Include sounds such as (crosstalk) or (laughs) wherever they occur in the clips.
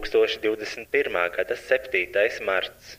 2021. gada 7. marts.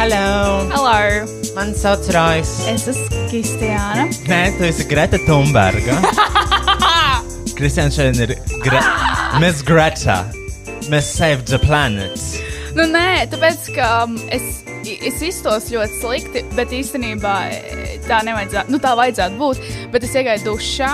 Hello! Hello! Man sauc Rojas! Es esmu Kristiāna. Nē, tu esi Greta Thunberga. (laughs) Kristians šodien ir Gre Miss Greta. Mēs saved the planet. Nu nē, tāpēc, ka um, es, es iztos ļoti slikti, bet īstenībā e, tā nevajadzētu, nu tā vajadzētu būt, bet es iegāju dušā.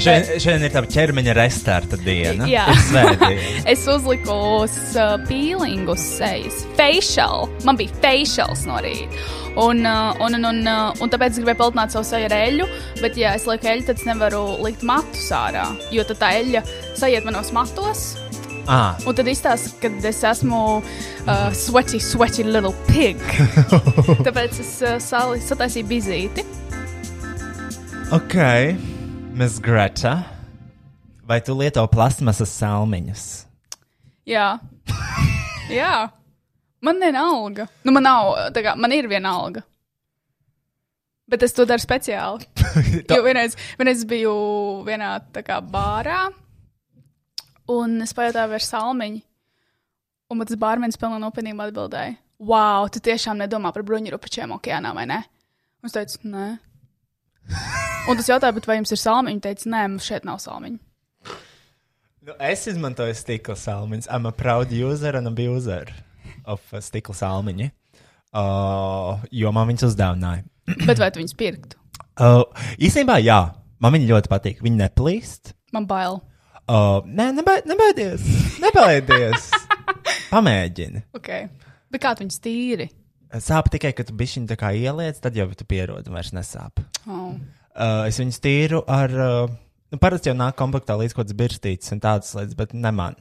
Šodien, šodien ir tā ķermeņa restarta diena. Jā. Ir svētdiena. (laughs) Es uzliku uz, uh, pīlingu uz sejas, facial. Man bija facials no rīta. Un, uh, un, un, un, uh, un tāpēc es gribēju pelnīt savu seju ar eļļu. Bet, ja es lieku eļļu, tad es nevaru likt matus ārā. Jo tad tā eļļa sajiet manos matos. ah, Un tad izstāsta, ka es esmu uh, sweaty, sweaty little pig. Tāpēc es uh, sali, sataisīju bizīti. ok. Miss Greta. Vai tu lieto plasmasas salmiņas? Jā. Jā. Man ir alga. Nu, man nav, tā kā man ir viena alga. Bet es to daru speciāli. Tā- Jo vienreiz, vienreiz biju vienā tā kā bārā, un es pajautāju par salmiņu. Un man tas bārmenis pilnā nopietnībā atbildēja, wow, tu tiešām nedomā par bruņurupučiem okeānā, vai ne? Un es teicu, nē. Un tas jautāja, bet vai jums ir salmiņi? Viņa teica, nē, mums šeit nav salmiņi. Nu, es izmantoju stikla salmiņus. I'm a proud user and abuser of uh, stikla salmiņi. Uh, jo man viņas uzdāvināja. Bet vai tu viņus pirktu? Uh, īstenībā, jā, man viņa ļoti patīk. Viņa neplīst. Man bail. Uh, nē, neba nebaidies. Nebaidies. Pamēģini. Okay. Bet kā tu viņus tīri? Sāp tikai, kad tu bišķiņu tā kā ieliec, tad jau tu pierodi un vairs nesāp. Oh. Uh, es viņus tīru ar. Uh, nu, parasti jau nāk komplektā līdz kaut kāds birstītis un tādas lietas, bet ne man.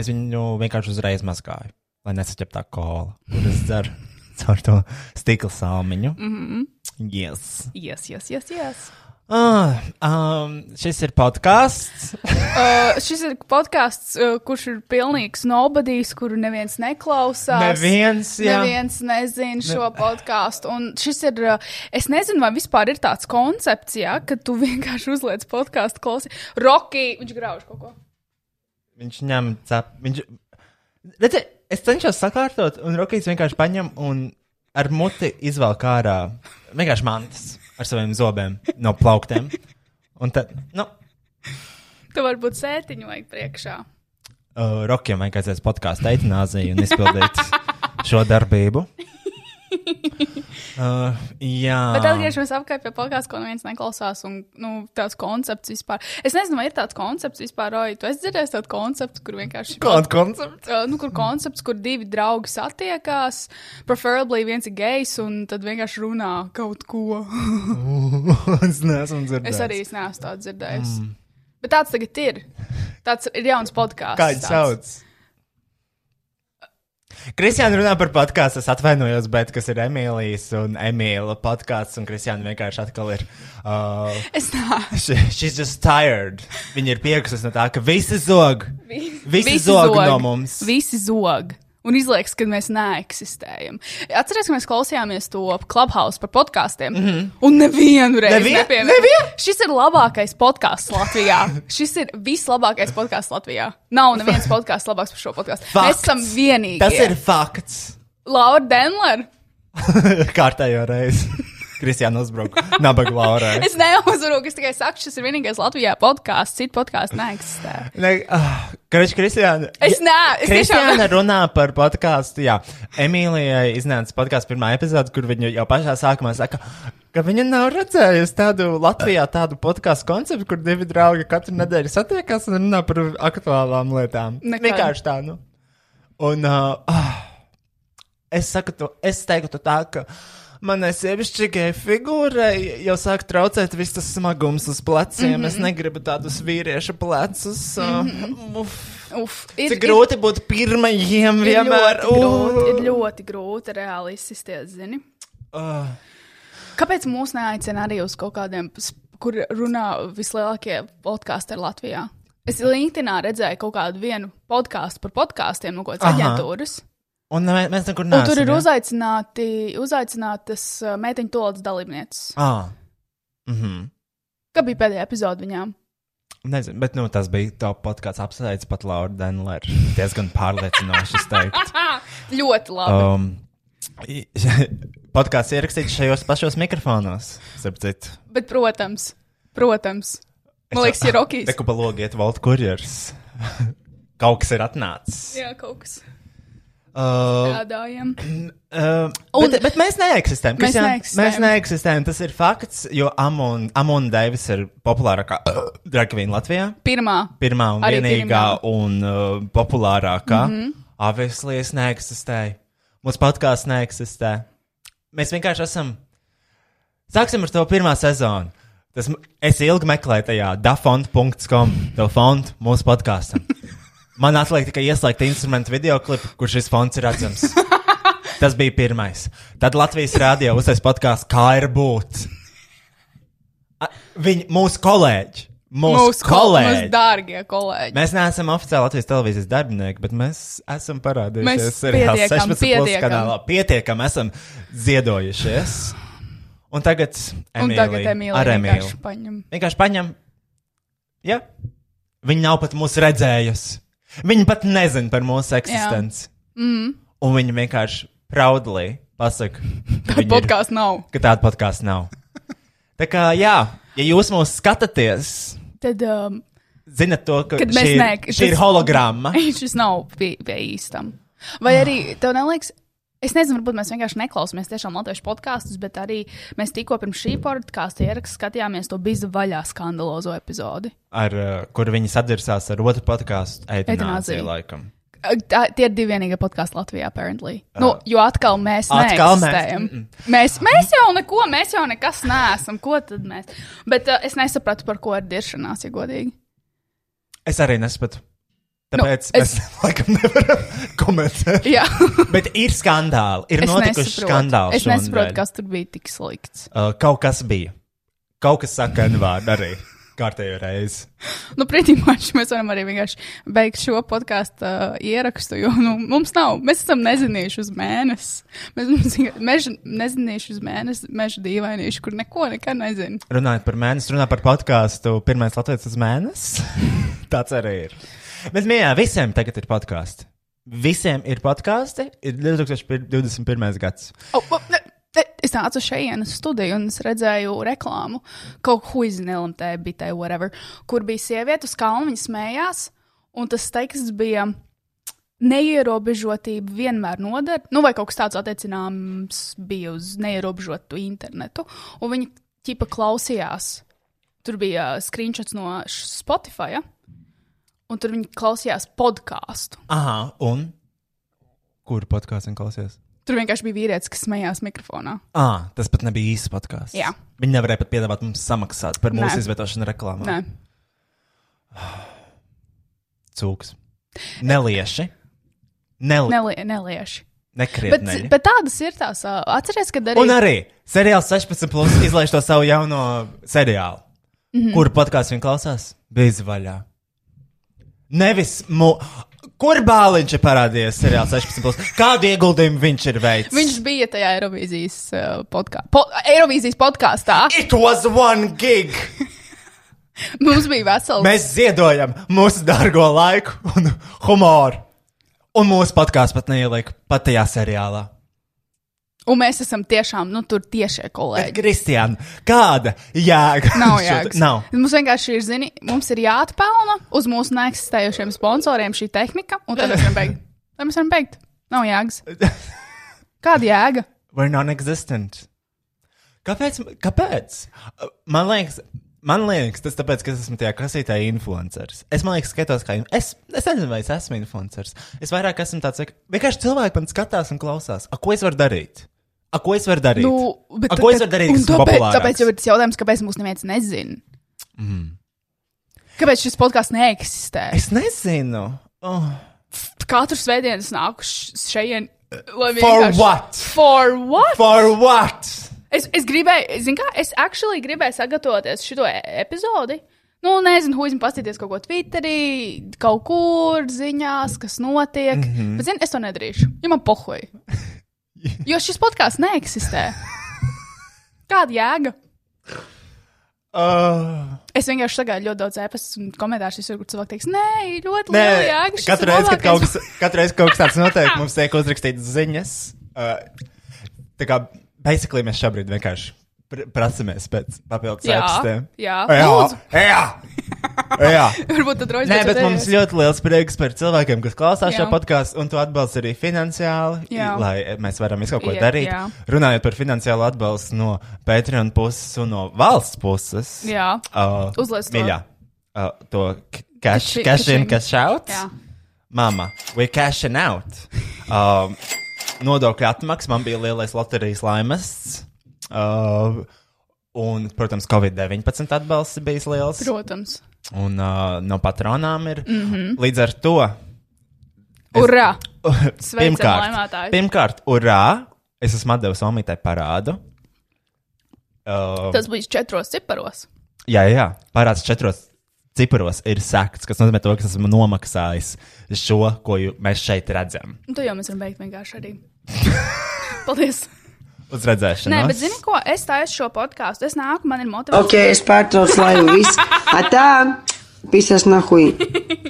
Es viņu vienkārši uzreiz mazgāju, lai nesaķeptu tā kola. kur Es dzeru (laughs) caur to stikla salmiņu. Mm -hmm. Yes. Yes, yes, yes, yes. Ah, um, šis ir podkāsts. Uh, šis ir podkāsts, uh, kurš ir pilnīgs nobadīs, kuru neviens neklausās. Neviens, jā. Neviens nezina šo podkāstu. Un šis ir, uh, es nezinu, vai vispār ir tāds koncepts, ja, ka tu vienkārši uzliec podkāstu klausi. Roki, viņš grauž kaut ko. Viņš ņem cep. Viņš... Redzi, es cenšos sakārtot, un Rukijs vienkārši paņem un ar muti izvelk ārā vienkārši mantas ar saviem zobiem no plauktiem. Un tad, nu, Tu vari būt sētiņu vajag priekšā. uh, Rokiem vajadzēs podkāstu eitanāziju un izpildīt šo darbību. Uh, jā, Bet atgriežamies apkārt pie podkāstiem, ko neviens neklausās. Un, nu, tāds koncepts vispār. Es nezinu, vai ir tāds koncepts vispār, Roja. Tu esi dzirdējis tādu konceptu, kur vienkārši. kāda koncepcija? Uh, Nu, kur koncepts, kur divi draugi satiekās, preferably viens ir gejs, un tad vienkārši runā kaut ko. (laughs) (laughs) es neesmu dzirdējis. Es arī es neesmu tādu dzirdējis. Mm. Bet tāds tagad ir. Tāds ir jauns podkāsts. Kā viņš sauc? Kristiāna runā par podkāstu. Es atvainojos, bet kas ir Emīlijas un Emīla podkāsts. Un Kristiāna vienkārši atkal ir. Uh, Es neesmu. she- she's just tired. Viņa ir piekusies no tā, ka visi zog. Visi zog no mums. Visi zog. Un izliekas, ka mēs neeksistējam. Atcerieties, ka mēs klausījāmies to Clubhouse par podkāstiem. Mm Mhm. -hmm. Un nevienu reizi Nevien- nepiemin- nevien? Šis ir labākais podkāsts Latvijā. Šis ir vislabākais podkāsts Latvijā. Nav neviens podkāsts labāks par šo podkāstu. Mēs Fakts. esam vienīgi. Tas ir fakts. (laughs) Laura Denlera. Kārtējo reizi. Kristiāna uzbruka nabaga Laurai. Es neuzvaru, es tikai saku, šis ir vienīgais Latvijā podkāsts. Citu podkāstu neeksistē. Ne, ah, Karš, Kristiāna. Es nē, es tiešām. Kristiāna runā par podkāstu. Jā, Emīlijai iznāca podkāsts pirmā epizode, kur viņa jau pašā sākumā saka, ka viņa nav redzējusi tādu Latvijā tādu podkāstu konceptu, kur divi draugi katru nedēļu satiekas un runā par aktuālām lietām. Nekad. Vienkārši tā, nu. Un uh, ah, es saku, to, es teiktu tā, ka. Manai sievišķīgajai figūrai jau sāk traucēt viss tas smagums uz pleciem. Mm -hmm. Es Mhm. negribu tādus vīriešu plecus. Uh, mm -hmm. uf, Uf, Cik grūti būt pirmajiem Ir (laughs) vienmēr. ļoti grūti, ir ļoti grūti reāli izsisties, zini. Uh, Kāpēc mūs neaicina arī uz kaut kādiem, s- kur runā vislielākie podkāsteri Latvijā? Es LinkedInā redzēju kaut kādu vienu podkāstu par podkāstiem no kādas Aha. aģentūras. un ne, mēs nekur Un neesam. tur ir ja? uzaicināti, uzaicinātas uh, meiteņu toldas dalībnieces. Ā. Mhm. Kā bija pēdējā epizode viņām? (laughs) Nezinu, bet nu, tas bija top podkāsts apsveicis pat Laura Denlera. Diezgan pārliecinoši es teiktu. Ļoti labi. Um, i- (laughs) podkāsts ierakstīts šajos pašos mikrofonos. Starp citu. Bet, protams, protams. Man liekas, ir (laughs) ok. Teku pa logu iet Volt Kurjers. (laughs) Kaut kas ir atnācis. Jā, kaut kas Uh, tādājiem. Uh, Un- bet, bet mēs Mēs neeksistējam. Kristiāna, neeksistējam. Mēs neeksistējam. Tas ir fakts, jo Amona Deivis ir populārākā (clears throat) dragvīna Latvijā. Pirmā. Pirmā un Arī Arī vienīgā pirmā. Mhm. un uh, populārākā. Mm -hmm. Obviously, es neeksistēju. Mūsu podkāsts neeksistē. Mēs vienkārši esam. Sāksim ar to pirmā sezonu. Tas, m- es ilgi meklēju tajā dafont.com, to fontu mūsu podkāstam. Man atliek tikai ieslēgt instrumentu video klipu, kur šis fonts ir redzams. (laughs) Tas bija pirmais. Tad Latvijas rādio uztais podkāsts, kā ir būt. A- Viņi, mūsu kolēģi, mūsu, mūsu Mūsu kolēģi. kolēģi. Mūsu dārgie kolēģi. Mēs neesam oficiāli Latvijas televīzijas darbinieki, bet mēs esam parādījušies Mēs seriālā pietiekam, 16 plus pietiekam. kanālā. Pietiekam, esam ziedojušies. Un tagad Un Emīlija, tagad Emīlija ar Emīliju. vienkārši paņem. Vienkārši paņem. Ja? Viņa nav pat mūsu redzējusi. Viņa pat nezina par mūsu eksistenci. Mm. Un viņa vienkārši proudly pasaka, ka, Tāda viņa ir, podkāsts nav. ka tāda podkāstu nav. Tā kā, jā, ja jūs mūs skatāties, Tad um, zinat to, ka Kad šī mēs ir, ne- šī ir tas- hologramma. (laughs) šis nav pie, pie īstam. Vai arī Ah. tev neliekas? Es nezinu, varbūt mēs vienkārši neklausāmies tiešām latviešu podkāstus, bet arī mēs tikko pirms šī podkāstu ieraksta skatījāmies to bizu vaļā skandalozo epizodi. ar, uh, kur viņi sadzirsās ar otru podkāstu, Eitanāzija. Eitanāzija. laikam. Tā, tie ir divi vienīgie podkāsti Latvijā, apparently. Nu, jo atkal mēs Ah. Atkal mēs- neeksistējam. Mēs, mēs jau neko, mēs jau nekas neesam. Ko tad mēs? Bet uh, es nesapratu, par ko ir diršanās, ja godīgi. Es arī nesapratu. Nu, Tāpēc nu, es- es... mēs (laughs) laikam nevaram komentēt. (laughs) Jā, Bet ir skandāli. Ir es notikuši skandāli. Es nesaprotu, šonadēļ. kas tur bija tik slikts. Uh, kaut kas bija. Kaut kas saka, Envārds arī. Kārtējo reizi. Nu, pretīmāši mēs varam arī vienkārši beigt šo podkāstu uh, ierakstu, jo nu, mums nav, mēs esam nezinieši uz mēnesi. Mēs mums vienkār- meža- nezinieši uz mēnesi, meža dīvainieši, kur neko nekad nezinu. Runājot par mēnesi, runājot par podkāstu, (laughs) pirmais latvijas uz mēnesi. Tāds arī ir. Bet mīļā, visiem tagad ir podkāsts. Visiem ir podkāsti, ir 2021. gads. Oh, oh, ne, ne, es nācu šeit uz studiju un es redzēju reklāmu, kaut ko izņēmu tajā bitē, whatever, kur bija sieviete uz kalna, viņa smējās, un tas teksts bija. Neierobežotība vienmēr noder, nu, vai kaut kas tāds attiecināms bija uz neierobežotu internetu. Un viņi ķipa klausījās. Tur bija skriņšots no š- Spotify, un tur viņi klausījās podkāstu. Aha, un kuru podkāstu viņi klausījās? Tur vienkārši bija vīrietis, kas smējās mikrofonā. Ah, tas pat nebija īsts podkāsts. Jā. Viņi nevarēja pat piedāvāt mums samaksāt par mūsu Nē. izvietošanu reklāmā. Nē, Cūks. Nelieši. Nel... Nel... nelie, nelieši. Bet, Nekrietni. bet tādas ir tās. ā, Atceries, kad arī, Un arī seriāls 16, plus izlaiž to savu jauno seriālu, mm Mhm. -hmm. kuru podkāstu viņi klausās? Bez vaļā. Nevis, mu... kur bāliņš ir parādījies seriāls 16, plus? kādu ieguldījumu viņš ir veicis? viņš bija tajā Eirovīzijas uh, podkāstā. Po, Eirovīzijas podkāstā It was one gig! mums bija vesels. Mēs ziedojam mūsu dārgo laiku un humoru. Un mūsu podkāsts pat neieliek pat tajā seriālā. Un mēs esam tiešām nu, tur tiešie kolēģi. Kristiāna, kāda jēga? Nav šo- jēgas. Nav. Mums vienkārši ir, zini, mums ir jāatpelna uz mūsu neeksistējošiem sponsoriem šī tehnika, un tad mēs varam beigt. Tad mēs varam beigt. Nav (laughs) jēgas. Kāda jēga? We're non-existent. Kāpēc? kāpēc? Uh, Man liekas, man liekas, tas tāpēc, ka es esmu tajā kasītē influenceris. Es man liekas, skatos, kā in- es, es nezinu, vai es esmu influenceris. Es vairāk esmu tāds, ka vienkārši cilvēki man skatās un klausās. A, ko es varu darīt? A, ko es varu darīt? Nu, bet A, tad- ko es varu darīt? un kas ir Tāpēc, populārāks? tāpēc jau ir tas jautājums, kāpēc mūs neviens nezina. Mm. Mhm. Kāpēc šis podkāsts neeksistē? Es nezinu. Oh. katru svētdienu es nāku š- šeit. For what? For what? For... For what? Es, es gribēju, zinu, kā es actually gribēju sagatavoties šo epizodi. Nu, nezinu, huizim paskatīties kaut ko Twitterī, kaut kur ziņās, kas notiek. Mm Mhm. -hmm. Bet, zinu, es to nedarīšu, jo man (laughs) pohoja. Jo šis podkāsts neeksistē. Kāda jēga? Uh, Es vienkārši sagaidu ļoti daudz ēpastu un komentāru, visur, kur cilvēki teiks, nē, ļoti nē, liela jēga. Nu, šis ir katru reizi, kad labākais." kaut kas, katru reizi, kaut kas tāds notiek, mums tiek uzrakstīts ziņas. Uh, tā kā, basically, mēs šobrīd vienkārši pr prasamies pēc papildus (laughs) Jā, rakstiem. jā. jā, Lūdzu. (laughs) jā. jā. Varbūt tad rodas. Nē, bet mums ļoti liels prieks par cilvēkiem, kas klausās Jā. šo podkāstu, un tu atbalsti arī finansiāli, Jā. lai mēs varam visu kaut ko Jā, darīt. jā. Runājot par finansiālu atbalstu no Patreon puses un no valsts puses. Jā. Uh, Uzliec to. Mīļā, uh, to k- cash, Kaši- cash in, kašing. cash out. Jā. Mama, we're cashing out. Um, nodokļu atmaks, man bija lielais loterijas laimests. Uh, un, protams, Covid-19 atbalsts bijis liels. Protams. Un uh, no patronām ir. Mm Mhm. -hmm. Līdz ar to. Urā! (laughs) Sveicam pirmkārt, laimētājus. pirmkārt, urā! Es esmu devis Omitai parādu. Uh, Tas būs četros ciparos. Jā, jā, jā. parāds četros ciparos ir sakts, kas nozīmē to, ka esmu nomaksājis šo, ko jū, mēs šeit redzam. Un tu Nu, jau mēs varam beigt vienkārši (laughs) arī. Paldies! Uz Nē, redzēšanas. bet zini ko? Es taisu šo podkāstu. Es nāku, man ir motivācija. Ok, es pārtraucu visu. Atā, pisas nahui.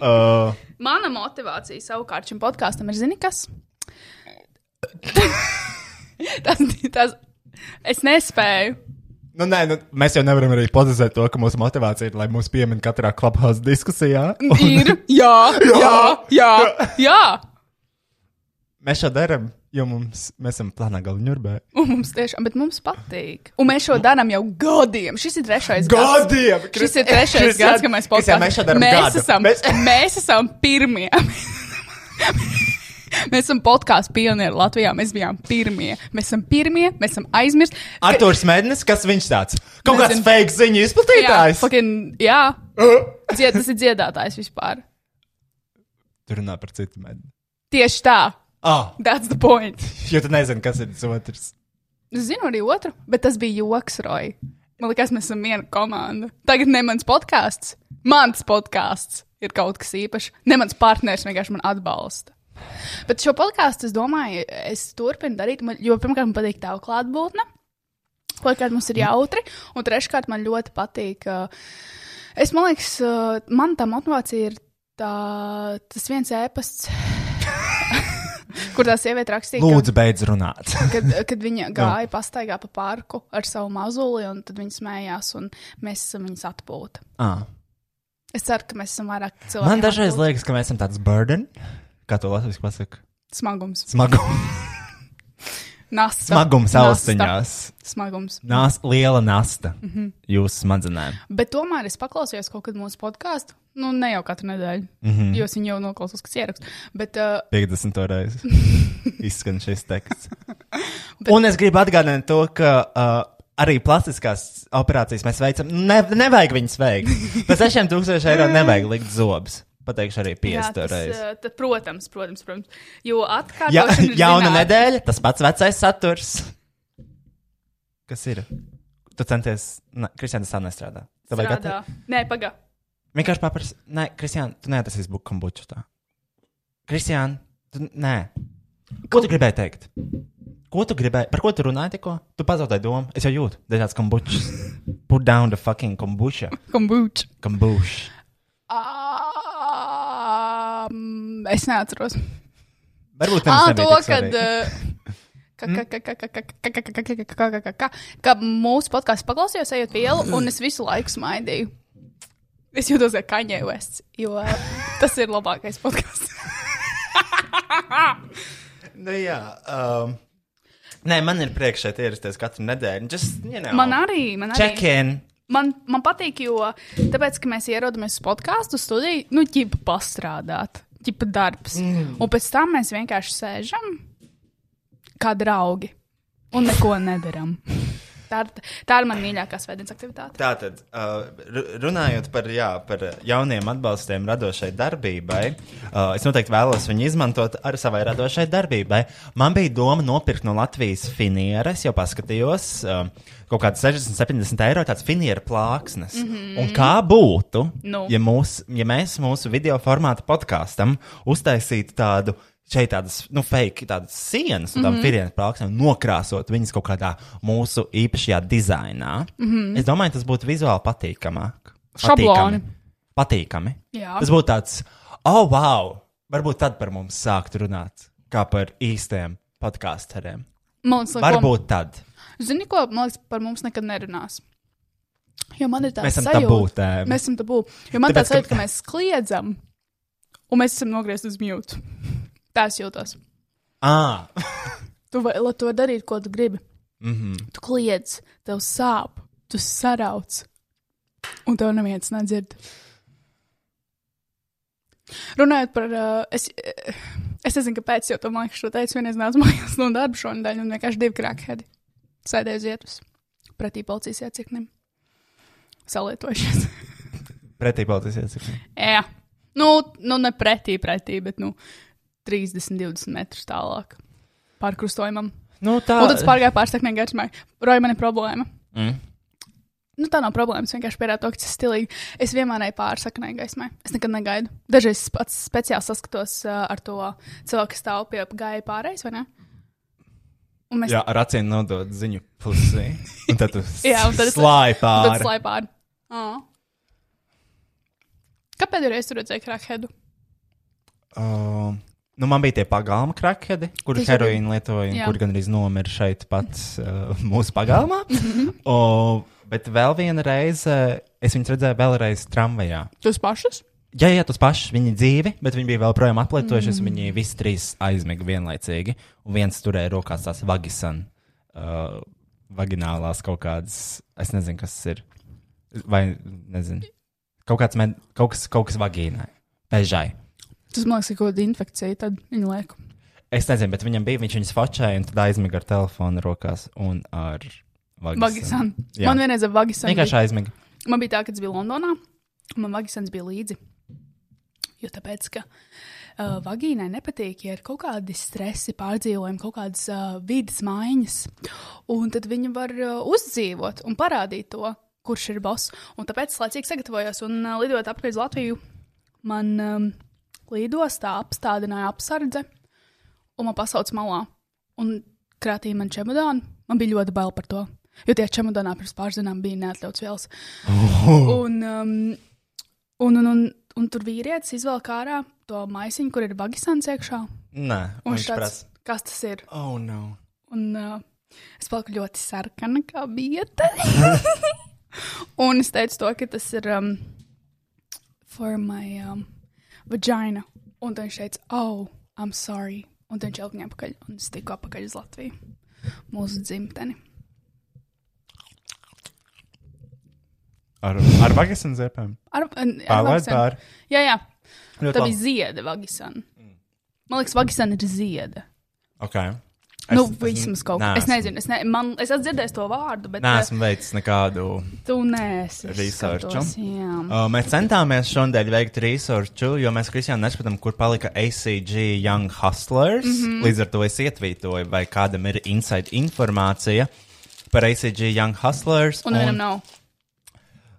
Uh, Mana motivācija savukārt šim podkāstam ir, zini, kas? tas, tas, es nespēju. nu, nē, nu, mēs jau nevaram arī pozicionēt to, ka mūsu motivācija ir, lai mūs piemin katrā klubhausa diskusijā. Ir, (laughs) jā, jā, jā, jā. Mēs šo darām, jo mums, mēs esam plānā galvenjurbē. Un mums tiešām, bet mums patīk. Un mēs šo darām jau gadiem. Šis ir trešais gads. Gadiem! Šis ir trešais gads, kad mēs podkāstām. podkāstām. Mēs šeit darām mēs, gadu. esam, Mēs... mēs esam pirmie. (laughs) Mēs esam podkāstu pionieri Latvijā. Mēs bijām pirmie. Mēs esam pirmie, mēs esam aizmirsti. Arthurs Mēnesis, kas viņš tāds? Kaut kāds Nezinu. fake ziņu jā, izplatītājs. fucking, jā. Dzied, tas ir dziedātājs vispār. Tur runā par citu mēnesi. Tieši tā. Ah, That's the point. jo tu nezini, kas ir tas otrs. Es zinu arī otru, bet tas bija joks, Roja. Man liekas, mēs esam viena komanda. Tagad ne mans podkāsts. Mans podkāsts ir kaut kas īpašs. Ne mans partneris vienkārši man atbalsta. Bet šo podkāstu es domāju, es turpinu darīt, man- jo pirmkārt man patīk tā klātbūtne. Otrkārt, mums ir jautri, un treškārt, man ļoti patīk. uh, Es uh, domāju, ka man tā motivācija ir tā, tas viens ēpasts (laughs) Kur tā sieviete rakstīja, ka- Lūdzu, beidz runāt. kad, kad viņa gāja pastaigā pa parku ar savu mazuli, un tad viņa smējās, un mēs esam viņas atpūta. ah. Es ceru, ka mēs esam vairāk cilvēki. Man dažreiz liekas, ka mēs esam tāds burden. Kā to latviešu pasaka? smagums. (laughs) Smagums, Nasta. smagums Nasta. austiņās. Smagums. Nās, liela nasta Mhm. jūsu smadzenēm. Bet tomēr es paklausījos kaut kad mūsu podkāstu. Nu, ne jau katru nedēļu, mm Mhm. -hmm. jo es viņu jau noklausos, kas ieraksta. Bet, uh, 50. (laughs) reizi izskan šis teksts. Un es gribu atgādināt to, ka uh, arī plastiskās operācijas mēs veicam. Ne, nevajag viņas veikt. (laughs) Par 6000 eiro nevajag likt zobus. Pateikšu arī 50 tas, reizes. uh, tad, protams, protams, protams. Jo atkārtot. Ja, (laughs) jauna nedēļa, tas pats vecais saturs. Kas ir? Tu centies. Kristija, tas tā nestrādā. Tev vajag atrast- Strādā. Nē, pagaidi. Vienkārši paprasti. Nē, Kristija, tu neatrasīs buļbuļbuļbuļsu tā. Kristija, tu nē. Ko tu gribēji teikt? Ko tu gribēji? Par ko tu runāji tikko? Tu pazaudēji domu. Es jau jūtu, dažāds (laughs) kombučs. Put down the fucking kombuča. Kombučs. Kombučs. Um, es neatceros. Varbūt Ah, tas to, nebija. kad. eh, kad... Kā mūsu podkāstā paklausījos, ejot pa ielu, un es visu laiku smaidīju. Es jūtos kā kaņē vests, jo tas ir labākais (laughs) podkāsts. Nu, jā, um... Nē, man ir prieks šeit ierasties katru nedēļu. Just, you know, Man arī, man Check arī. in. Man, man patīk, jo tāpēc, ka mēs ierodamies uz podkāstu studiju, nu, ķipa pastrādāt, ķipa darbs. Mm. Un pēc tam mēs vienkārši sēžam kā draugi un neko nedaram. Tā ir, tā ir man mīļākā svētdienas aktivitāte. Tātad, uh, ru- runājot par, jā, par uh, jauniem atbalstiem radošai darbībai, uh, es noteikti vēlos viņu izmantot arī savai radošai darbībai. Man bija doma nopirkt no Latvijas finieres, jau paskatījos, uh, kaut kāds 60, 70 eiro tāds finiera plāksnes. Mm -hmm. Un kā būtu, Mhm. Nu. ja, mūs, ja mēs mūsu video formāta podkāstam uztaisītu tādu. Šeit tādas, nu, fake, tādas sienas, Mhm. un tam figūriem plakāts, nokrāsot viņas kaut kādā mūsu īpašajā dizainā. Mm -hmm. Es domāju, tas būtu vizuāli patīkamāk. Mhm. Šabloni. Patīkami. Patīkami. Jā. Tas būtu tāds, oh, wow! Varbūt tad par mums sākt runāt, kā par īstiem podkāsteriem. Man liekas, Varbūt... Varbūt tad. Zini, ko man liekas, par mums nekad nerunās. Jo man ir tā Mēs esam sajūta, tabūtēm. Mēs esam tabū. Jo man Tāpēc, Tāpēc, tā sajūta, ka... ka- ka mēs kliedzam, un mēs esam nogriezti uz mute. (laughs) Tā es jūtos. Ah, Tu vari to darīt, ko tu gribi. Mm Mhm. -hmm. Tu kliedz, tev sāp, tu sarauc, un tev neviens nedzird. Runājot par. Uh, es, eh, es nezinu, kāpēc, jo tu man liekas, to teicu, vienreiz nāc mājās no darba šonadēļ, un vienkārši divi krākhedi sēdēja uz ietves pretī policijas iecirknim. Salietojušies. pretī politiskajai ietekmei. (laughs) Jā, nu, nu ne pretī, pretī, bet nu, 30, 20 metrus tālāk pārkrustojumam. Nu, tā Un tad es pārgāju pārsteigumā garšmai. Roja, man ir problēma. Mm. Nu, tā nav problēma. Es vienkārši pierādu to, ka tas ir stilīgi. Es vienmēr eju pārsakanai gaismai. Es nekad negaidu. Dažreiz es pats speciāli saskatos uh, ar to cilvēku, kas stāv pie gāja pārējais, vai ne? Un mēs Jā, ar acīm nodot ziņu pusi. Un tad tu Jā, un tad es- slāpēji tad pāri. slēpām pāri. Uh. Kāpēc pēdējo reizi tu redzēji krāphedu? Um, Nu, man bija tie pagalma krakheadi, kurus Tieši arī. heroīnu lietoja, un Jā. kur gandrīz nomira šeit pats uh, mūsu pagalmā. o, bet vēl viena reize, es viņus redzēju vēlreiz tramvajā. Jūs pašas? Jā, jā, tas pašs, viņi dzīvi, bet viņi bija vēl projām aplietojušies, mm. viņi visi trīs aizmiga vienlaicīgi, un viens turēja rokās tās vagisan, uh, vaginālās kaut kādas, es nezinu, kas tas ir, vai nezinu, kaut kāds, med, kaut kas, kaut kas vagīnai, pežai. Tas man liekas, ka kaut kāda infekcija tad viņa liek. Es nezinu, bet viņam bija, viņš viņu sfočēja, un tad aizmiga ar telefonu rokās un ar Vagisan. vagisanu. Jā. Man vienreiz ar vagisan. bija- Vienkārši aizmiga. Man bija tā, ka tas bija Londonā, un man vagisens bija līdzi. Jo tāpēc, ka uh, vagīnai nepatīk, ja ir kaut kādi stresi, pārdzīvojumi, kaut kādas uh, vidas maiņas. Un tad viņi var uh, uzdzīvot un parādīt to, kurš ir boss. Un tāpēc es laicīgi sagatavojos un uh, lidojot apkārt uz Latviju. Man um, lidostā apstādināja apsardze, un man pasauca malā. Un krātīja man čemodānu. Man bija ļoti bail par to. Jo tie čemodānā pirms pāris dienām bija neatļauts vielas. Un, um, un, un, un, un tur vīrietis izvelk ārā to maisiņu, kur ir vagisāns iekšā. Nē, Un viņš viņš tāds, prasa. kas tas ir? Oh, no. Un uh, es paliku ļoti sarkana, kā bieta. un es teicu to, ka tas ir um, for my um, vagina. Un tad viņš teica, oh, I'm sorry. Un tad viņš elgņa apakaļ un es tiku apakaļ uz Latviju. Mūsu dzimteni. Ar, ar vagasiem zēpēm. Ar, un- ar Pārlaid vagisanu. pāri. Jā, jā. Ļoti Tā labi. bija zieda vagisana. Man liekas, vagisana ir zieda. Ok. Es, nu, vismaz kaut kā. Es neesmu- nezinu, es, ne, man, es atdzirdēju to vārdu, bet Nē, eh, esmu veicis nekādu. tu nesi. es Researchu. skatos, Jā. Uh, mēs centāmies šodien veikt researchu, jo mēs kristāli nespējam, kur palika ACG Young Hustlers. Mm Mhm. -hmm. Līdz ar to es ietvītoju, vai kādam ir inside informācija par ACG Young Hustlers. Un vienam nav.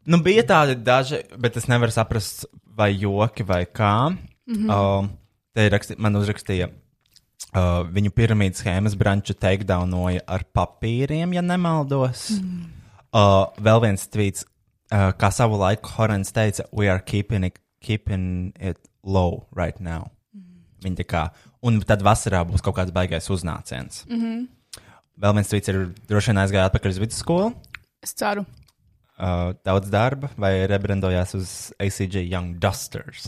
Nu, bija tādi daži, bet es nevaru saprast, vai joki vai kā. Mm -hmm. um, te ir raksti, man uzrakstīja, uh, viņu piramīdas schēmas branču takedownoja ar papīriem, ja nemaldos. Mm. Uh, vēl viens tvīts, uh, kā savu laiku Horants teica, we are keeping it, keeping it low right now. Mm. Viņa tā kā, un tad vasarā būs kaut kāds baigais uznāciens. Mm -hmm. Vēl viens tvīts ir droši vien aizgāja atpakaļ uz vidusskolu Es ceru. uh, daudz darba, vai rebrandojās uz ACG Young Dusters.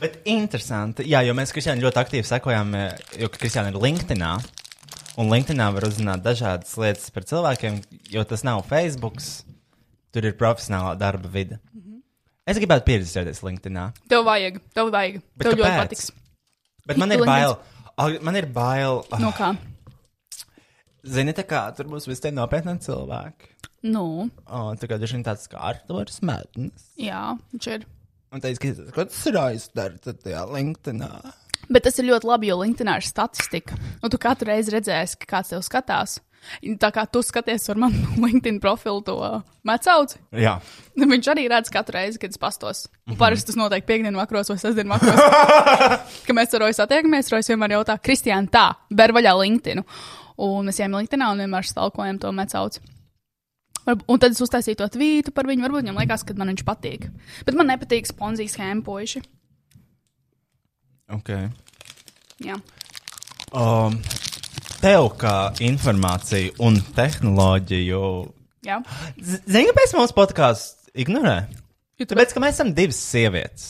Bet interesanti, jā, jo mēs Kristiānam ļoti aktīvi sekojam, eh, jo Kristiāna ir LinkedInā. Un LinkedInā var uzzināt dažādas lietas par cilvēkiem, jo tas nav Facebook. Tur ir profesionālā darba vide. Es gribētu pieredzēties LinkedInā. Tev vajag, tev vajag. Bet tev ļoti kāpēc? patiks. Bet man ir Tu bail. Ak, Man ir bail. No kā? Zini, tā kā tur būs visi tie nopietni cilvēki. Nu, Un tā kā dažiem tāds kā Arthurs Mētnes. jā, viņš ir. Un teica, ka ko tas ir aizdarīts tajā LinkedInā. Bet tas ir ļoti labi, jo LinkedInā ir statistika. Un tu katru reizi redzēsi, ka kāds tev skatās. Tā kā tu skaties ar manu (laughs) LinkedIn profilu to mecauci, Jā. Nu, viņš arī redz katru reizi, kad es pastos. Mhm. Un parasti tas notiek piekdienas vakaros vai (laughs) sestdienas vakaros. kad mēs ar Roju satiekamies, Rojas vienmēr jautā, Kristiāna, tā, ber vaļā LinkedIn. Un mēs ejam LinkedInā un vienmēr stalkojam to mecauci. Varb- Un tad es uztaisīju to tvītu par viņu. Varbūt viņam liekas, ka man viņš patīk. Bet man nepatīk sponzijas schēma puiši. Ok. Jā. Um, tev kā informāciju un tehnoloģiju. Jā. Z- Zini, kāpēc mūsu podkāsts ignorē? Tāpēc, ka mēs esam divas sievietes,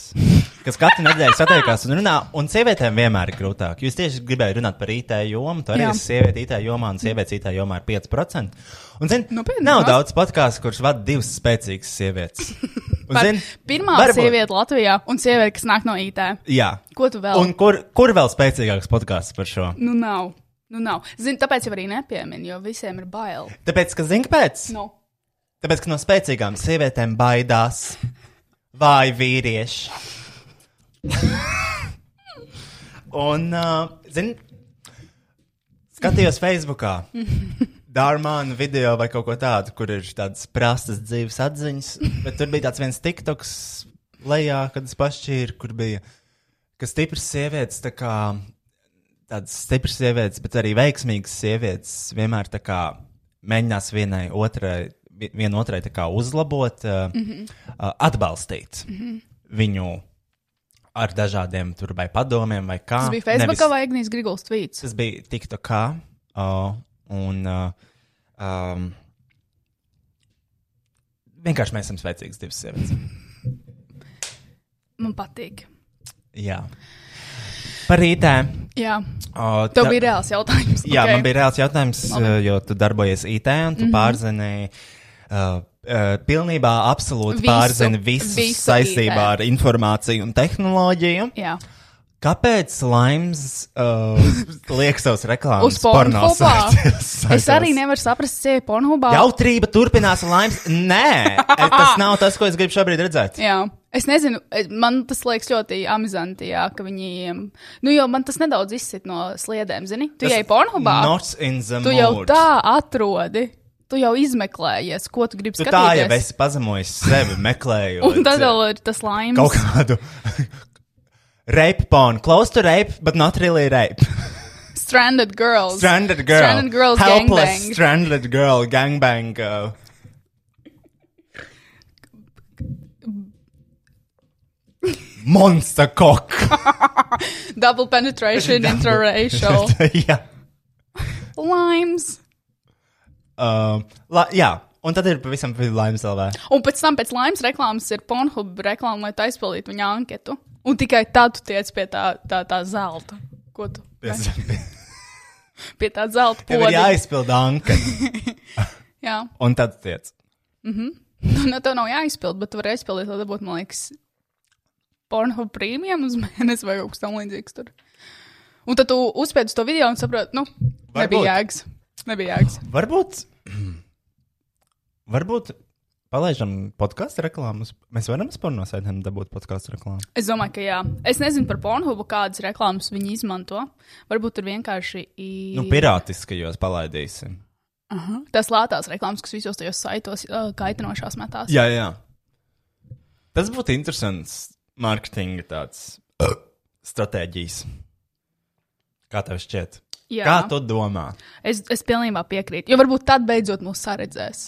kas katru nedēļu satiekās un runā, un sievietēm vienmēr ir grūtāk. Jūs tieši gribējāt runāt par IT jomu, tu arī Jā. esi sieviete IT jomā, un sievietes IT jomā ir 5%. Un, zini, Nopietni, nav maz. daudz podkāstu, kurš vada divas spēcīgas sievietes. Un, Par, zini, pirmā varbūt- varbūt. sieviete Latvijā un sieviete, kas nāk no IT. Jā. Ko tu vēl? Un kur, kur vēl spēcīgāks podkāsts par šo? Nu, nav. Nu, nav. Zini, tāpēc jau arī nepieminu, jo visiem ir bail. Tāpēc, ka zini, kāpēc? Nu. Tāpēc, ka no spēcīgām sievietēm baidās vai vīrieši. (laughs) Un, uh, zini, skatījos Facebookā. Dārmāna video vai kaut ko tādu, kur ir tādas prastas dzīves atziņas, bet tur bija tāds viens tiktoks lejā, kad es pašķīru, kur bija, ka stipras sievietes, tā kā tādas stipras sievietes, bet arī veiksmīgas sievietes vienmēr tā kā mēģinās vienai otrai, vi- viena otrai tā kā uzlabot, uh, mm Mhm. -hmm. uh, atbalstīt mm -hmm. viņu ar dažādiem tur vai padomiem vai kā. Tas bija Facebookā vai Agnijas Griguls tvīts. Tas bija TikTokā. Uh, un uh, um, vienkārši mēs esam spēcīgas divas sievietes. Man patīk. Jā. Par rītēm. Jā, Uh, tev bija reāls jautājums. Jā, okay. okay. man bija reāls jautājums, uh, jo tu darbojies IT un Mhm. tu mm -hmm. pārzini. Uh, uh, pilnībā, absolūti Visu, pārzina visu, visu visu saistībā IT. ar informāciju un tehnoloģiju. (laughs) Jā. Kāpēc Laims (laughs) uh, liek savus reklāmas Uz pornogrāfijas. pornosaitēs? Es arī nevaru saprast, kas ir pornogrāfija. Jautrība turpinās laimes. Nē, tas nav tas, ko es gribu šobrīd redzēt. Jā, es nezinu, es- man tas liekas ļoti amizanti, jā, ka viņiem, nu, jo man tas nedaudz izsit no sliedēm, zini, tu ej pornogrāfijā. Not in the Tu jau mood. tā atrodi, tu jau izmeklējies, ko tu gribi Tu tā skatīties. jau esi pazemojis (laughs) sevi, meklējot. Un tad vēl ir tas laimes. kaut kādu (laughs) rape porn. Close to rape, but not really (laughs) rape. Stranded girls. Stranded girl. Stranded girls Helpless gangbang. stranded girl gangbang. Uh, (laughs) Monster cock! Double penetration, (laughs) interracial. jā. Limes. Um, la, jā, un tad ir pavisam laimes LV. Un pēc tam, pēc laimes reklāmas, ir Pornhub reklāma, lai tā aizpildītu viņa anketu. Un tikai tad tu tiec pie tā, tā, tā zelta. Ko tu? Tas (laughs) Pie tā zelta tev ir poda. jāizpilda anka, Jā, un tad tiec. no tev nav jāizpild, bet tu vari aizpildīt, lai būtu, man liekas, Pornhub premium uz mēnesi vai kaut kas tam līdzīgs. Tur. Un tad tu uzspēd uz to video un saproti, nu, Varbūt. nebija jēgas. Nebija jēgas. Varbūt, varbūt palaižam podkāstu reklāmas. Mēs varam spēļot no saitēm dabūt podkāstu reklāmu. Es domāju, ka jā. Es nezinu par Pornhubu, kādas reklāmas viņi izmanto. Varbūt tur vienkārši ir. Nu, pirātiskajos palaidīsim. Tas lētās reklāmas, kas visos tajos saitos uh, kaitinošās metās. Jā, jā. Tas būtu interesants mārketinga tāds uh, stratēģijas. Kā tev šķiet? Jā. Kā tu domā? Es, es pilnībā piekrītu. Jo varbūt tad beidzot mūs saredzēs.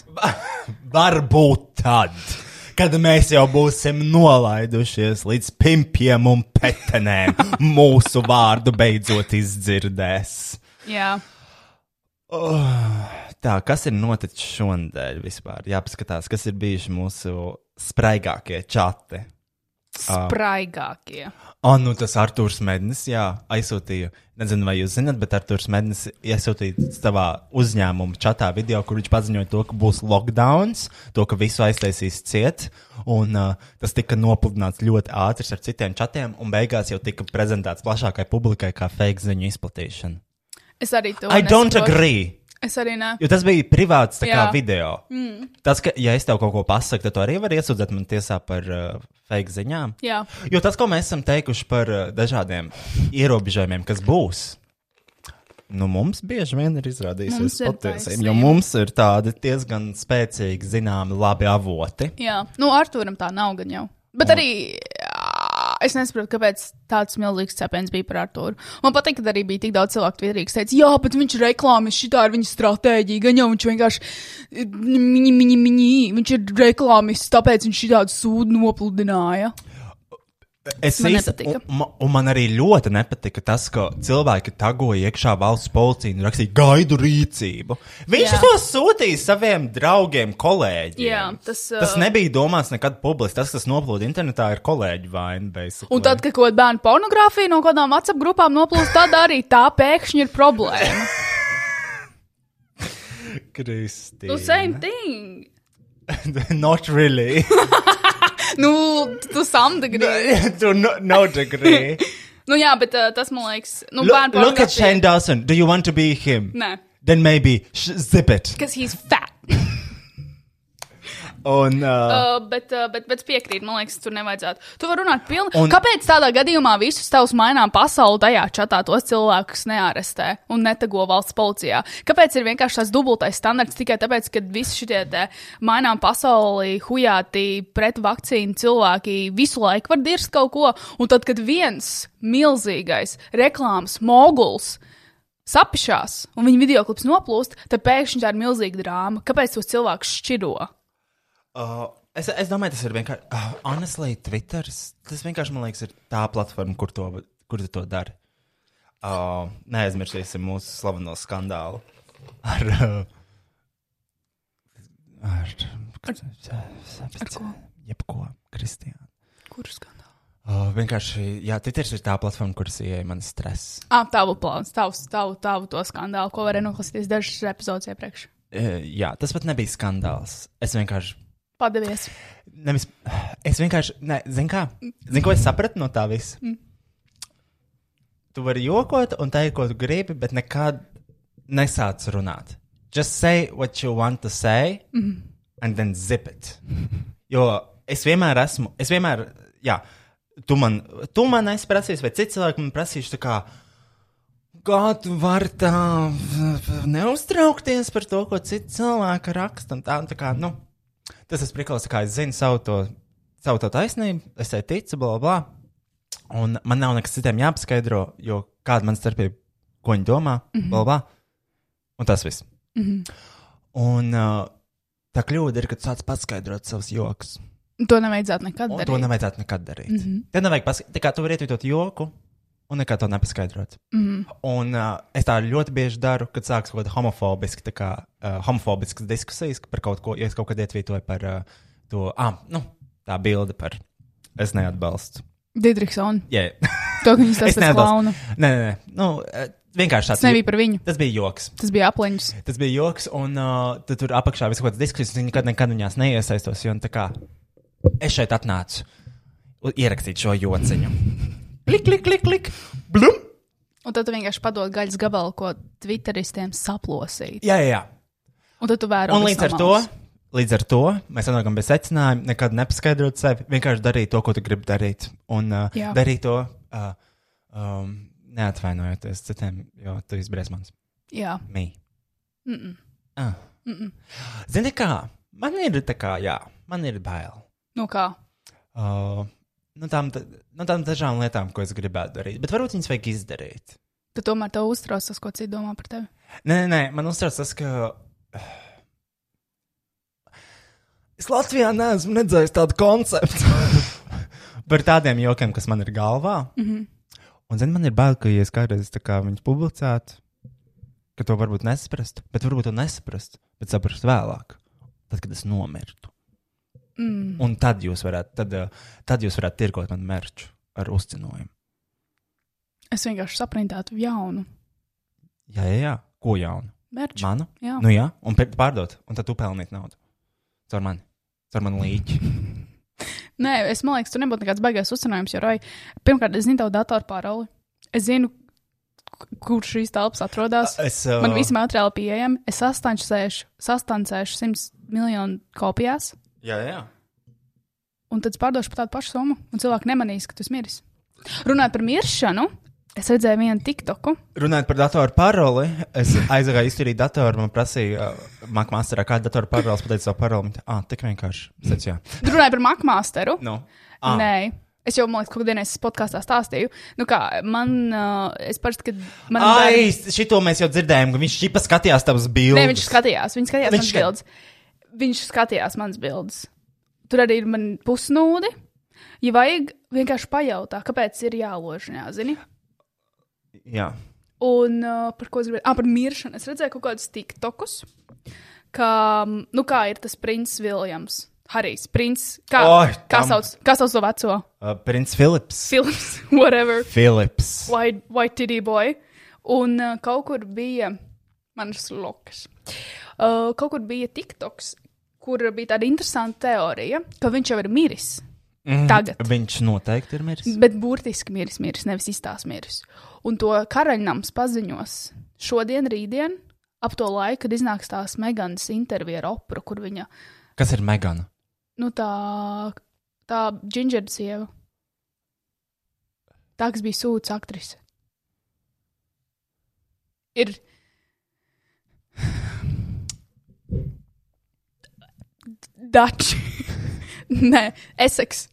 Varbūt tad, kad mēs jau būsim nolaidušies līdz pimpiem un petenēm, mūsu vārdu beidzot izdzirdēs. Oh, Jā, Tā, kas ir noticis šonadēļ vispār? Jāpaskatās, kas ir bijuši mūsu spraigākie čati. spraigākie. Ah, nu tas Arthurs Mednis, jā, aizsūtīja. Nezinu, vai jūs zināt, bet Arthurs Mednis iesūtīja savā uzņēmuma čatā video, kur viņš paziņoja to, ka būs lockdown, to, ka visu aiztaisīs ciet. Un uh, tas tika nopludināts ļoti ātri ar citiem čatiem, un beigās jau tika prezentēts plašākai publikai kā fake ziņu izplatīšana. Es arī to I don't nesaprotu. agree! Es arī ne. Jo tas bija privāts tā kā, Jā. video. Mm. Tas, ka, ja es tev kaut ko pasaku, tad tu arī vari iesūdzēt man tiesā par uh, fake ziņām. Jā, Jo tas, ko mēs esam teikuši par uh, dažādiem ierobežojumiem, kas būs, nu, mums bieži vien ir izrādījusies Mums ir patiesība. taisnība. Jo mums ir tādi diezgan spēcīgi, zināmi, labi avoti. jā. Nu, Arthūram tā nav gan jau. Bet arī ā, es nesaprotu, kāpēc tāds milzīgs cepiens bija par Arthūru. Man patīk, ka arī bija tik daudz cilvēku, Twitterī, kas teica, jā, bet viņš reklāmas, šī ir viņa stratēģija. Gan jau viņš vienkārši mini, mini, mini, viņš ir reklāmas, tāpēc viņš šī tādu sūdu nopludināja. Es Man īsti- nepatika. un, ma- un man arī ļoti nepatika tas, ka cilvēki tagoja iekšā valsts policiju un rakstīja gaidu rīcību. Viņš Jā. to sūtīja saviem draugiem, kolēģiem. Jā, tas, uh, tas nebija domāts nekad publiski. Tas, kas noplūda internetā, ir kolēģu vaina. basically. Un tad, kad kaut kāda bērnu pornogrāfija no kādām WhatsApp grupām noplūst, tad arī tā pēkšņi ir problēma. Kristīna. Nu, same thing. (laughs) Not really. Nu, tu samdegrīzi. to no, no degree. Nu, jā, bet uh, tas man liekas, nu, look, bērnu look at pornogrāfija. Shane Dawson. Do you want to be him? Nē, Then maybe sh- zip it. because he's fat. Un, uh, Uh, bet, uh, bet, bet piekrīt, man liekas, tur nevajadzētu. Tu vari runāt pilni. Un- Un... Kāpēc tādā gadījumā visus tavus mainām pasauli tajā čatā tos cilvēkus neārestē un netago valsts policijā? Kāpēc ir vienkārši tas dubultais standarts tikai tāpēc, ka visi šitie te mainām pasauli hujāti pret vakcīnu cilvēki visu laiku var dirst kaut ko, un tad, kad viens milzīgais reklāmas moguls sapišās un viņa videoklips noplūst, tad pēkšņi tā ir milzīga drāma. Kāpēc tos cilvēkus šķiro? uh, es, es domāju, tas ir vienkārši. Uh, honestly, Twitteris. Tas vienkārši, man liekas, ir tā platforma, kur, to, kur tu to dari. Uh, neaizmirsīsim mūsu slaveno skandālu ar. Uh, ar. ar ko? Jebko, Kristiāna. Kurš skandāls? Uh, vienkārši, jā, Twitter ir tā platforma, kuras ieeja man stress. Ah, tavu plānu, tavu, tavu, tavu to skandālu, ko varēja noklausīties dažas epizodes iepriekš. Uh, jā, tas pat nebija skandāls. Es vienkārši. Padavies. Nevis, es vienkārši. Ne, zin kā? Zin, ko es sapratu no tā visa? Mm. Tu vari jokot un teikt, ko tu gribi, bet nekad nesāc runāt. Just say what you want to say, mm. and then zip it. Jo es vienmēr esmu, es vienmēr, jā, tu man, tu man esi prasījis, vai cits cilvēks man prasīs, tā kā. Kā tu vari tā neuztraukties par to, ko citi cilvēki raksta? un Tā, tā kā, nu, tas ir priklis, kā es zinu savu to, savu to taisnību, es tai ticu, bla, bla. bla. Un man nav nekas citiem jāpaskaidro, jo kāda man starpība, ko viņi domā, mm -hmm. bla, bla. Un tas viss. Mm -hmm. Un uh, tā kļūda ir, ka tu sāc paskaidrot savus joks. To nevajadzētu nekad Un darīt. Mhm. to nevajadzētu nekad darīt. Mm -hmm. Tev nevajag paskaidrot, kā tu vari ietūtot joku. Un nekā to nepaskaidrot. Mm Mhm. -hmm. Un uh, es tā ļoti bieži daru, kad sākas kaut kāda homofobiska, tā kā, uh, homofobiskas diskusijas par kaut ko. Ja es kaut kad ietvītoju par uh, to, ah, nu, tā bilde par es neatbalstu. Didriksona. Yeah. To, ka viņš tas es ir klauna. (laughs) Nē, nē, nē. Nu, uh, vienkārši tāds. Tas nebija par viņu. tas bija joks. Tas bija apliņš. Tas bija joks, un uh, tad tur apakšā bija kaut kādas diskusijas. un Es nekad, nekad viņās neiesaistos. jo, nu, tā Kā, es šeit atnācu u- ierakstīt šo jociņu. Klik, klik, klik, klik. Blum! Un tad tu vienkārši padod gaļas gabalu, ko Twitteristiem saplosīt. Jā, jā, jā. Un tad tu vēro. Un visu līdz ar no to. malas. Līdz ar to mēs nonākam pie secinājuma, nekad nepaskaidrot sevi. Vienkārši darīt to, ko tu gribi darīt. Un uh, Jā. darīt to uh, um, neatvainojoties citiem, jo tu esi briesmans. Jā. Mī. Mm -mm. Ah. Zini, kā man ir tā kā, jā, man ir bail. Nu kā? Uh, nu, tām, da- nu, tām dažām lietām, ko es gribētu darīt. Bet varbūt viņas vajag izdarīt. Tad tomēr tev uztrauc tas, ko citi domā par tevi. Nē, nē, nē man uztrauc tas, ka. (sighs) Es Latvijā neesmu redzējis tādu konceptu (laughs) par tādiem jokiem, kas man ir galvā. Mm Mhm. -hmm. Un, zini, man ir bail, ka, ja es kādreiz tā kā viņus publicētu, ka to varbūt nesaprastu, bet varbūt to nesaprastu, bet saprastu vēlāk, tad, kad es nomirtu. Mm. Un tad jūs varētu, tad, uh, tad jūs varētu tirgot man merču ar uzcinojumu. Es vienkārši saprintētu jaunu Jā, jā, jā. ko jaunu? mērķu. Manu? Jā. Nu, jā, un pir- pārdot, un tad tu pelnīsi naudu. Caur mani, caur mani līķi. Nē, es domāju, ka tur nebūtu nekāds baigās uzcinājums. Jo, Roja, pirmkārt, es zinu tavu datoru pāroli. Es zinu, k- kur šīs telpas atrodas. Es, uh, Man viss materiāli pieejami. Es sastancēšu, sastancēšu 100 miljonu kopijās, Jā, jā. un tad es pārdošu par tādu pašu summu. Un cilvēki nemanīs, ka tu esi miris. Runājot par miršanu, es redzēju vienu tiktoku. Runājot par datoru paroli, es aizgāju izturīt datoru, man prasīja, uh, Makmasterā, kāda datoru parola, es pateicu savu paroli. Viņa tā, Ah, tik vienkārši. Sēc, jā. Runāju par makmāsteru. Nu. Ah. Ah. Mm. Nē. Es jau, man liekas, kaut kādā dienā es podkāstā stāstīju. Nu, kā man, uh, es parasti, kad man. Ai, šito mēs jau dzirdējām, ka viņš šipa skatījās tavas bildes. Nē, viņš skatījās, viņš skatījās Viņš viņš manas bildes. Viņš skatījās manas bildes. Tur arī ir man pusnūdi. Ja vajag, vienkārši pajautā, kāpēc ir jāložņā, zini? Jā. Un uh, par ko es gribēju? Ah, par miršanu. Es redzēju kaut kādus tiktokus, ka, mm, nu, kā ir tas princis Viljams, Harijs, princis, kā, Oi, kā, tam- sauc, kā sauc to veco? Uh, Prince Philips. Filips, (laughs) whatever. Philips. White, white Titty Boy. Un uh, kaut kur bija mans lokas. Uh, kaut kur bija TikToks, kur bija tāda interesanta teorija, ka viņš jau ir miris. Mm. Tagad. Mhm. Mm. Viņš noteikti ir miris. Bet burtiski miris, miris, nevis iztās miris. Un to karaļnams paziņos šodien, rītdien, ap to laiku, kad iznāks tās Meganas intervija ar opru, kur viņa, Kas ir Megana? nu tā, tā džinģera sieva. Tā, kas bija sūds aktrise. Ir. Dačs. (laughs) Nē, Eseks.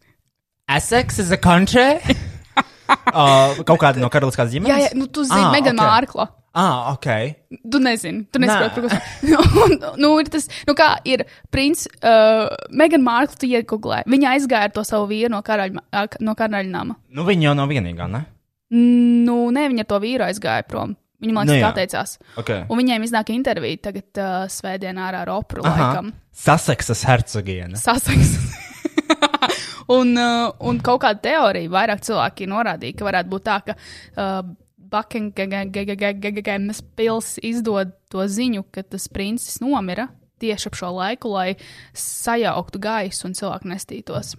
Essex is a (laughs) country. uh, kaut kāda no karaliskās ģimenes. Jā, jā, nu tu zini, Ah, ah, Megana ok. okay. Mārkla. Ah, ok. Tu nezini, tu Nē. nesaproti, par ko (laughs) tas ir. Nu, ir tas, nu, kā ir princis, uh, Megana Mārkla, tu iegūlē. Viņa aizgāja ar to savu vīru no karaļa, uh, no karaļa nama. Nu, viņa jau nav vienīgā, ne? Nu, nē, viņa ar to vīru aizgāja prom. Viņa man Nu, liekas, jā. atteicās. Okay. Un viņiem iznāk intervija tagad uh, svētdienā ar Opru laikam. Saseksas hercogiene. Sasaks. (laughs) un, uh, un kaut kāda teorija, vairāk cilvēki norādīja, ka varētu būt tā, ka uh, Buckingham pilsēta izdod to ziņu, ka tas princis nomira tieši ap šo laiku, lai sajauktu gaisu un cilvēku nestītos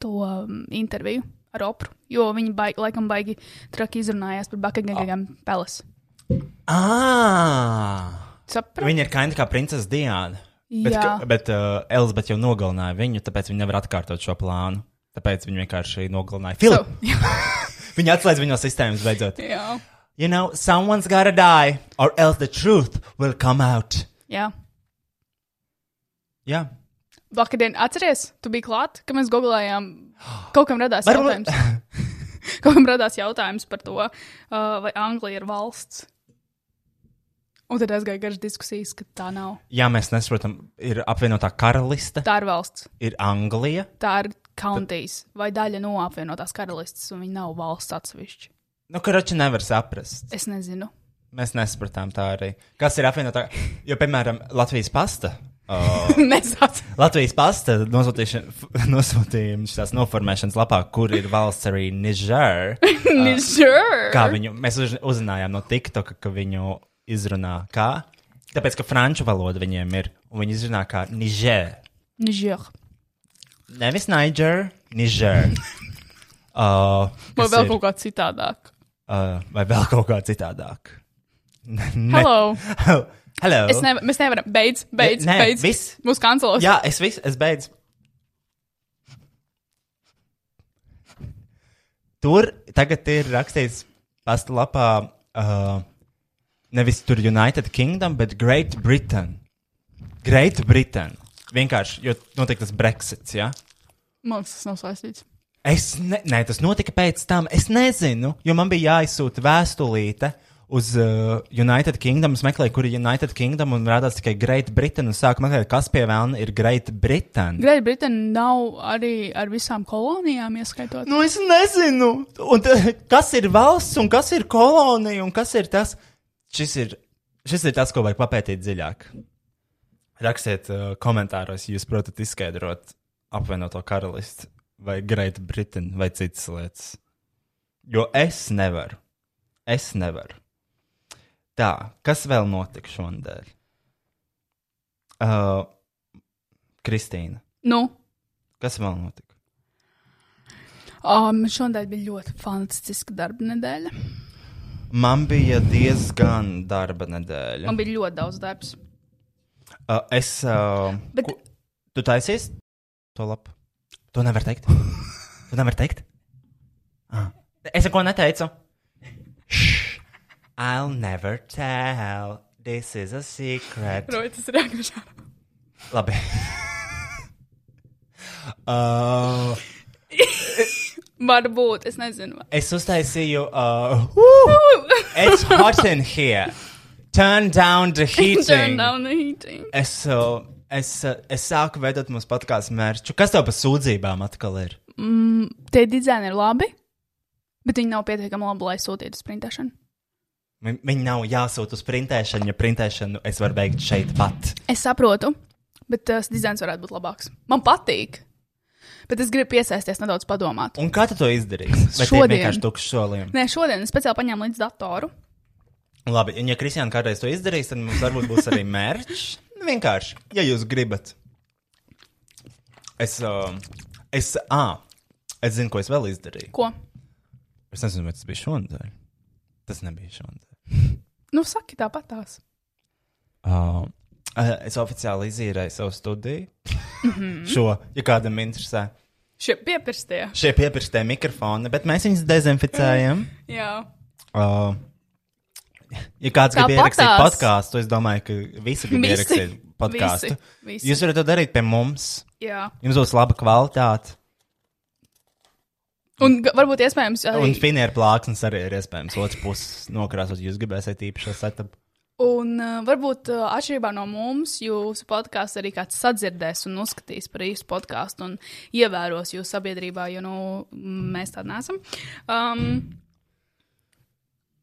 to um, interviju ar opru. Jo viņi baigi, laikam baigi traki izrunājās par Buckingham pilsētu. Ah! Sapratu? Viņa ir kaina kā princese Diana. Bet, Jā. ka- bet uh, Elizabete jau nogalināja viņu, tāpēc viņa nevar atkārtot šo plānu. Tāpēc viņa vienkārši nogalināja So, Filipu. Viņa atslēdz viņu no sistēmas beidzot. (laughs) jā, You know, someone's gotta die, or else the truth will come out. jā. Jā. Vakardien, atceries, tu biji klāt, kad mēs googlējām. Kaut kam radās Varbūt- jautājums. (laughs) Kaut kam radās jautājums par to, uh, vai Anglija ir valsts. Un tad aizgāja garš diskusijas, ka tā nav. Jā, mēs nesaprotam, ir apvienotā karaliste, Tā ir valsts, ir Anglija. tā ir kauntīs vai daļa no apvienotās karalistes, un viņi nav valsts atsevišķi. Nu, karoči nevar saprast. Es nezinu. (laughs) Mēs nesapratām tā arī. Kas ir apvienotā? Jo, piemēram, Latvijas pasta. Oh. Nezinu. (laughs) Latvijas pasta nosūtīšana- (laughs) f- nosūtījums tās noformēšanas lapā, kur ir valsts arī Niger. Kā Nižur! viņu, mēs uz- uzzinājām no TikToka, ka viņu izrunā kā? Tāpēc, ka franču valoda viņiem ir, un viņi izrunā kā Niger. Nižur. Nevis Niger, Niger. Uh, Vai kas vēl ir, kaut kā citādāk? uh, vai vēl kaut kā citādāk? (laughs) Ne- Hello! (laughs) Hello. Es nevaru, mēs nevaram. Beidz, beidz, nē, beidz. viss. Mūsu kancelos. Jā, es visu, es beidzu. Tur tagad ir rakstīts pasta lapā, uh, nevis tur United Kingdom, bet Great Britain. Great Britain. Vienkārši, jo notika tas Brexits, jā. Ja? Man liekas, tas nav saistīts. Es ne, nē, tas notika pēc tam. Es nezinu, jo man bija jāizsūta vēstulīte uz uh, United Kingdom. Es meklēju, kur ir United Kingdom, un rādās tikai Great Britain. Un sāku meklēt, kas pie vēlna ir Great Britain. Great Britain nav arī ar visām kolonijām ieskaitot. Nu, es nezinu, un, t- kas ir valsts, un kas ir kolonija, un kas ir tas. Šis ir, šis ir tas, ko vajag papētīt dziļāk. Rakstiet uh, komentāros, ja jūs protat izskaidrot apvienoto karalisti vai Great Britain vai citas lietas. Jo es nevaru. Es nevaru. Tā, kas vēl notika šonadēļ? Uh, Kristīna, Nu, kas vēl notika? um, šodien bija ļoti fantastiska darba nedēļa. Man bija diezgan darba nedēļa. Man bija ļoti daudz darbs. Uh, es. Uh, Bet- ko, tu taisies to lapu? To nevar (laughs) teikt. Tu nevar teikt. Ah. Es neko neteicu. Shh. I'll never tell. This is a secret. Roji, tas ir agrišā. Labi. (laughs) uh, Varbūt, es (laughs) nezinu. es uztaisīju. Uh, (laughs) woo! it's hot in here. Turn down the heating. Turn down the heating. Es, uh, es, uh, es sāku veidot mūsu podkāstu mērķu. Kas tev par sūdzībām atkal ir? Tie dizaini ir labi, bet viņi nav pietiekami labi, lai sūtītu uz printēšanu. Vi- Viņi nav jāsūta uz printēšanu, ja printēšanu es varu veikt šeit pat. Es saprotu, bet tas dizains varētu būt labāks. Man patīk, bet es gribu piesaisties nedaudz padomāt. Un kā tu to izdarīsi? Vai tie ir Šodien. vienkārši tukši solījumi? Nē, šodien es speciāli paņēmu līdz datoru. Labi, un ja Kristiāna kādreiz to izdarīs, tad mums varbūt būs arī mērķis. Nu, Vienkārši, ja jūs gribat. Es, uh, es, ah, es zinu, ko es vēl izdarīju. Ko? Es nezinu, vai tas bija šonadēļ. Tas nebija šonadēļ. Nu, saki tāpat tās. Uh, es oficiāli izīrēju savu studiju. Mhm. Šo, ja kādam interesē, Šie piepirkstie. šie piepirktie mikrofoni, bet mēs viņus dezinficējam. Jā. Uh, ja kāds grib Tāpatās. ierakstīt podkāstu, es domāju, ka visi grib Visi. ierakstīt podkāstu. Visi. Visi. Jūs varat to darīt pie mums. Jā. Jums būs laba kvalitāte. Un ga- varbūt iespējams arī. Un finieru plāksnes arī ir iespējams. Otrs puses nokrāsot, jūs gribēsiet īpašo setupu. Un uh, varbūt uh, atšķirībā no mums, jūsu podkāstu arī kāds sadzirdēs un uzskatīs par īstu podkāstu un ievēros jūs sabiedrībā, jo nu, mēs tādi nesam. Um,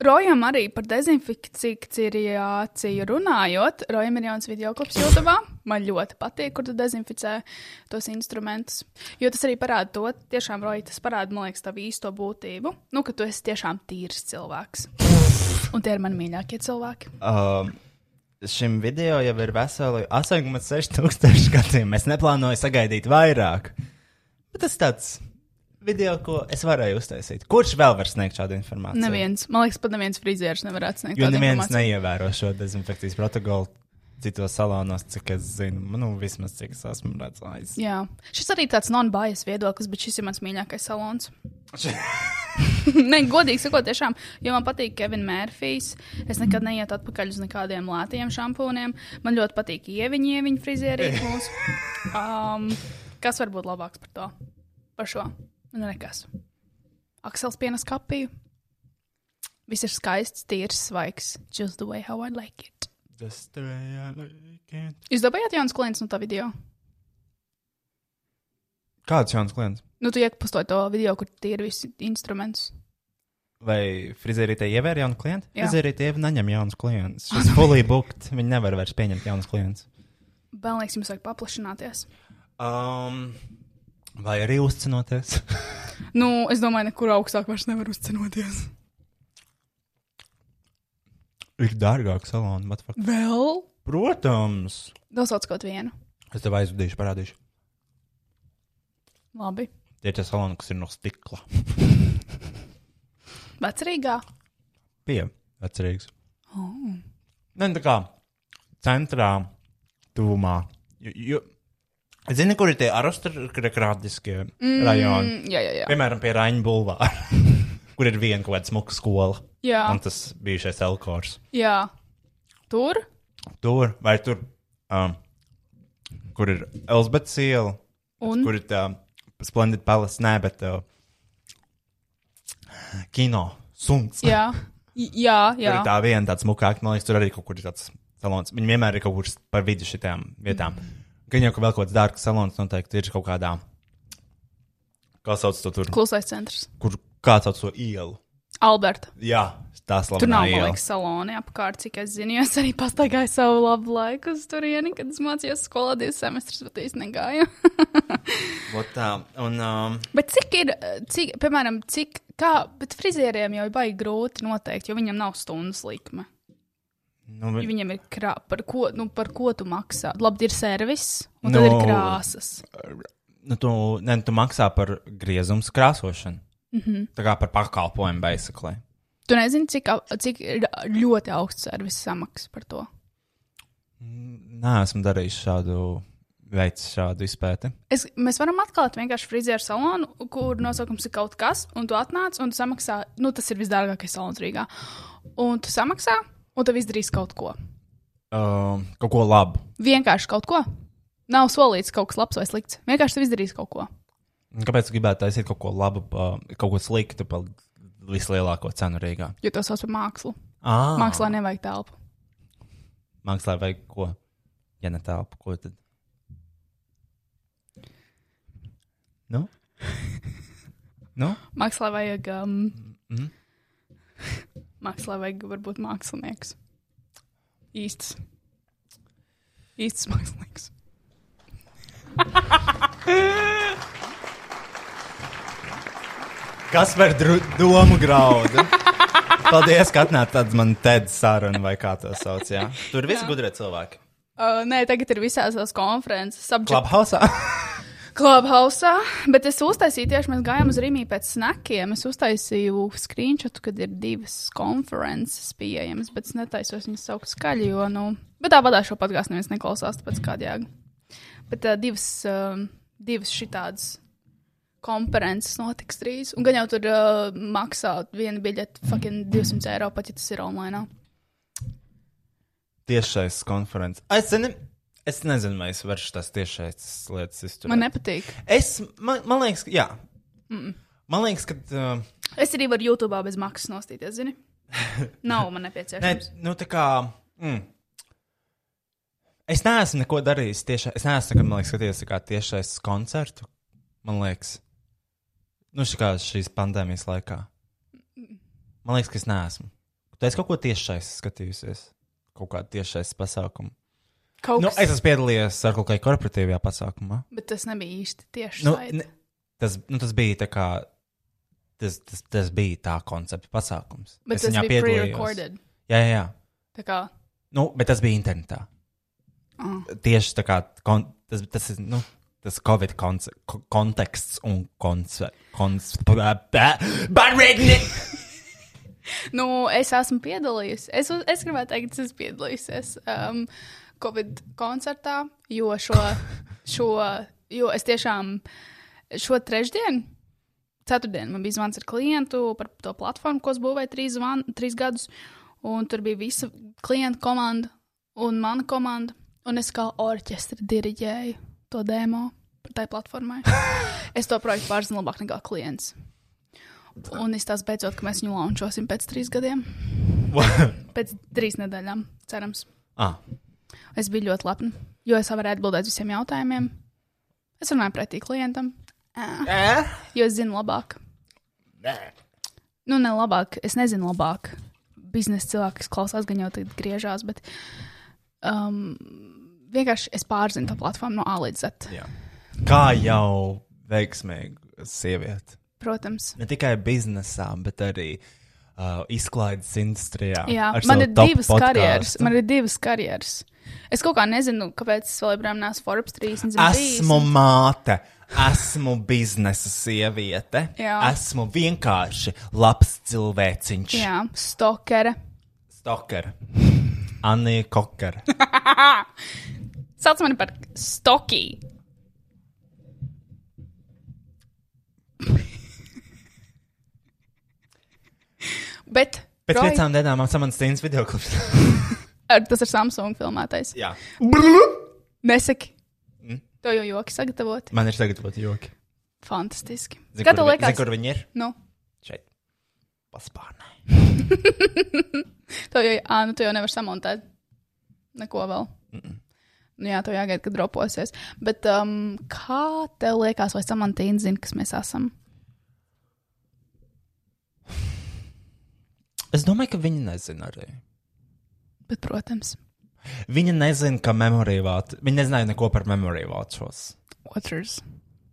Rojam arī par dezinfikāciju runājot. Rojam ir jauns video klips YouTube. Man ļoti patīk, kur tu dezinficē tos instrumentus. Jo tas arī parāda to, tiešām, Roja, tas parāda, man liekas, tavu īsto būtību. Nu, ka tu esi tiešām tīrs cilvēks. Un tie ir mani mīļākie cilvēki. Um, šim video jau ir veseli 8,6000 gadiem. Es neplānoju sagaidīt vairāk. Bet tas tāds video, ko es varēju uztaisīt. Kurš vēl var sniegt šādu informāciju? Neviens, man liekas, pat neviens frizieris nevarētu sniegt. Jo tādu neviens informāciju. neievēro šo dezinfekcijas protokolu citos salonos, cik es zinu. Nu, vismaz cik es esmu redzējis. Jā, šis arī tāds non-bias viedoklis, bet šis ir mans mīļākais (laughs) salons. Nē, godīgi sakot, tiešām, jo man patīk Kevins Mārfijs. Es nekad neietu atpakaļ uz nekādiem lētiem šampūniem. Man ļoti patīk ieviņa, ieviņa (laughs) frizierīt mūsu. Um, kas var būt labāks par to? Par šo? Man nekas. Aksels pienas kapiju. Viss ir skaists, tīrs, svaigs. Just the way how I like it. The stray I can't. Jūs dabūjāt jaunu klientu no tā video? Kāds jauns klients? Nu, tu iepazīstināji to video, kur tie ir visi instruments. Vai frizerītē ievēr jaunu klientu? Jā. Frizerītē jau neņem jaunus klientus. Šis fully booked. Viņi nevar vairs pieņemt jaunus klientus. Bēlnieks jums vajag paplašināties. Um, vai arī uzcinoties? Nu, es domāju, nekur augstāk vairs nevar uzcenoties. (laughs) Ir dārgāk salons, bet fuck. Vēl? Protams. Dosauc kaut vienu. Es tev aizvedīšu, parādīšu. Labi. Tie ir tie saloni, kas ir no stikla. (laughs) Vecrīgā. Pie atcerīgs. Oh. Nē, tā kā centrā, tuvumā. Jo, jo, zini, kur ir tie aristokrātiskie mm. rajoni? Mm, jā, jā, jā. Piemēram, pie Raņa Bulvāra, (laughs) kur ir viena kaut kāda smuka skola. Jā, Un tas bija šis elkors. jā. Tur? Tur vai tur, um, kur ir Elzbetas iela, Un? Mm-hmm. kur ir tā Splendid Palace, nē, bet uh, kino, suns. Jā, J- jā, jā. Tur ir tā viena tāda smukāka, man liekas, tur arī kaut kur ir tāds salons. Viņi vienmēr ir kaut kur par vidu šitām vietām. Mm-hmm. Gan jau, ka vēl kaut kāds dārgs salons noteikti ir kaut kādā. Kā sauc to tur? Klusais centrs. Kur kā sauc to ielu? Alberta. Jā, tā slava. Tur nav, man liekas, saloni apkārt, cik es zinu. Es arī pastaigāju savu labu laiku uz turieni, kad es mācījos skolā divas semestrus, bet īsti negāju. Tā, un, um, bet cik ir, eh, cik, piemēram, cik, kā, bet frizieriem jau ir baigi grūti noteikt, jo viņam nav stundas likme. nu, vi- Jo Viņam ir krāsa, par, ko- nu, par ko tu maksā. Labi, ir servis, un tad Nu. ir krāsas. nu, tu, ne, tu maksā par griezumu krāsošanu. Mm Mm-hmm. -hmm. Tā kā par pakalpojumu, basically. Tu nezini, cik, au- cik ir ļoti augsts servis samaksa par to. Nē, esmu darījis šādu veidu, šādu izpēti. Es, mēs varam atklāt vienkārši frizēru salonu, kur nosaukums ir kaut kas, un tu atnāc un tu samaksā. Nu, tas ir visdārgākais salons Rīgā. Un tu samaksā, un tev izdarīs kaut ko. Um, kaut ko labu. Vienkārši kaut ko. Nav solīts kaut kas labs vai slikts. Vienkārši tev izdarīs kaut ko. Kāpēc gan gribētu taisīt kaut ko labu, pa- kaut ko sliktu par vislielāko cenu Rīgā? Jo to sauc par mākslu. Ah, Mākslā nevajag telpu. mākslā vajag ko? Ja ne telpu, ko tad? Nu? nu? Mākslā vajag. Um, Mhm. (laughs) mākslā vajag varbūt mākslinieks. Īsts. Īsts mākslinieks. Kas var dru- domu graudu? Paldies, ka atnācāt tādu man tēdu sarunu, vai kā to sauc. Jā. Tur viss gudrie cilvēki. Uh, nē, tagad ir visās tās konferences. Subject Clubhouse? Clubhouse, bet es uztaisīju tieši, mēs gājām uz Rīgā pēc snakiem. Es uztaisīju screenshot, kad ir divas konferences pieejamas, bet es netaisos viņas saukt skaļi, jo, nu, bet tā vadā šo podkāstu neviens neklausās, tāpēc kādā jēga. Bet uh, divas, uh, divas šitādas konferences notiks drīz, un gan jau tur uh, maksā viena biļete fucking 200 eiro, pat ja tas ir online. Tiešais konferences. Es, zini- es nezinu, vai es varšu tās tiešais lietas izturēt. Man nepatīk. Es, man, man liekas, ka, jā. Man liekas, ka. Uh, Es arī varu YouTube bez maksas nostīties, (laughs) zini? Nav man nē, nepieciešams. nu, tā kā. Mm, es neesmu neko darījis tieši. Es neesmu nekad, man liekas, skatījies tā kā tiešais koncertu. Man liekas, nu, šī kā šīs pandēmijas laikā. Man liekas, ka es neesmu. Tu esi kaut ko tiešais skatījusies. Kaut kā tiešais pasākumu. Kaut Nu, kas- es esmu piedalījies ar kaut kādā korporatīvajā pasākumā. Bet tas nebija īsti tieši Nu, nu, ne, tas, nu, tas bija tā kā. Tas, tas, tas bija tā koncepta pasākums. Bet Es tas viņā bija piedalījos. pre-recorded. Jā, jā, jā. Tā kā, Nu, bet tas bija internetā. Ah. Tieši tā kā kon, tas, tas ir. Nu, Tas Covid konce- ko- konteksts un koncepts. Barrigni! nu, es esmu piedalījusies. Es, uz- es gribētu teikt, es esmu piedalījusies um, Covid koncertā, jo šo, šo, jo es tiešām šo trešdienu. Ceturtdien man bija zvans ar klientu par to platformu, ko es būvēju trīs, zvan, trīs gadus. Un tur bija visa klienta komanda un mana komanda. Un es kā orķestra diriģēju to demo tai platformai. es to projektu pārzinu labāk nekā klients. Un es tās beidzot, ka mēs viņu launčosim pēc trīs gadiem. pēc trīs nedēļām, cerams. Ah, Es biju ļoti lepna, jo es varēju atbildēt visiem jautājumiem. Es runāju pretī klientam. Ā, Jo es zinu labāk. Nu, ne labāk, es nezinu labāk. Biznesa cilvēks klausās, gan jau tagad griežās, bet um, vienkārši es pārzinu to platformu no A līdz Z. jā. Kā jau veiksmīga sieviete. Protams. Ne tikai biznesā, bet arī uh, izklaides industrijā. Jā, ar man savu ir top divas podcastu. karjeras. Man ir divas karjeras. Es kaut kā nezinu, kāpēc es vēl joprojām neesmu Forbes 30. Esmu māte, esmu biznesa sieviete, Jā. esmu vienkārši labs cilvēciņš. Jā, stokere. Stoker, Anija (laughs) Kokera. Sauc mani par stokiju. (laughs) Bet Pēc Roy- piecām dienām man samants cīnas video klips. ar, tas ir Samsung filmētais. (laughs) Jā, Mm. Nesaki. To jau joki sagatavoti. man ir sagatavot joki. Fantastiski. Zini, Kā kur tev vi- Zini, liekas? kur viņi ir? Nu, Šeit. Paspārnē. to jau, ā, nu, to jau nevar samontēt. Neko vēl. Nu, jā, to jāgaida, kad droposies. Bet um, kā tev liekas, vai Samantīna zina, kas mēs esam? Es domāju, ka viņi nezina arī. Bet, protams, Viņa nezina, ka memorīvāt. Viņa nezināja neko par memorīvātos. otrs.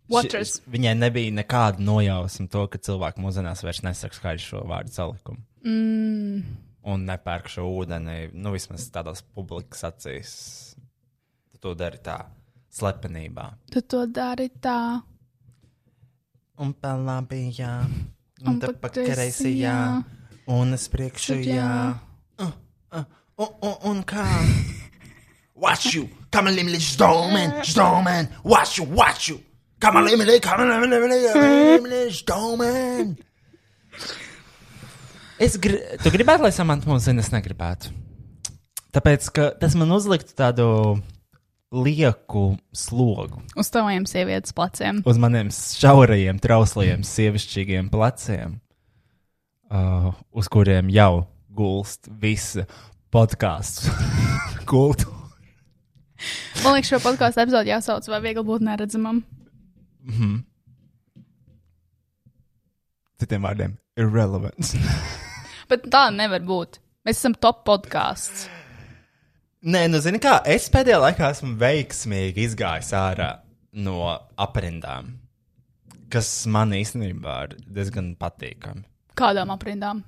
Otrs. Viņai nebija nekāda nojausma to, ka cilvēki mūsdienās vairs nesaka skaļi šo vārdu salikumu. Mm. Un nepērk šo ūdeni, nu vismaz tādās publikas acīs. Tu to dari tā, slepenībā. Tu to dari tā, Un pa labajā, Un un te pa pa kreisajā, un es priekšējā. Šajā. Uh, uh, Un, un, un kā? Watch you! Come on, limit, stone, stone, watch you, watch you! Come on, limit, come on, limit, stone! Es gr tu gribētu, lai samants mums zina, es negribētu. Tāpēc, ka tas man uzliktu tādu lieku slogu uz taviem sievietes pleciem. uz maniem šaurajiem, trauslajiem, sievišķīgiem pleciem, uh, uz kuriem jau gulst visa (laughs) podkāstu kultūra. Man liekas, šo podkāstu epizodi jāsauc, vai viegli būt neredzamam. Citiem vārdiem, irrelevant. Bet tā nevar būt. Mēs esam top podkāsts. Nē, nu, zini, kā es pēdējā laikā esmu veiksmīgi izgājis ārā no aprindām, kas man īstenībā ir diezgan patīkami. Kādām aprindām?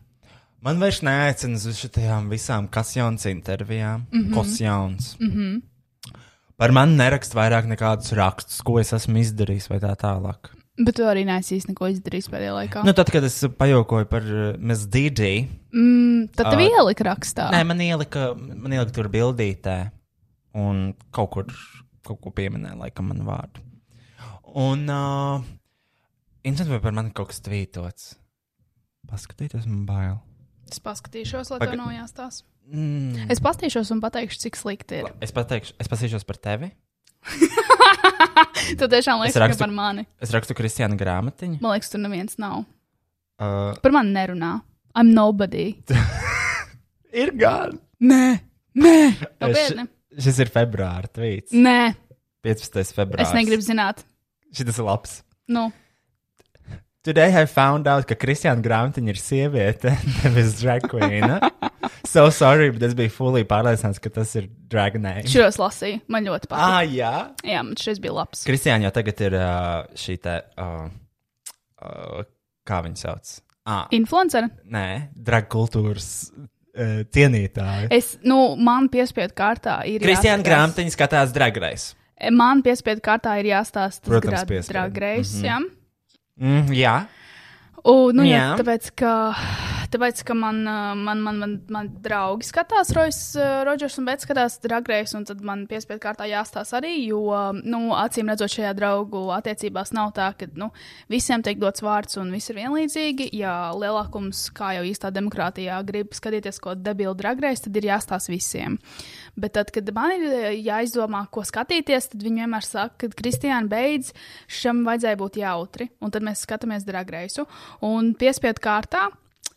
Man vairs neaicina uz šīm visām kasjons intervijām, mm -hmm. kosjons. Mm -hmm. Par mani nerakst vairāk nekādus rakstus, ko es esmu izdarījis, vai tā tālāk. Bet tu arī neesi īsti neko izdarījis pēdējā laikā. Nu, Nu, tad, kad es pajokoju par uh, Miss Digi, mm, tad tev ielika rakstā. nē, man ielika, man ielika tur bildītē un kaut kur, kaut ko pieminēja, laikam, manu vārdu. Un, uh, interesanti, vai par mani kaut kas tvītots. Paskatīties, man bail. Es paskatīšos, lai Paga- tev nojāstās. Mm. Es paskatīšos un pateikšu, cik slikti ir. Es pateikšu, es pasīšos par tevi. Tu tiešām Es liekas, rakstu... rakstu- ka par mani. Es rakstu Kristiāna grāmatiņu. Man liekas, tur neviens nav. Uh, Par mani nerunā. I'm nobody. ir gan. Nē, nē, nopietni. Šis ir februāra tvīts. Nē, 15. Mm. februāris. es negribu zināt. Šis ir labs. Nu, Today I found out, ka Kristiāna grāmatiņa ir sieviete, (laughs) nevis drag queen. so sorry, bet es biju fully pārliecināts, ka tas ir drag name. šos lasīju. Man ļoti patīk. Ah, jā. Jā, man šis bija labs. Kristiāna jau tagad ir uh, šī te, uh, uh, kā viņa sauc? Ah, Influencer. nē, drag kultūras uh, cienītāja. Es, nu, man piespiedu kārtā ir. Kristiāna jāskatās- grāmatiņa skatās dragrais. Man piespiedu kārtā ir jāstāsta. Protams, Protams, piespiedu. Mhm. piespiedu. Grace, mm -hmm. jā. Mm, jā. U, nu, jā. Jā. Tāpēc, ka, tāpēc, ka man, uh, man, man, man, man draugi skatās, Rojas, uh, Rodžers un Bets skatās dragreis, un tad man piespiedu kārtā jāstāsta arī, jo, um, nu, acīm redzot, šajā draugu attiecībās nav tā, ka, nu, visiem tiek dots vārds un viss ir vienlīdzīgi. Ja lielākums, kā jau īstā demokrātijā, grib skatīties, ko debilu dragreis, tad ir jāstāsta visiem. Bet tad, kad man ir e, jāizdomā, ko skatīties, tad viņi vienmēr saka, ka Kristiāna beidz, šam vajadzēja būt jautri. Un tad mēs skatāmies dragreisu. Un piespiedu kārtā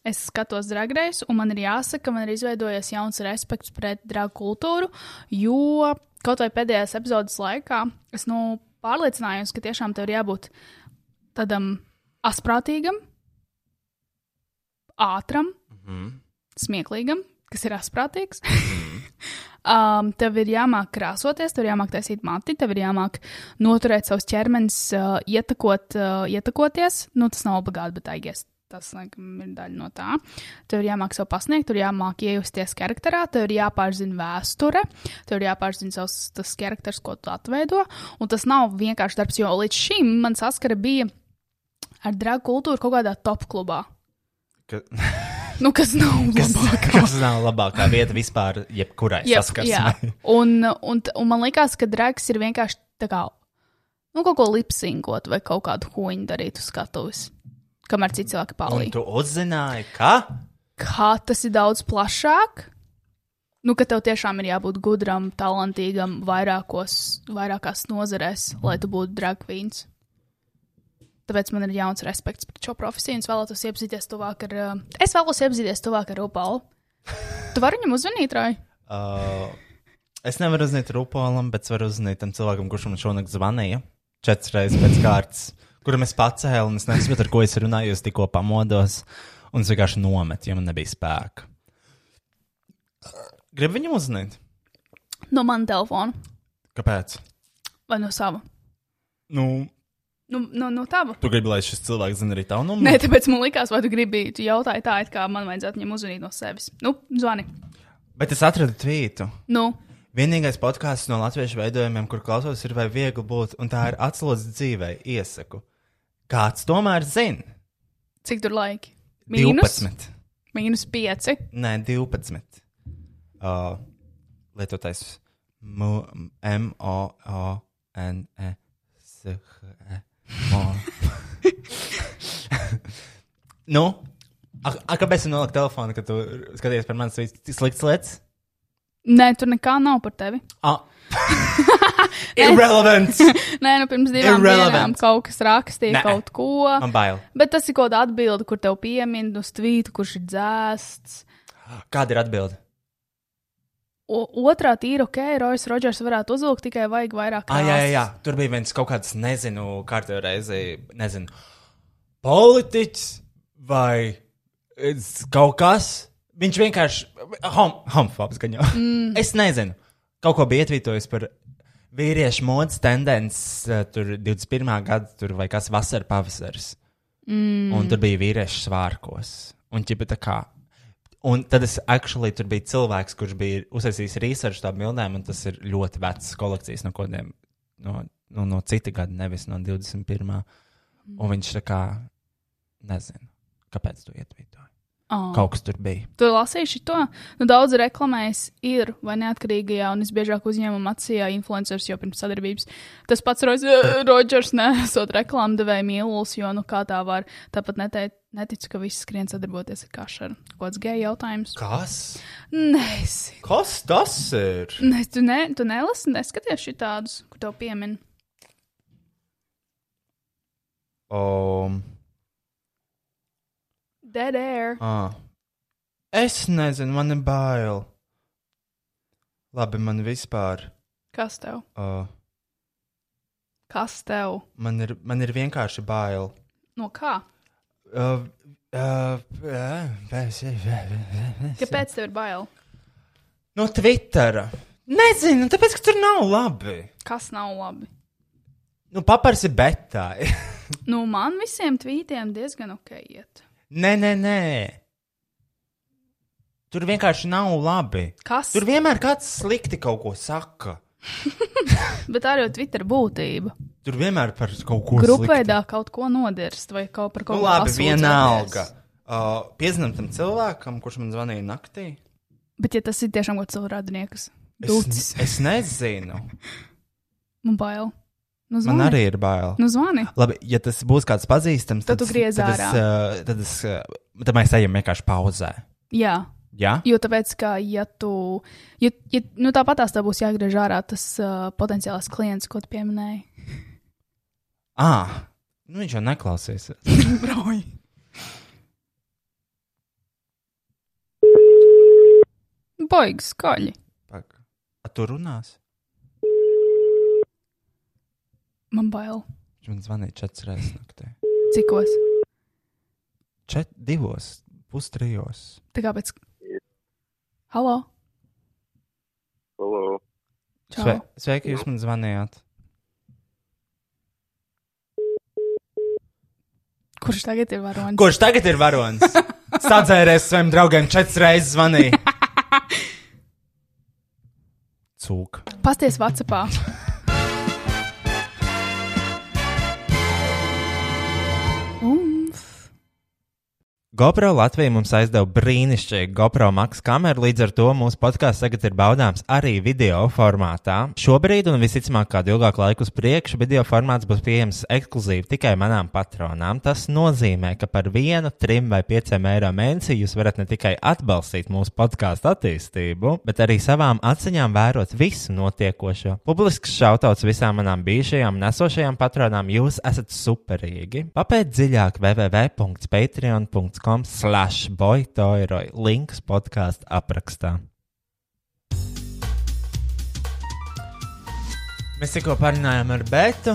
Es skatos dragreisu, un man ir jāsaka, man ir izveidojies jauns respekts pret draugu kultūru, jo kaut vai pēdējās epizodes laikā es nu, pārliecinājos, ka tiešām tev ir jābūt tādam asprātīgam, ātram, mm -hmm. smieklīgam, kas ir asprātīgs. Um, tev ir jāmāk krāsoties, tev ir jāmāk taisīt mati, tev ir jāmāk noturēt savus ķermenis, uh, ietekot, uh, ietekoties. Nu, tas nav obligāti, bet aigies. Tas, laikam, ir daļa no tā. Tev ir jāmāk sev pasniegt, tev ir jāmāk iejusties charakterā, tev ir jāpārzina vēsture, tev ir jāpārzina savs tas charakters, ko tu atveido. Un tas nav vienkārši darbs, jo līdz šim man saskara bija ar draugu kultūru kaut kādā top klubā. Ka, Nu, kas nav kas, labākā. kas nav labākā vieta vispār, jebkurai Jep, jā. saskarsmē? Un, un, un man liekas, ka drēks ir vienkārši tā kā nu, kaut ko lipsingot vai kaut kādu huņu darīt uz skatuves. Kamēr citi cilvēki Un palīdz. tu uzzināji, ka? Kā tas ir daudz plašāk? Nu, ka tev tiešām ir jābūt gudram, talantīgam, vairākos, vairākās nozarēs, lai tu būtu dragvīns. Tāpēc man ir jauns respekts pret šo profesiju. un Es vēlētos iepazīties tuvāk ar. uh, Es vēlos iepazīties tuvāk ar Rupalu. Tu vari viņam uzvanīt, Rai? Uh, es nevaru uzzināt Rupolam, bet es varu uzzināt tam cilvēkam, kurš man šonakt zvanīja. Četras reizes pēc kārtas, kuram es pacēlu, un es nezinu, ar ko es runāju, es tikko pamodos, un es vienkārši nometu, jo man nebija spēka. Gribu viņam uzzināt, No mana telefona kāpēc? vai no sava. Nu, Nu, no, no tava. tu gribi, lai šis cilvēks zina arī tavu numuru? Nē, tāpēc man likās, vai tu gribi. Tu jautāji tā, it kā man vajadzētu viņam uzvanīt no sevis. Nu, zvani. Bet es atradu tvītu. Nu, Vienīgais podkāsts no latviešu veidojumiem, kur klausos, ir vai viegli būt, un tā ir atslodze dzīvē, iesaku. Kāds tomēr zina? cik tur laiki? Mīnus, 12. mīnus 5. Nē, 12. Uh, lietotais e, M-O-O-N-E-S-H-E. (laughs) Nu, a, a, kāpēc tu noliec telefonu, kad tu skaties par mani svīt- sliktas lietas? Nē, tur nekā nav par tevi. (laughs) Ah. Irrelevant! Nē, nu pirms divām Irrelevant. dienām kaut kas rakstīja Nē. kaut ko. Man bail. Bet tas ir kaut kāda atbilde, kur tev piemin uz tvītu, kurš ir dzēsts. Kāda ir atbilde? O, otrā tīra ok, Rojas Rodžers varētu uzvilkt tikai vajag vairāk. Ah, jā, jā, jā, krāsas. tur bija viens kaut kāds, nezinu, kārtē reizi, nezinu, politiķis vai es- kaut kas. Viņš vienkārši hom, homofobs gan jau. Mm. Es nezinu, kaut ko bija ietvītojis par vīriešu modes tendences, eh, tur 21. gada tur vai kas vasara pavasaris. Mm. Un tur bija vīriešu svārkos. Un ķipa tā kā. Un tad es actually tur biju cilvēks, kurš bija uztaisījis research tādām bildēm, un tas ir ļoti vecs kolekcijas no kaut kādiem, no, no, no cita gada, nevis no 21. Un viņš tā kā, nezinu, kāpēc tu ietvītoji. Ah. Kaut kas tur bija. Tu lasīji to? Nu, daudz reklamējis ir vai neatkarīgajā un visbiežāk uzņēmuma acīs influenceris jau pirms sadarbības. Tas pats Rodžers nesot reklāmdevēja mīlulis, jo nu kā tā var. Tāpat netei- neticu, ka viss skrien sadarboties ar kašaru. Kāds geja jautājums? Kas? Nē, es- Kas tas ir? nē, tu, ne, tu nelasi, neskaties šitādus, kur tev piemin. Um, Dead air. ah. Es nezinu, man ir bail. Labi, man vispār. Kas tev? Uh, Kas tev? man, ir, man ir vienkārši bail. No kā? Uh, uh, uh, Kāpēc tev ir bail? no Twittera. Nezinu, tāpēc, ka tur nav labi. Kas nav labi? Nu, papars ir betā. (laughs) Nu, man visiem tvītiem diezgan ok iet. nē, nē, nē. Tur vienkārši nav labi. Kas? Tur vienmēr kāds slikti kaut ko saka. Bet tā ir jau Twitter būtība. Tur vienmēr par kaut ko Grupveidā kaut ko nodirst vai kaut par Nu, kaut ko labi, pasūdzēties. vienalga. Uh, Piezinām tam cilvēkam, kurš man zvanīja naktī. Bet, ja tas ir tiešām kaut kāds cilvēks radinieks, dūcis, Es, es nezinu. man bail. Nu, zvani. Man arī ir bail. Nu, zvani. Labi, ja tas būs kāds pazīstams, Tad tad, tu griez tad es, uh, tad es, uh, tad mēs ejam vienkārši pauzē. Jā, Jā, jo tāpēc, ka, ja tu, ja, ja, nu, tāpat tās tā būs jāgriež ārā tas uh, potenciālais klients, ko tu pieminēji. (laughs) ah, nu viņš jau neklausīsies. Brauj. Baigs, skaļi. Pag- A tu runās? Man bail. Viņš man zvanīja četras reizes naktī. Cikos? Čet, divos, pustrijos. Tā kā pēc. Halo! Hello. Čau! Sve, sveiki, jūs man zvanījāt. Kurš tagad ir varonis? Kurš tagad ir varonis? Sadzērēs saviem draugiem četras reizes zvanīja. Cūk. Pasties Vācijā. GoPro Latvija mums aizdeva brīnišķīgu GoPro Max kameru, līdz ar to mūsu podkāsts tagad ir baudāms arī video formātā. Šobrīd, un visticamāk, kādu ilgāku laiku uz priekšu, video formāts būs pieejams ekskluzīvi tikai manām patronām. Tas nozīmē, ka par vienu, trim vai pieciem eiro mēnesī jūs varat ne tikai atbalstīt mūsu podkāstu attīstību, bet arī savām acīm vērot visu notiekošo. Publisks šautauts visām manām bijušajām un esošajām patronām, jūs esat superīgi. Papēt dziļāk www.patreon.com slash boytoiroi links podkāstu aprakstā. Mēs tikko parunājām ar Bētu.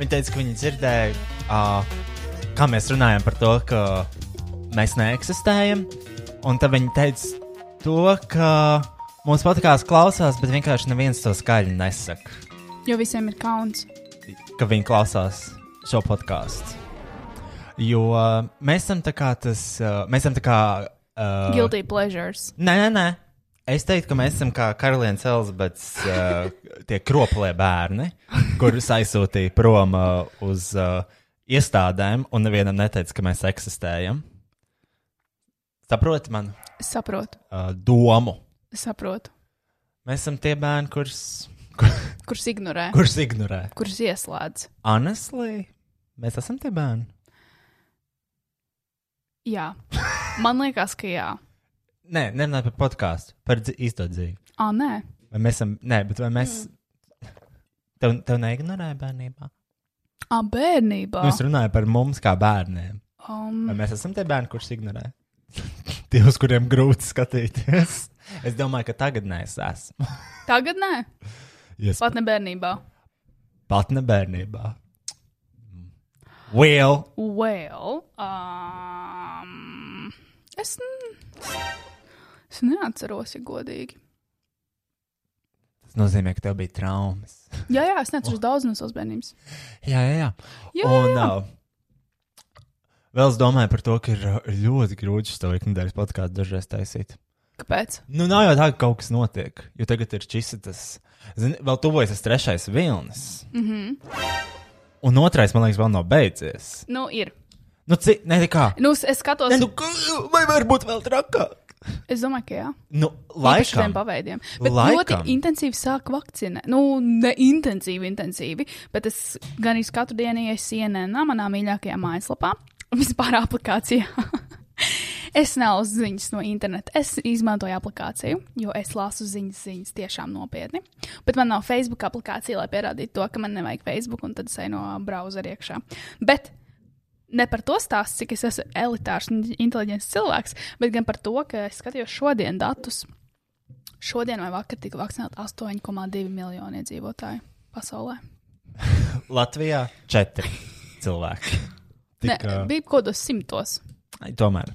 Viņa teica, ka viņa dzirdēja, uh, kā mēs runājam par to, ka mēs neeksistējam. Un tad viņa teica to, ka mūsu podkāsts klausās, bet vienkārši neviens to skaļi nesaka, Jo visiem ir kauns. ka viņi klausās šo podkāstu. Jo uh, mēs esam tā kā tas, uh, mēs esam tā kā. Uh, Guilty pleasures. Nē, nē, nē. Es teiktu, ka mēs esam kā karalienes Elizabetes uh, tie kroplē bērni, kurus aizsūtīja prom uh, uz uh, iestādēm, un nevienam neteica, ka mēs eksistējam. Saprotiet manu Es saprotu, uh, domu. es saprotu. Mēs esam tie bērni, kurus, kur, Kurš ignorē? Kur? kurus ignorē. Kurš ieslēdz? Honestly, mēs esam tie bērni. Jā. Man liekas, ka jā. Nē, nerunājot par podkāstu, par dzi- īsto dzīvi. Ah, nē. Vai mēs esam, nē, bet vai mēs. Tev, tev neignorēja bērnībā? Ah, bērnībā. Nu, es runāju par mums kā bērniem. Um, Vai mēs esam tie bērni, kurus ignorē? (laughs) tie, uz kuriem grūti skatīties. es domāju, ka tagad nē, es esmu. tagad nē, Yes. pat ne bērnībā. Pat ne bērnībā. Will! Well, um, es, n- es neatceros, ja godīgi. Tas nozīmē, ka tev bija traumas. Jā, jā, es neatceros daudz no savas bērnības. jā, jā, jā. Jā, Oh. Un, jā. Uh, vēl es domāju par to, ka ir uh, ļoti grūti šo ikdienas podkāstu dažreiz taisīt. Kāpēc? Nu, nav jau tā, ka kaut kas notiek, jo tagad ir šis tas, zini, vēl tuvojas tas trešais vilnis. Mm -hmm. Mhm. Un otrais, man liekas, vēl nav beidzies. Nu, ir. Nu, cik, ne tā kā. Nu, es, es skatos, Ne, nu, vai varbūt vēl trakāk? es domāju, ka jā. Nu, Īpaši laikam, tiem paveidiem. Bet Laikam. ļoti intensīvi sāk vakcinēt. Nu, ne intensīvi, intensīvi, bet es gan arī katru dienu ienāku sienā, manā mīļākajā mājaslapā, (laughs) vispār aplikācijā. (laughs) Es nelāsu ziņas no interneta. Es izmantoju aplikāciju, jo es lasu ziņas, ziņas tiešām nopietni. Bet man nav Facebook aplikācija, lai pierādītu to, ka man nevajag Facebook, un tad es eju no browsera iekšā. Bet ne par to stāstu, cik es esmu elitārs un inteliģents cilvēks, bet gan par to, ka es skatījos šodien datus. Šodien vai vakar tika vakcinēti 8,2 miljoni iedzīvotāji pasaulē. Latvijā četri (laughs) cilvēki. Ne, Tika- bija kaut kādos simtos. Ai, Tomēr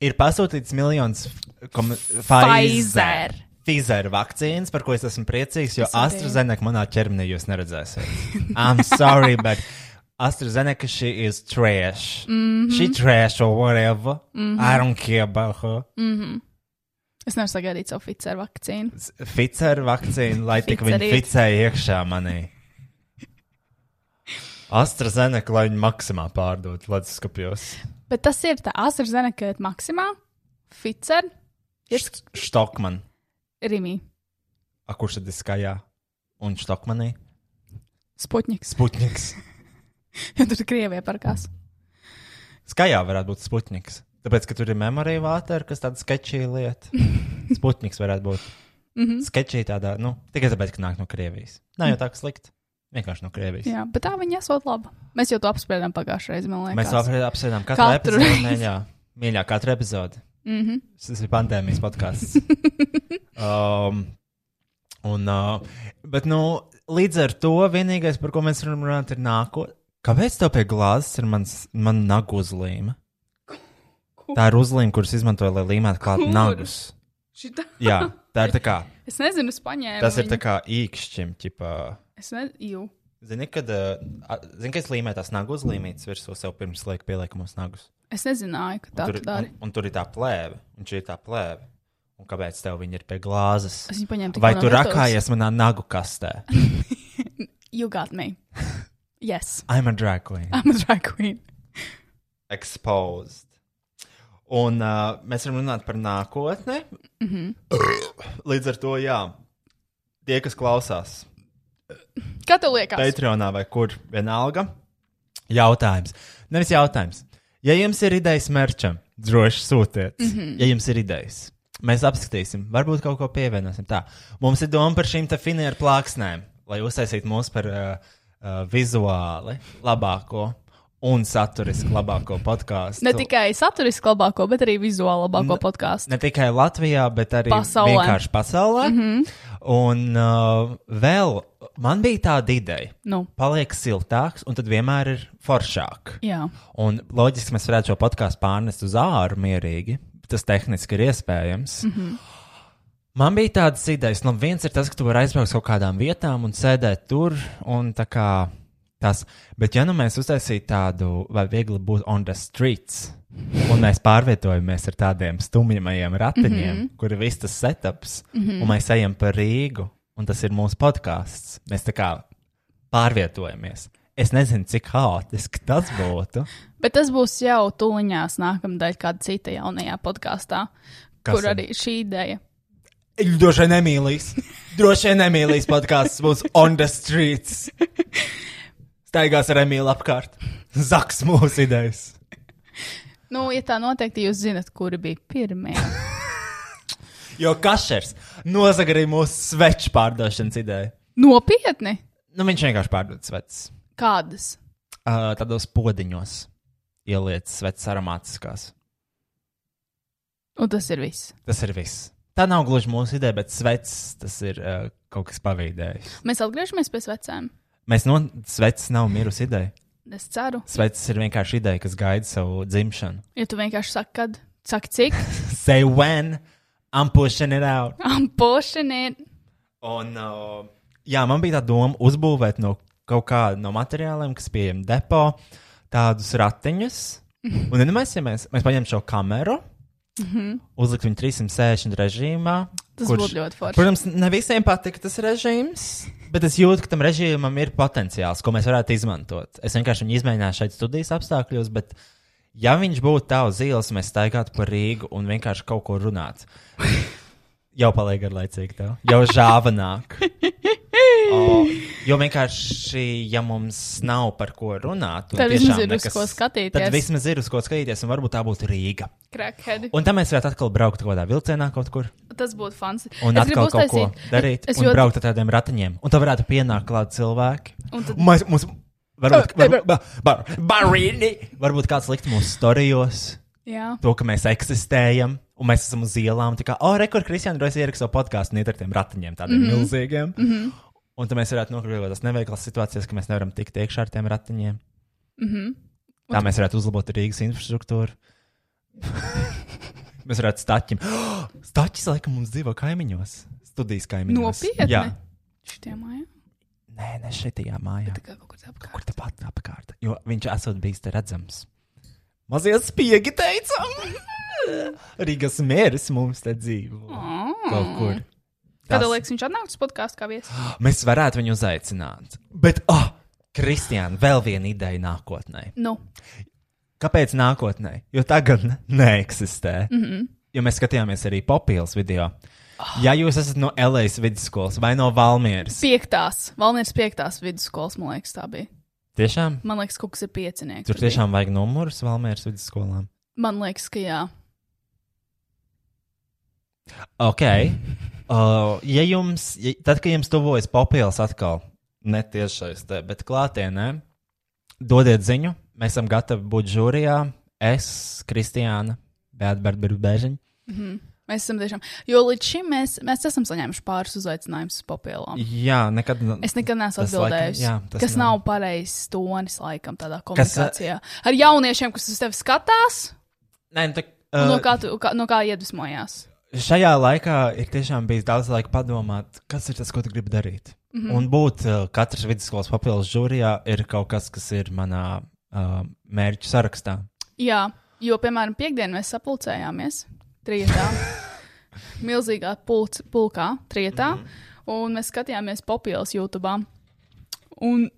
ir pasūtīts miljons kom- Pfizer. Pfizer. Pfizer vakcīnas, par ko es esmu priecīgs, jo Es arī. AstraZeneca manā ķermenī jūs neredzēsiet. I'm sorry, bet AstraZeneca she is trash. Mm -hmm. She trash or whatever. Mm -hmm. I don't care about her. Es nevaru sagaidīt savu Pfizer vakcīnu. Ficēra vakcīnu, lai tik Pfizer viņi iet. ficēja iekšā manī. AstraZeneca, lai viņi maksimā pārdod Latvijas kapjos. Bet tas ir tā AstraZeneca ir maksimā, Pfizer ir Štokman. Rimī, A kurš tad ir skaļā? Un Štokmanī? Sputniks. (laughs) Sputniks. Jo tur ir Krievija parkās. Skaļā varētu būt Sputniks. Tāpēc, ka tur ir memorija vātera, kas tāda sketčīga (laughs) lieta. Sputniks varētu būt. Mm Mhm. -hmm. Sketčīga tādā, nu, tikai tāpēc, ka nāk no Krievijas. Nav jau tā kā slikti. Vienkārši no Krievijas. Jā, bet tā viņa esot laba. Mēs jau to apspriedām pagājušajā reizē, man liekas. Mēs apspriedām katru Katru epizodi. reizi. Mīļā, mīļā, katru epizodi. Mhm. Tas ir pandēmijas (laughs) podkāsts. um, un, uh, bet, nu, līdz ar to vienīgais, par ko mēs varam runāt, ir nākotnē. Kāpēc tev pie glāzes ir mans, man nagu uzlīme? Tā ir uzlīme, kuras izmantoja, lai līmētu klāt Kur? nagus. Šitā. Jā, tā ir tā (laughs) kā, Es nezinu, es paņēmu. tas ir viņu. tā kā īkšķim, ķipā. Es nezinu, Zini, kad, uh, a- zini, ka es līmēju tās nagu uzlīmītas virsū sev pirms liek pieliekamos nagus. es nezināju, ka tā tu Un tur, un, dari. un tur ir tā plēve, un šī ir tā plēve. Un kāpēc tev viņi ir pie glāzes? Es viņu paņēmu tikko Vai no tu virtuves. rakājies manā nagu kastē? You got me. (laughs) Yes. I'm a drag queen. I'm a drag queen. Exposed. Un uh, mēs varam runāt par nākotni. Mm -hmm. Līdz ar to, jā, tie, kas klausās, Kā tev liekas? Patreonā vai kur vienalga. Jautājums. Nevis jautājums. Ja jums ir idejas merčam, droši sūtiet. Mm Mhm. -hmm. Ja jums ir idejas, mēs apskatīsim, varbūt kaut ko pievienosim. Tā. Mums ir doma par šīm te finieru plāksnēm, lai uztaisītu mūs par uh, uh, vizuāli labāko un saturiski labāko podkāstu. Ne tikai saturiski labāko, bet arī vizuāli labāko podkāstu. Ne tikai Latvijā, bet arī Pasaulē. Mhm. vienkārši pasaulē. Mm -hmm. Un uh, vēl man bija tāda ideja Nu, paliek siltāks, un tad vienmēr ir foršāk. jā. Un loģiski mēs varētu šo podkāstu pārnest uz āru mierīgi. Tas tehniski ir iespējams. Mm -hmm. Man bija tādas idejas, nu, viens ir tas, ka tu vari aizbraukt uz kaut kādām vietām un sēdēt tur. Un tā kā tas, bet ja nu mēs uztaisītu tādu, vai viegli būt on the streets, un mēs pārvietojamies ar tādiem stumjamajiem ratiņiem, mm -hmm. kur ir viss tas setups, mm -hmm. un mēs ejam pa Rīgu, un tas ir mūsu podkāsts. Mēs tā kā pārvietojamies. Es nezinu, cik haotiski tas būtu. Bet tas būs jau tuliņās nākamdaļ, kāda cita jaunajā podkāstā, Kas kur ir? arī šī ideja. Droši vien nemīlīgs. Droši vien nemīlīgs podkāsts būs on the streets. Staigās ar Emīlu apkārt. Zaks mūsu idejas. Nu, ja tā noteikti jūs zinat, kuri bija pirmie. (laughs) Jo kašers nozaga arī mūsu sveču pārdošanas ideju. Nopietni! Nu, viņš vienkārši pārdod svečus. Kādas? Uh, tādos podziņos ieliec svečus aromātiskās. Un tas ir viss. Tas ir viss. Tā nav gluži mūsu ideja, bet svečs tas ir uh, kaut kas pavīdējis. Mēs atgriežamies pie vecām. Mēs no svečs nav mirusi ideja. Es ceru, Svečs ir vienkārši ideja, kas gaida savu dzimšanu. ja tu vienkārši saki, kad, saki, cik, (laughs) Say when I'm pushing it out. un pošiniet. Un, uh, jā, man bija tā doma uzbūvēt no kaut kāda no materiāliem, kas pieejami depo, tādus ratiņus. Mhm. Un iedomāsimies, ja mēs, mēs paņemam šo kameru, uzlikt viņu 360 režīmā. Tas būtu ļoti forši. Protams, ne visiem patika tas režīms. Bet es jūtu, ka tam režīmam ir potenciāls, ko mēs varētu izmantot. Es vienkārši viņu izmēģināju šeit, studijas apstākļos, bet ja viņš būtu tā uz ielas, mēs staigātu pa Rīgu un vienkārši kaut ko runātu. Jau paliek garlaicīgi, tev. jau žāvanāk. O, jo vienkārši, ja mums nav par ko runāt, un Tad tiešām vismaz ir uz nekas- ko skatīties. Tad vismaz ir uz ko skatīties, un varbūt tā būtu Rīga. Crackhead. Un tam mēs varētu atkal braukt kaut kādā vilcienā kaut kur. Tas būtu fans. Un es gribu atkal kaut ko uztaisīt. darīt. Es Un ļoti- braukt ar tādiem ratiņiem. Un tā varētu pienākt klāt cilvēki. Un tad- Mēs, mums, varbūt, varbūt, ba- ba- barīni. varbūt kāds likt mūsu storijos, Jā, to, ka mēs eksistējam. Un mēs esam uz ielām. Tā kā, oh, rekur, Kristiāna, droši ieraksta savu podkāstu un iet ar tiem ratiņiem, tādiem mm -hmm. milzīgiem. Mm -hmm. Un tad mēs varētu nokļūt kaut kādās neveiklas situācijās, ka mēs nevaram tikt iekšā ar tiem ratiņiem. Mm -hmm. Tā mēs varētu uzlabot Rīgas infrastruktūru. mēs varētu (gasps) stāķim. Stāķis, laikam, mums dzīvo kaimiņos, studijas kaimiņos. Nopietni? Jā, šitie mājā. nē, ne šajā mājā. Tā kā kaut kur apkārt. Kur tāpat apkārt? Jo viņš esot bijis te redzams. Mazie spiegi teicām! Rīgas mērs mums te dzīvo. Kaut kur. Mm. Kad Tas- liekas, viņš atnāks uz podkāstu kā viesis. Mēs varētu viņu uzaicināt. Bet, ah, oh, Kristiāna, vēl viena ideja nākotnē. Nu, Kāpēc nākotnē? Jo tagad ne- neeksistē. Mm -hmm. Jo mēs skatījāmies arī popīlas video. Oh. Ja jūs esat no Latvijas vidusskolas vai no Valmieras, piektās, Valnijas piektās vidusskolas, man liekas, tā bija. tiešām Man liekas, kaut kas ir piecinieks. tur tiešām vajag numurus Valmieras vidusskolām. Man liekas, ka jā. Ok. Uh, ja jums, ja, tad, kad jums tuvojas papildus atkal, ne tiešais, te, bet klātienē, dodiet ziņu. Mēs esam gatavi būt žūrijā. Es, Kristiāna, Bēd, bēd, bēd, bēžiņ. Mēs esam tiešām, jo līdz šim mēs, mēs esam saņēmuši pāris uzaicinājumus popielām. Jā, nekad. nu- Es nekad neesmu Tas laikam- atbildējis. jā, tas Kas nav, nav. nav pareizs tonis, laikam, tādā Kas, ā, komunikācijā. Kas, Ar jauniešiem, kas uz tevi skatās, Nē, nu, tā, uh, no, uh, kā tu, kā, no kā iedvesmojās. šajā laikā ir tiešām bijis daudz laika padomāt, kas ir tas, ko tu gribi darīt. Mm Mhm. -hmm. Un būt uh, katras vidusskolas papildus žūrijā ir kaut kas, kas ir manā uh, mērķu sarakstā. Jā, jo, piemēram, piekdien mēs sapulcējāmies trijotā, milzīgā pulc, pulkā, trijotā, mm -hmm. un mēs skatījāmies popielas YouTube. Un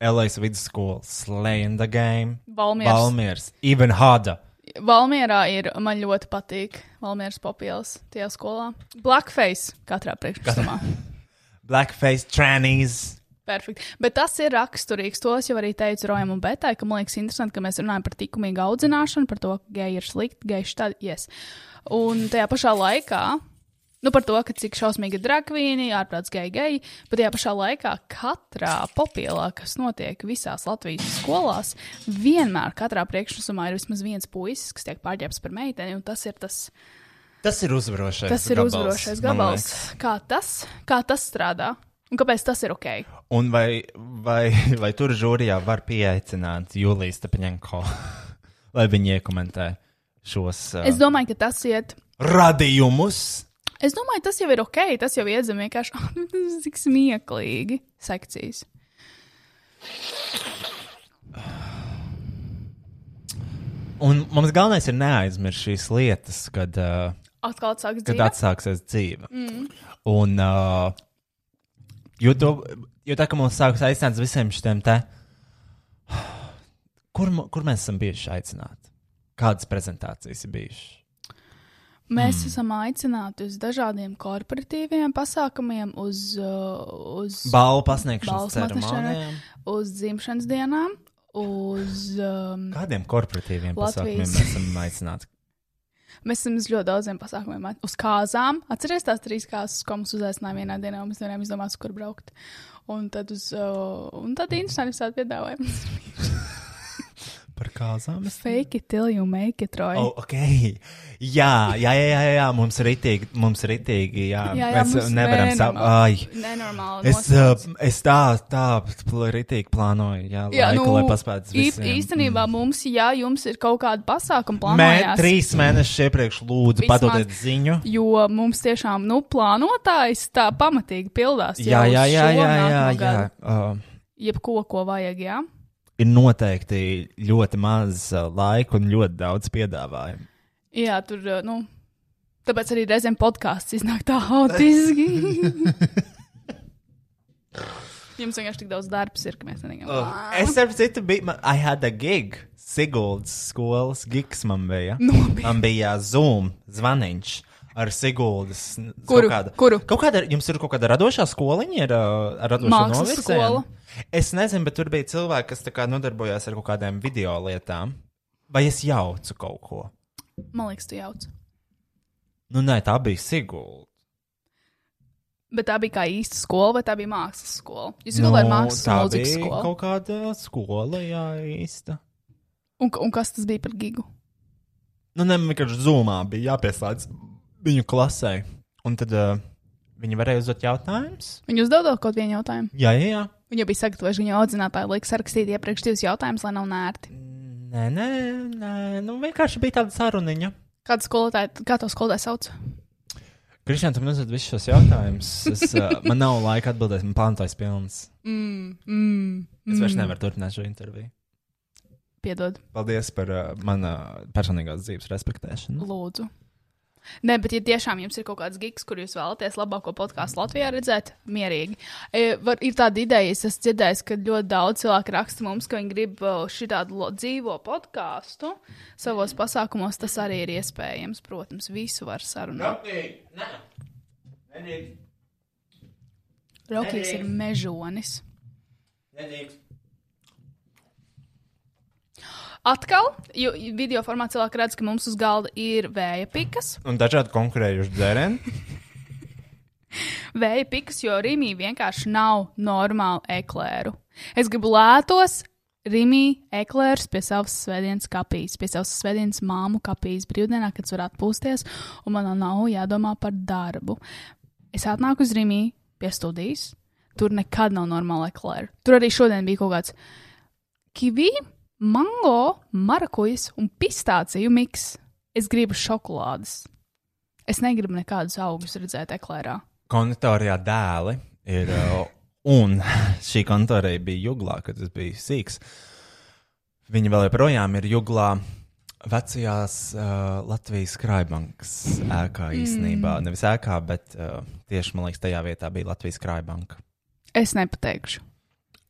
Elēs vidusskola, Slaying the Game, Valmiers, Valmi Balmīrs, Even Hada. Valmierā ir, man ļoti patīk Valmieras popielas tajā skolā. Blackface katrā priekšstāvā. Blackface trannies. Perfekti. Bet tas ir raksturīgs. To es jau arī teicu Rojam un Betai, ka man liekas interesanti, ka mēs runājam par likumīgu audzināšanu, par to, ka geji ir slikti, geji štādi. Yes. Un tajā pašā laikā, nu par to, ka cik šausmīgi ir drakvīni, ārprāts geji, geji, bet tajā pašā laikā katrā popielā, kas notiek visās Latvijas skolās, vienmēr katrā priekšnosumā ir vismaz viens puisis, kas tiek pārģērbts par meiteni, un tas ir tas. Tas ir uzvarošais. Tas ir gabals, uzvarošais man gabals. liekas. Kā tas, kā tas strādā? Un kāpēc tas ir ok? Un vai, vai, vai tur žūrijā var pieaicināt Juliju Stepaņēnko, (laughs) lai viņi iekomentē šos uh, Es domāju, ka tas iet radījumus? Es domāju, tas jau ir ok. Tas jau iedzem vienkārši (laughs) "Ah, nu, tas ir tik smieklīgi sekcijas. Un mums galvenais ir neaizmirst šīs lietas, kad, uh, Atkal sākas kad dzīve. atsāksies dzīve. Mm. Un, uh, jo, to, jo tā kā mums sākas aicināt visiem šiem te, kur, mu- kur mēs esam bijuši aicināti? Kādas prezentācijas ir bijušas? Mēs mm. esam aicināti uz dažādiem korporatīviem pasākumiem, uz, uh, uz, Balvu pasniegšanas Balvu pasniegšanas ceremonijām. uz dzimšanas dienām, uz. Um, Kādiem korporatīviem pasākumiem Latvijas. mēs esam aicināti? mēs esam uz ļoti daudziem pasākumiem, at- uz kāzām. Atcerieties tās trīs kāzas, ko mums uzaicināja vienā dienā, un mēs nevarējām izdomāt, uz kur braukt. Un tad, uz, uh, un tad interesanti visādi piedāvājumi. (laughs) Par kāzām? Es... Fake it till you make it, Roy. Oh, okay. Jā, jā, jā, jā, jā, mums ir itīgi, mums ir itīgi, jā, Jā, jā, mēs mums nevaram nenormāli. sap... Ai, Nenormāli. es, nosauc. uh, es tā, tā, pl- ritīgi plānoju, jā, jā laiku, nu, lai paspētu ī- visiem. Mm. Īstenībā mums, ja jums ir kaut kāda pasākuma Mē, plānota, trīs mēnešus iepriekš lūdzu Vismaz. padodiet ziņu. Jo mums tiešām, nu, plānotājs tā pamatīgi pildās. Jā, jau uz jā, jā, šo jā, un jā, nākamo jā. gadu. Uh, Jebko, ko vajag, jā. ir noteikti ļoti maz uh, laika un ļoti daudz piedāvājumu. Jā, tur, uh, nu, tāpēc arī reizēm podkāsts iznāk tā (laughs) haotiski. Jums vienkārši tik daudz darbs ir, ka mēs nevienam. Oh. Es starp citu biju, man, I had a gig, Siguldas skolas gigs man (laughs) bija. Nopietni? Man bija Zoom zvaniņš. Ar Siguldas. n- Kuru? Kaut kāda, Kuru? Kaut kāda, jums ir kaut kāda radošā skoliņa, ir uh, ar radošā Mākslas skola. Es nezinu, bet tur bija cilvēki, kas tā kā nodarbojās ar kaut kādām video lietām. Vai es jaucu kaut ko? Man liekas, tu jauc. Nu, nē, tā bija Sigulda. Bet tā bija kā īsta skola, vai tā bija mākslas skola? Jūs zināt, nu, ir mākslas tā un mūzikas bija skola. kaut kāda skola, jā, īsta. Un, un kas tas bija par gigu? Nu, ne, man vienkārši zumā bija jāpieslēdz viņu klasē. Un tad uh, viņi varēja uzdot jautājumus. Viņi uzdevā kaut vienu jautājumu. Jā, jā, jā. Viņa jau bija sagatavojusi, viņa audzinātāja liekas rakstīt iepriekš divus jautājumus, lai nav nērti. Nē, nē, nē. Nu, vienkārši bija tāda saruniņa. Kāda skolotāja, kā to skolotāja sauc? Kristian, tu man uzdod visus šos jautājumus. Es, uh, man nav laika atbildēt, man plānotais pilns. Mm, mm, Es vairs nevaru turpināt šo interviju. Piedod, Paldies par uh, manas personīgās dzīves respektēšanu. lūdzu. Nē, bet, ja tiešām jums ir kaut kāds gigs, kur jūs vēlaties labāko podkāstu Latvijā redzēt, mierīgi. E, var, ir tāda ideja, es esmu dzirdējis, ka ļoti daudz cilvēku raksta mums, ka viņi grib šādu dzīvo podkāstu savos pasākumos. Tas arī ir iespējams, protams, visu var sarunāt. Rokijs ir mežonis. Atkal, jo video formātā cilvēki redz, ka mums uz galda ir vēja pikas. Un dažādi konkurējuši dzērieni. Vēja pikas, jo Rīgā vienkārši nav normāli eklēru. Es gribu lētos, Rimī eklērs pie savas svētdienas kapijas, pie savas svētdienas māmu kapijas brīvdienā, kad es varu atpūsties, un man nav jādomā par darbu. Es atnāku uz Rimī pie studijas, tur nekad nav normāla eklēra. Tur arī šodien bija kaut kāds kivi, mango, marakujas un pistāciju miks. Es gribu šokolādes. Es negribu nekādus augus redzēt eklērā. Konditorijā dēli ir. uh, Un (laughs) šī kontorija bija Juglā, kad es biju sīgs. Viņa vēl joprojām ir Juglā. Vecajās uh, Latvijas krājbankas ēkā īsnībā. Mm. Nevis ēkā, bet uh, tieši man liekas, tajā vietā bija Latvijas krājbanka. Es nepateikšu.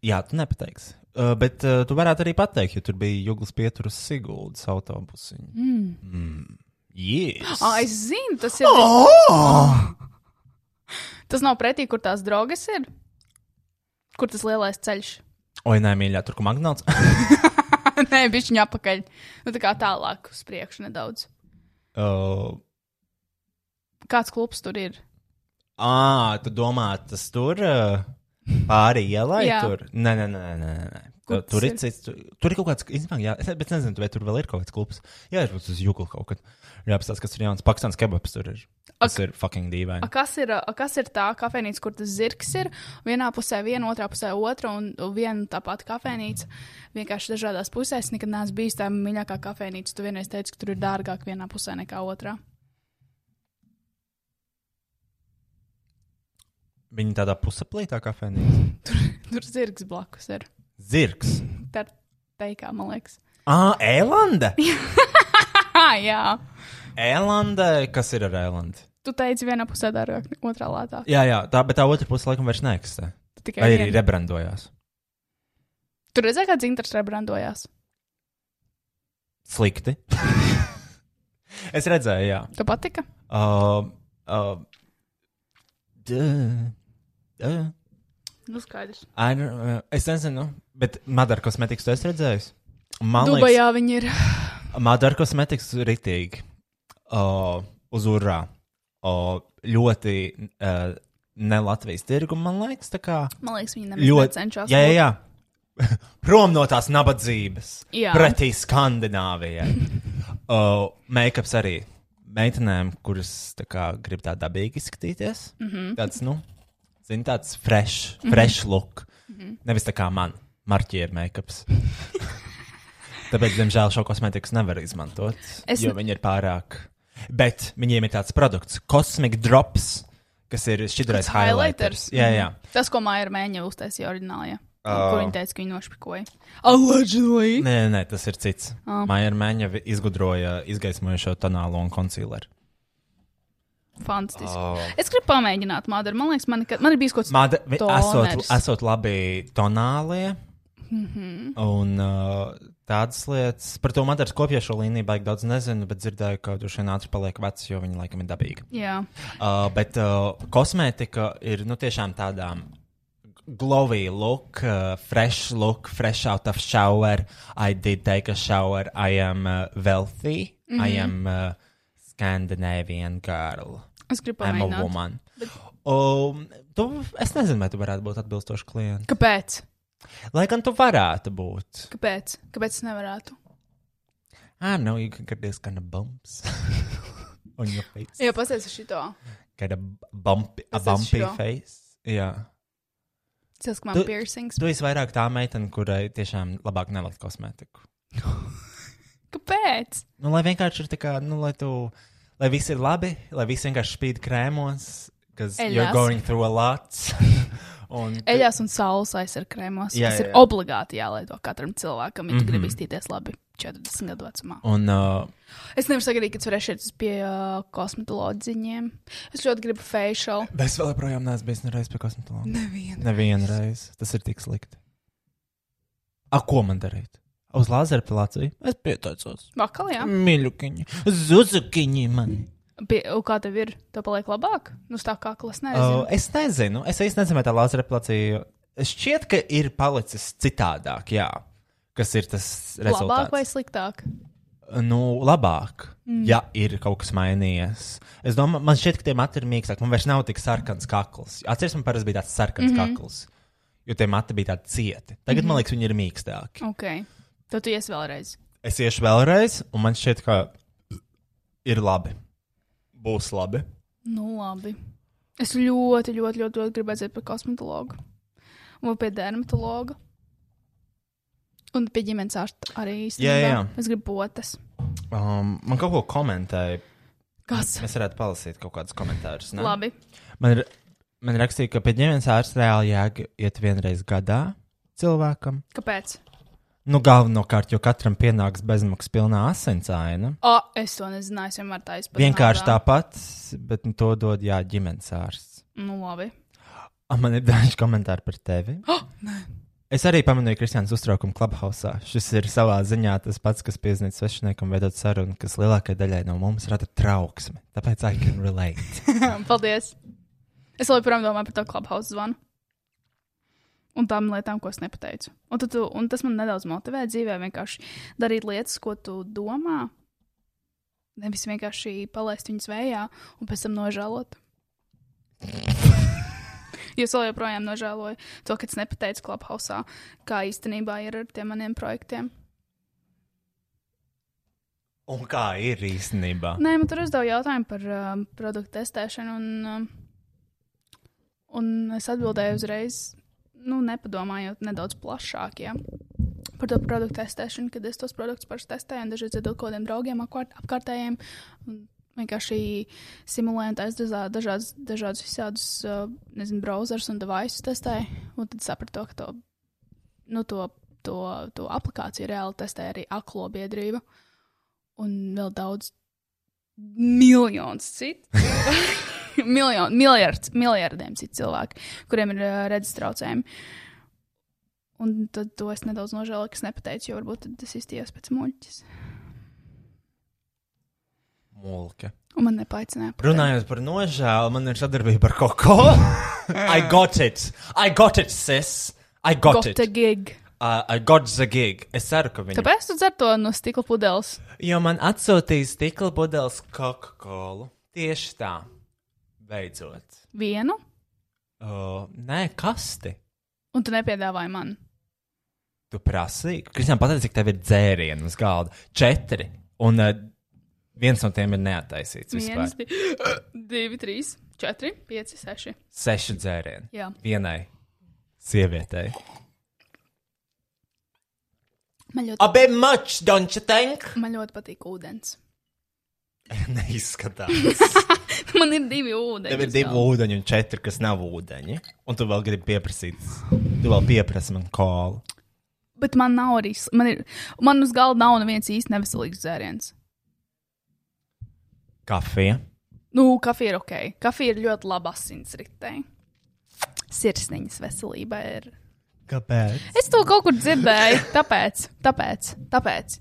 Jā, tu nepateiksi. Uh, bet uh, tu varētu arī pateikt, jo tur bija Juglas pieturas Siguldas autobusiņa. Mm. Mm. Yes. Ah, es zinu, tas ir. Oh! Tas nav pretī, kur tās drogas ir. Kur tas lielais ceļš? (laughs) Oi, nē, mīļā, tur kur magnāts. Nē, bija viņa apakaļ. Nu, tā kā tālāk uz priekšu nedaudz. (laughs) uh, Kāds klubs tur ir? Ā, tu domā, tas tur uh, pāri ielai Jā. tur? Nē, nē, nē, nē. nē, nē. Kur tas Tur, tur ir ir? cits, tur, tur ir kaut kāds, izmāk, jā, es ne- bet nezinu, vai tur vēl ir kaut kāds klubs. Jā, ir uz Jugla kaut kad. Jā, pastāst, kas tur jauns. Pakistāns kebabs tur ir. Tas ir fucking A, dīvaini. kas, ir a, kas ir tā kafejnīca, kur tas zirgs ir? Vienā pusē viena, otrā pusē otra un viena un tā pati kafejnīca. Vienkārši dažādās pusēs nekad neesmu bijis tā mīļākā kafejnīca. Tu vienreiz teici, ka tur ir dārgāk vienā pusē nekā otrā. (laughs) Viņi tādā pusaplītā kafejnīcā. Tur zirgs blakus ir. Zirgs. Tā ir teikā, man liekas. Ā, Ēlanda! Ah, jā! Ēlanda, kas ir ar Ēlandi? Tu teici, vienā pusē dārgāk, otrā lētāk. Jā, jā, tā, bet tā otra puse laikam vairs neeksistē. Tu tikai Vai arī vienu. rebrandojās. Tur redzēja, kāds interesants rebrandojās. Slikti. (laughs) es redzēju, jā. Tu patika? Uh, uh, duh, duh. Nu, skaidrs. I don't- uh, es nezinu, bet Madara kosmetikas tu esi redzējis? Man liekas, Dubajā viņi ir. Madara kosmetikas ir ritīgi. Uh, uz urā. Uh, ļoti uh, ne Latvijas tirgu, man liekas, tā kā. Man liekas, viņi nemaz Ļoti necenšas. Jā, jā, jā. (laughs) Prom no tās nabadzības. Jā. Pretī (laughs) Skandināvijai. uh, Makeups arī meitenēm, kuras tā kā, grib tā dabīgi izskatīties. Mm -hmm. Mhm. Tāds, nu, zini, tāds fresh, fresh mm -hmm. look. Mm Mhm. -hmm. Nevis tā kā man, marķieru (laughs) makeups. Tāpēc, diemžēl, šo kosmētiku nevar izmantot, Es es... jo ne- viņi ir pārāk. Bet viņiem ir tāds produkts, Cosmic Drops, kas ir šķidrais Highlighters. highlighters. Mhm. Jā, jā. Ah. Tas, ko Maija Mēņa uztaisīja orģinālajā. Ā. Kur viņa teica, ka viņa nošpikoja. Allegedly! Nē, nē, nē, tas ir cits. Oh. Maija Mēņa vi- izgudroja izgaismojošo tonālo un koncīleru. Ah. Fantastiski. Oh. Es gribu pamēģināt, Mādara. Man liekas, man, nekad, man ir bijis kaut kas Māda, vi- esot, Toners. esot labi tonālie mm -hmm. un uh, tādas lietas. Par to Madaras kopjošo līniju baigi daudz nezinu, bet dzirdēju, ka droši vien ātri paliek vecs, jo viņa laikam ir dabīga. Jā, Uh, bet uh, kosmētika ir nu, tiešām tādām glowy look, uh, fresh look, fresh out of shower. I did take a shower. I am uh, wealthy. Mm -hmm. Mhm. I am uh, Scandinavian girl. es gribu I'm a pamēģināt. woman. Um, tu, es nezinu, vai tu varētu būt atbilstošs klients. Kāpēc? Lai gan tu varētu būt. Kāpēc? Kāpēc es nevarētu? I know you can get this kind of bumps (laughs) on your face. Jā, pasies uz šito. Kind of bumpy, a Tas ir bumpy šo. face. Jā. Yeah. Cils, ka man Tu- tu... piercings. Tu esi vairāk tā meitene, kurai tiešām labāk nelikt kosmētiku. Kāpēc? Nu, lai vienkārši ir tā, kā, nu, lai tu, lai viss ir labi, lai viss vienkārši spīd krēmos, kas Eļļās. you're going through a lot. (laughs) Un, tu- Eļās un saules aizsardzības krēmos. Jā, Tas jā, ir jā. Mhm. obligāti jālieto katram cilvēkam, ja tu gribi izstīties labi 40 gadu vecumā. un uh, Es nevaru sagaidīt, ka tu varēsi iet uz pie uh, kosmetoloģiem. Es ļoti gribu facial. es vēl joprojām neesmu bijis nereiz pie kosmetologa. Nevienu. Nevienu reizi. Tas ir tik slikti. A, ko man darīt? Uz lāzera apelāciju? Es pieteicos. Vakal, jā. Mm. Mīļukiņi, zuzukiņi man. Pie, u, kā tev ir? Tev paliek labāk? Nu, tā kā klas Uh, nezinu. es nezinu, es īstenībā nezinu, vai tā lāzera apgleznoja. Šķiet, ka ir palicis citādāk, jā. kas ir tas rezultāts. Labāk vai sliktāk? Nu, labāk, mm. ja ir kaut kas mainījies. Es domāju, man šķiet, ka tie mati ir mīkstāki. Man vairs nav tik sarkans kakls. Atcerieties, man parasti bija tāds sarkans mm -hmm. kakls. jo tie mati bija tādi cieti. Tagad, mm -hmm. man liekas, viņi ir mīkstāki. Ok. Tad tu iesi vēlreiz. Es iešu vēlreiz, un man šķiet, ka ir labi. Būs labi. Nu, labi. Es ļoti, ļoti, ļoti, ļoti gribēju aiziet pie kosmetologa. Un vēl pie dermatologa. Un pie ģimenes ārsta arī īstenībā. Jā, jā. Es gribu potes. Um, man kaut ko komentēja. Kas? Mēs varētu palasīt kaut kādus komentārus. ne? Labi. Man, ir, man rakstīja, ka pie ģimenes ārsta reāli jāiet vienreiz gadā cilvēkam. Kāpēc? Nu, galvenokārt, jo katram pienāks bezmaksas pilnā asins aina. O, es to nezināju. Es vienmēr tā izpētīju. Vienkārši tāpat, bet nu, to dod jā, ģimenes ārsts. Nu, labi. (laughs) A, man ir daži komentāri par tevi. (gasps) Oh, es arī pamanīju Kristiānas uztraukumu klubhausā. Šis ir savā ziņā tas pats, kas piezīmēs svešiniekam veidot sarunu, kas lielākajai daļai no mums rada trauksmi. Tāpēc I can (laughs) relate. Paldies. Es joprojām domāju par to klubhausu zvanu. Un tām lietām, ko es nepateicu. Un, tad tu, un tas man nedaudz motivē dzīvē, vienkārši darīt lietas, ko tu domā. Nevis vienkārši palaist viņus vējā un pēc tam nožēlot. Jūs vēl joprojām nožēlojat to, ka es nepateicu klubhausā, kā īstenībā ir ar tiem maniem projektiem. Un kā ir īstenībā? Nē, man tur uzdeva jautājumu par um, produktu testēšanu, un, um, un es atbildēju uzreiz, nu, nepadomājot nedaudz plašāk. Ja. Par to produktu testēšanu, kad es tos produktus pašai testēju, un dažreiz dzirdu kaut kādiem draugiem, apkārt- apkārtējiem. un Vienkārši simulēju dažādas, dažādas, dažādas visādus, uh, nezinu, browserus un devaisus testēju. Un tad sapratu, to, ka to, nu, to, to, to aplikāciju reāli testēja arī aklo biedrība un vēl daudz, miljonus (laughs) citu. Miljonu, miljards, miljardiem citu cilvēku, kuriem ir ā, redzes traucējumi. Un tad to es nedaudz nožēloju, ka es nepateicu, jo varbūt tad es izties pēc muļķis. Mulke. Un man nepaicināja. Runājot par nožēlu, man ir sadarbība ar (laughs) Koko. I got it! I got it, sis! I got, got it! Gota gig. Uh, I got the gig! Es ceru, ka viņi. Kāpēc tu dzer to no stikla pudeles? Jo man atsūtīja stikla pudeles Coca-Cola. Tieši tā. Beidzot. Vienu, Uh, nē, kasti. un tu nepiedāvāji man. Tu prasīji. Kristian, pateici, cik tev ir dzērienu uz galda. Četri. Un uh, viens no tiem ir neataisīts. Vispār. Viens, bija, (laughs) divi, trīs, četri, pieci, seši. Seši dzērieni. Jā. Vienai sievietei. Man ļoti, A bit much, don't you think? man ļoti patīk ūdens. (laughs) (laughs) Neizskatās. Man ir divi ūdeņi. Tev ir divi ūdeņi un četri, kas nav ūdeņi. Un tu vēl gribi pieprasīt. Tu vēl pieprasi man kolu. Bet man nav arī. sl- Man, ir, man uz galda nav neviens īsti neveselīgs dzēriens. Kafija. Nu, kafija ir ok. Kafija ir ļoti laba asinsritē. Sirsniņas veselība ir. Kāpēc? Es to kaut kur dzirdēju. (laughs) Tāpēc, tāpēc, tāpēc.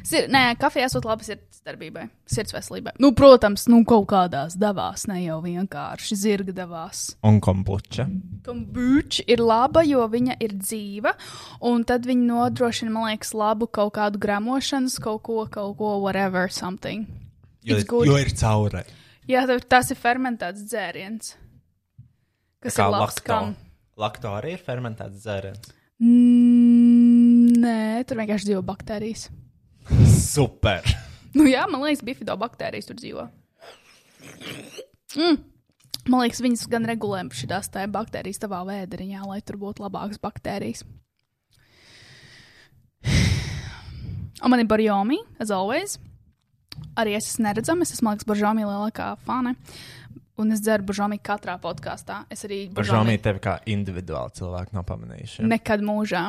Sir, nē, kafija esot laba sirds darbībai, sirds veselībai. Nu, protams, nu kaut kādās devās, ne jau vienkārši zirga devās. Un kombuča. Kombuča ir laba, jo viņa ir dzīva, un tad viņa nodrošina, man liekas, labu kaut kādu gramošanas, kaut ko, kaut ko, whatever, something. Jo, It's good. jo ir caurē. Jā, tev- tas ir fermentēts dzēriens. Kas ir labs kam? Lakto arī ir fermentēts dzēriens. Mm, nē, tur vienkārši dzīvo baktērijas. Super. Nu jā, man liekas, bifidobaktērijas tur dzīvo. Mm. Man liekas, viņas gan regulē šīs tā baktērijas tavā vēderiņā, lai tur būtu labākas baktērijas. Un man ir barjomi, as always. Arī es esmu neredzama, es esmu Marks Baržāmī lielākā fane. Un es dzeru Baržāmī katrā podkāstā. Es arī Bažāmī Baržāmī tevi kā individuāli cilvēku nav pamanījuši. nekad mūžā.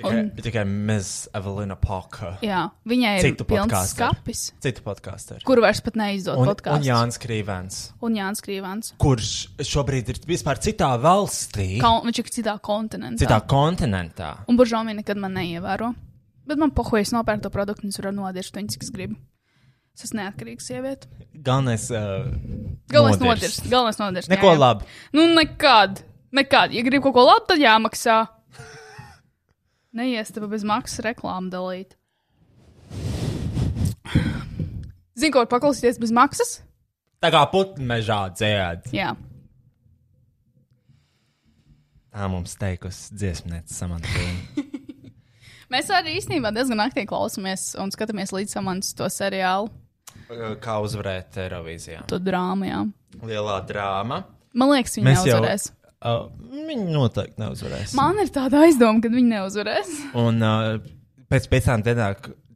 Tikai, tikai Miss Evelina Poka. Jā, viņai ir Citu pilns podcasteru. skapis, Citu podkāstu. kur vairs pat neizdod Un, un podkāstu. Jānis Krīvens, Un Jānis Krīvans. kurš šobrīd ir vispār citā valstī, Kal viņš ir citā kontinentā. citā kontinentā. Un buržāmi nekad man neievēro. Bet man pohoja, es nopērku to produktu, un es varu nodirst viņu, cik es gribu. Es esmu neatkarīgs sieviete. Galvenais. Uh, Galvenais nodirst. Galvenais nodirst. Neko jā, jā. labu. Nu, nekad. Nekad. Ja gribi kaut ko labu, tad jāmaksā. Neies tev bez maksas reklāmu dalīt. Zini, ko var paklausīties bez maksas? Tā kā putna mežā dzēd. Jā. Tā mums teikusi dziesmniece samantīna. Mēs arī īstenībā diezgan aktīvi klausāmies un skatāmies līdz samants to seriālu, Eh, Kā uzvarēt Eirovīzijā? to drāmu. Jā. Lielā drāma. Man liekas, viņi Mēs jau- neuzvarēs. Jau... Uh, viņi noteikti neuzvarēs. Man ir tāda aizdoma, ka viņi neuzvarēs. Un uh, pēc piecām dienām,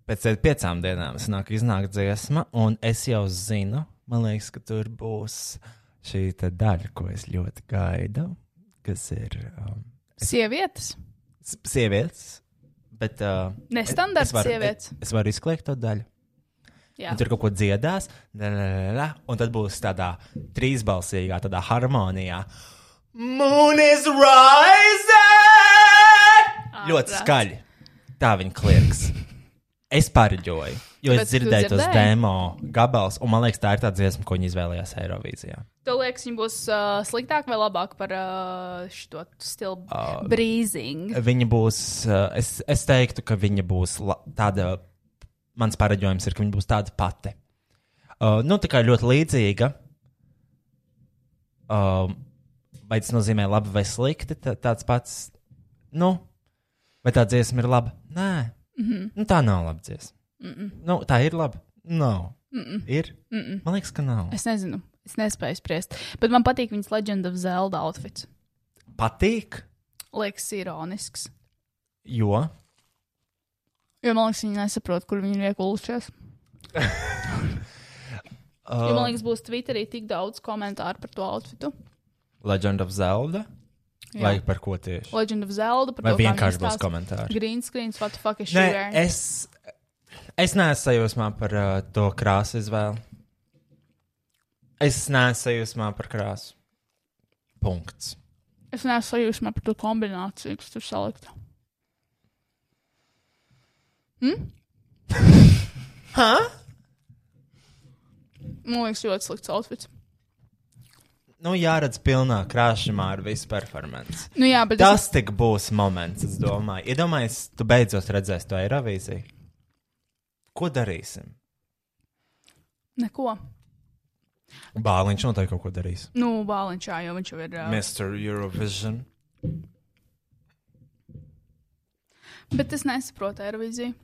pēc piecām dienām sanāk, iznāk dziesma, un es jau zinu, man liekas, ka tur būs šī te daļa, ko es ļoti gaidu, kas ir um, Sievietes. s- sievietes. Bet, uh, Nestandarta es varu- sievietes. Es, es varu izkliegt to daļu. Jā, Un tur kaut ko dziedās, da, da, da, da, un tad būs tādā trīsbalsīgā, tādā harmonijā. Moon is rising! Ļoti Ārprāts. skaļi. Tā viņa kliedz. Es pārģoju, jo Bet es tu dzirdēju tos dzirdēji? demo gabalus, un man liekas, tā ir tā dziesma, ko viņi izvēlējās Eirovīzijā. tev liekas, viņi būs uh, sliktāki vai labāki par uh, šo stilu uh, brīzingu. Viņa būs, uh, es, es teiktu, ka viņa būs la- tāda, mans pareģojums ir, ka viņa būs tāda pati. Uh, nu, tā kā ļoti līdzīga. Um, vai tas nozīmē labi vai slikti? tā- Tāds pats, nu, vai tā dziesma ir laba? Nē, mm -hmm. nu, tā nav laba dziesma. Mm -mm. Nu, tā ir laba. Nav. Mm -mm. Ir? Mm -mm. Man liekas, ka nav. Es... Es nezinu, es nespēju spriest. Bet man patīk viņas Legend of Zelda outfits. Patīk, Liekas, ironisks. jo Jo man liekas, viņi nesaprot, kur viņi ir (laughs) iekulušies. jo, Uh, man liekas, būs Twitterī tik daudz komentāru par to outfitu. Legend of Zelda vai par ko tieši? Legend of Zelda par Vai to, kā vienkārši viņi būs stāsta. komentāri? Green screens, what the fuck is she Nē, wearing? es, es neesmu sajūsmā par uh, to krāsu izvēli. Es neesmu sajūsmā par krāsu. Punkts. Es neesmu sajūsmā par to kombināciju, kas tur salikta. Hm? (laughs) Hmm? Man liekas, ļoti slikts outfits. Nu, jāredz pilnā krāšņumā ar visu performanci. Nu, jā, bet es, Tas tik būs moments, es domāju. Iedomājies, tu beidzot redzēsi to Eirovīziju. Ko darīsim? neko. Bāliņš noteikti kaut ko darīs. Nu, bāliņš, jā, jo viņš jau ir. Mēs... Mr. Eurovision. Bet es nesaprotu aeroviziju.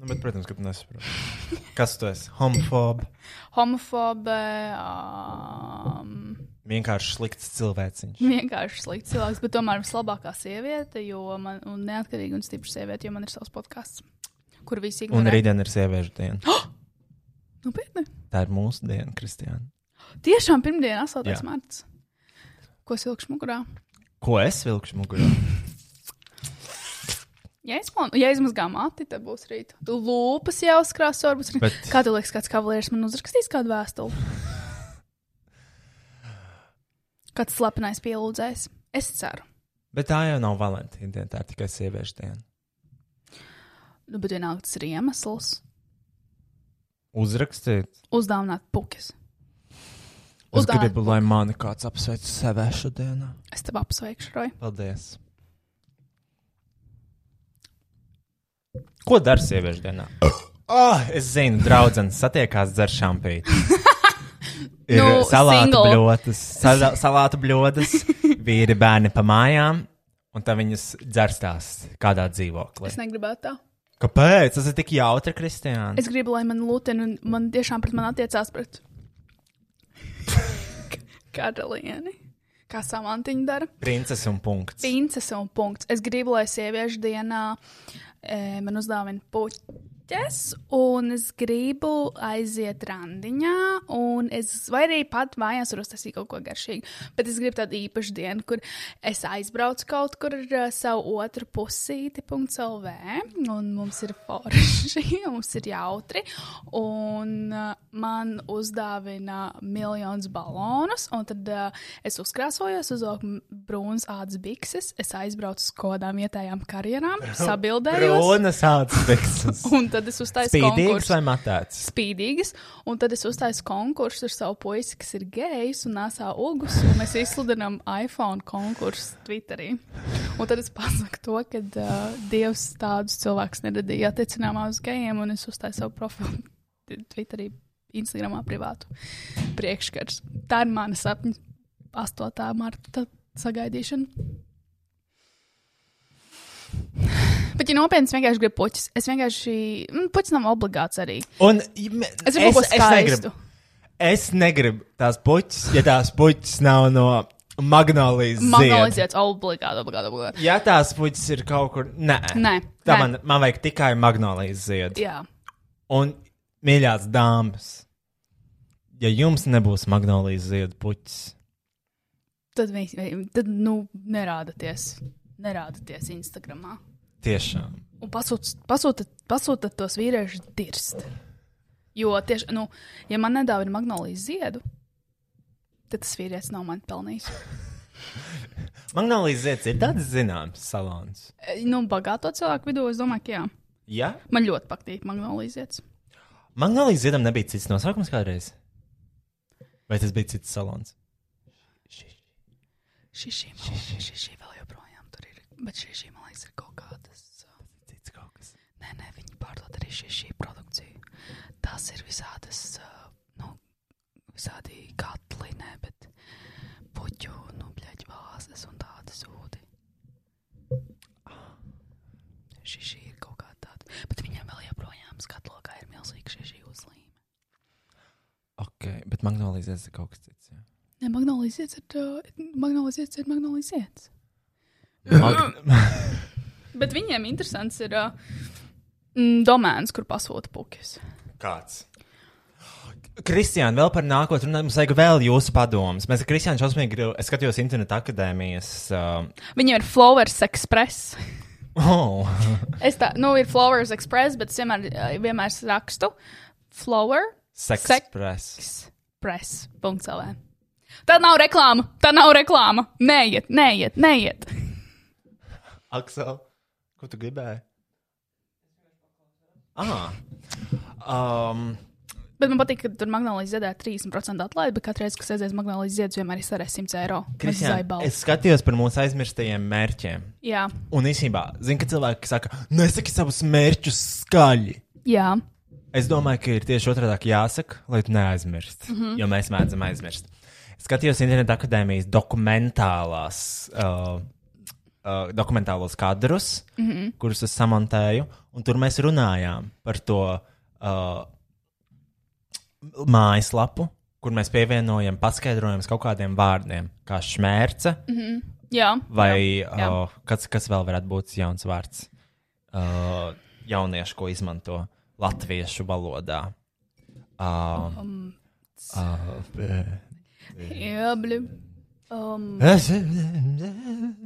Nu, bet, protams, ka tu nesaproti. Kas tu esi? Homofob, Homofobe, um, vienkārši slikts cilvēciņš. vienkārši slikts cilvēks, bet tomēr vislabākā sieviete, jo man ir neatkarīga un stipra sieviete, jo man ir savs podkāsts, kur visi Un ignorē. rītdien ir sieviešu diena. Nopietni! Tā ir mūsu diena, Kristiāna. Tiešām pirmdiena, 8. Jā. marts. Ko silkšu mugurā? Ko es vilkšu mugurā? Ja es, man, ja es mazgāju mati, tad būs rīt. Tu lūpas jau uzkrāso, varbūt. Bet... (laughs) Bet- Kā tev liekas, kāds kavalieris man uzrakstīs kādu vēstuli? Kāds slepenais pielūdzējs? Es ceru. Bet tā jau nav Valentīna diena, tā ir tikai sieviešu diena. Nu, bet vienalga tas ir iemesls. Uzrakstīt. Uzdāvināt puķis. Es Uzdāvināt gribu, lai mani kāds apsveic sieviešu dienā. Es tev apsveikšu, Roja. Paldies. Ko dara sieviešu dienā? Oh, es zinu, draugs satiekās dzer (laughs) šampīti. Ir Nu, salātu single. bļotas, sala, (laughs) salātu bļotas, vīri bērni pa mājām, un tā viņas dzerstās kādā dzīvoklī. Es negribētu tā. Kāpēc? Tas ir tik jautri, Kristiāna. Es gribu, lai man lūtina, un man tiešām pret mani attiecās pret karalieni. Kā samantiņa dara. Princese un punkts. Princese un punkts. Es gribu, lai sieviešu dienā e, man uzdāvina puķes, un es gribu aiziet randiņā, un es vai arī pat mājās varu uztaisīt kaut ko garšīgu. Bet es gribu tādu īpašu dienu, kur es aizbraucu kaut kur ar eh, savu otru pusīti, .lv, un mums ir forši, (laughs) un mums ir jautri, un eh, man uzdāvina miljonus balonus, un tad uh, es uzkrāsojos, uzvilku brūnas ādas bikses, es aizbraucu uz kaut kādām vietējām karjerām, sabildējos. Runa sāc bikses. Un tad es uztaisīju Spīdīgs konkursu. vai matēts? Spīdīgas, un tad es uztaisu konkursu ar savu puisi, kas ir gejs un nesā ogus, un mēs izsludinām iPhone konkursu Twitterī. Un tad es pasaku to, ka uh, Dievs tādus cilvēkus neradīja attiecināmā uz gejiem, un es uztaisu savu profilu t- Twitterī, Instagramā privātu priekškars. Tā ir mana sapņa 8. marta sagaidīšana. Bet, ja nopietni, es vienkārši gribu puķis. Es vienkārši. mm, Puķis nav obligāts arī. Un, ja me- Es gribu kaut ko negribu. skaistu. Es negribu tās puķis, ja tās puķis nav no magnolijas. zieda. Magnoliziet, obligāti, obligāti, obligāti. Ja tās puķis ir kaut kur. Nē, Nē, tā nē. man, man vajag tikai magnolijas ziedu. Jā. Un, mīļās dāmas, ja jums nebūs magnolijas ziedu puķis, Tad, vi- vi- tad nu, nerādaties. Nerādaties Instagramā. tiešām. Un pasūtiet pasūta, pasūta tos vīriešus dirst. Jo tieši, nu, ja man nedāvā magnolijas ziedu, tad tas vīrietis nav man pelnījis. Magnolijas ziedas ir tāds zināms salons. E, Nu, bagāto cilvēku vidū es domāju, ka jā. Jā, Man ļoti patīk magnolijas zieds. magnolijas ziedam nebija cits nosaukums kādreiz. Vai tas bija cits salons? Šī šī, man liekas, šī, šī vēl joprojām tur ir. Bet šī, šī man liekas, ir kaut kādas. uh, Cits kaut kas. Nē, nē, viņi pārdod arī šī, šī produkciju. Tās ir visādas, uh, nu, visādi katli, nē, bet puķu, nu, bļaģi vāzes un tādas ūdi. Šī, šī ir kaut kāda tāda. Bet viņam vēl joprojām skatlokā ir milzīga šī, šī uzlīme. Ok, bet magnolijas ziedas ir kaut kas cits. Jā. Nē, magnolijas zieds ir, uh, magnolijas zieds ir magnolijas zieds. Mag (laughs) Bet viņiem interesants ir uh, mm, domēns, kur pasūta puķis. Kāds? Kristiāna, vēl par nākotni runājot, mums vajag vēl jūsu padomus. Mēs ar Kristiānu šausmīgi gribam, es skatos interneta akadēmijas. Um, (laughs) Viņiem ir Flowers Express. oh, Es tā, nu, ir Flowers Express, bet es vienmēr, uh, vienmēr es rakstu Flower Sex Sek- Express. Express. .lv. E. Tā nav reklāma. Tā nav reklāma. Neiet, neiet, neiet. Aksel, ko tu gribēji? Ah, um, Bet man patīk, ka tur magnolijas ziedē 30% atlaidi, bet katru reizi, kad aizies magnolijas ziedas, vienmēr ir sarēs 100 eiro. Kristiāna, Zaibaldi. es skatījos par mūsu aizmirstajiem mērķiem. Jā, Un īsībā, zinu, ka cilvēki saka, nesaki savus mērķus skaļi. jā. Es domāju, ka ir tieši otrādi jāsaka, lai tu neaizmirst. Mm -hmm. Jo mēs mēdzam aizmirst. Es skatījos Interneta akadēmijas dokumentālās, uh, uh, dokumentālos kadrus, mm -hmm. kurus es samontēju, un tur mēs runājām par to uh, mājaslapu, kur mēs pievienojam paskaidrojumus kaut kādiem vārdiem, kā šmērce mm -hmm. jā. vai jā. uh, kas, kas vēl varētu būt jauns vārds. Uh, jaunieši, ko izmanto latviešu valodā. Uh, Um, uh, jā, bļi. Um,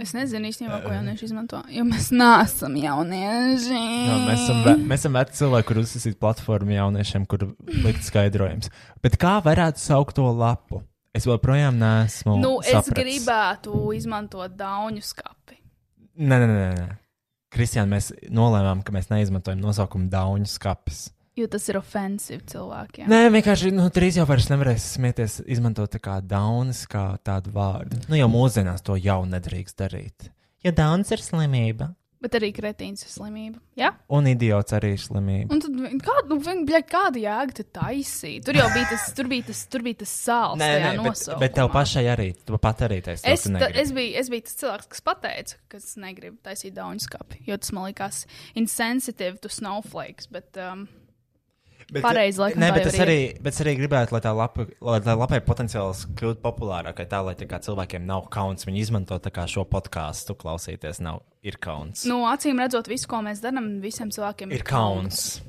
Es nezinu īstenībā, ko jaunieši izmanto. Jo mēs neesam jaunieši. Jā, mēs esam, ve mēs esam veci cilvēki, kur uzsākt platformu jauniešiem, kur likt skaidrojums. Bet kā varētu saukt to lapu? Es joprojām neesmu. Nu, es sapratis. saprats. gribētu izmantot daunu skati. Nē, nē, nē. nē. Kristiāna, mēs nolēmām, ka mēs neizmantojam nosaukumu Daunu skāpes. Jo tas ir ofensīvi cilvēkiem. Nē, vienkārši nu, trīs jau vairs nevarēs smieties, izmantot tā kā Daunas kā tādu vārdu. Nu, jau mūsdienās to jau nedrīkst darīt. Ja Dauns ir slimība, Bet arī kretīns ir slimība. Ja? un idiots arī ir slimība. Un tad vi- kāda, nu, vi- bļa, kāda jēga te taisīt? Tur jau bija tas, tur bija tas, tur bija tas sāls. tajā bet, nosaukumā. bet tev pašai arī, tu pat arī taisi. to, Es, tu ta, negribi. es, biju, es biju tas cilvēks, kas teica, ka es negribu taisīt daunu skati, jo tas man likās insensitive to snowflakes. Bet, um, Bet, Pareizi, laikam, nē, tā bet jau es ir. arī, bet es arī gribētu, lai tā lapa, lai tā lapai potenciāls kļūtu populārākai, tā lai tā kā cilvēkiem nav kauns viņu izmantot tā kā šo podkāstu klausīties, nav ir kauns. nu, acīm redzot, visu, ko mēs darām, visiem cilvēkiem ir kauns.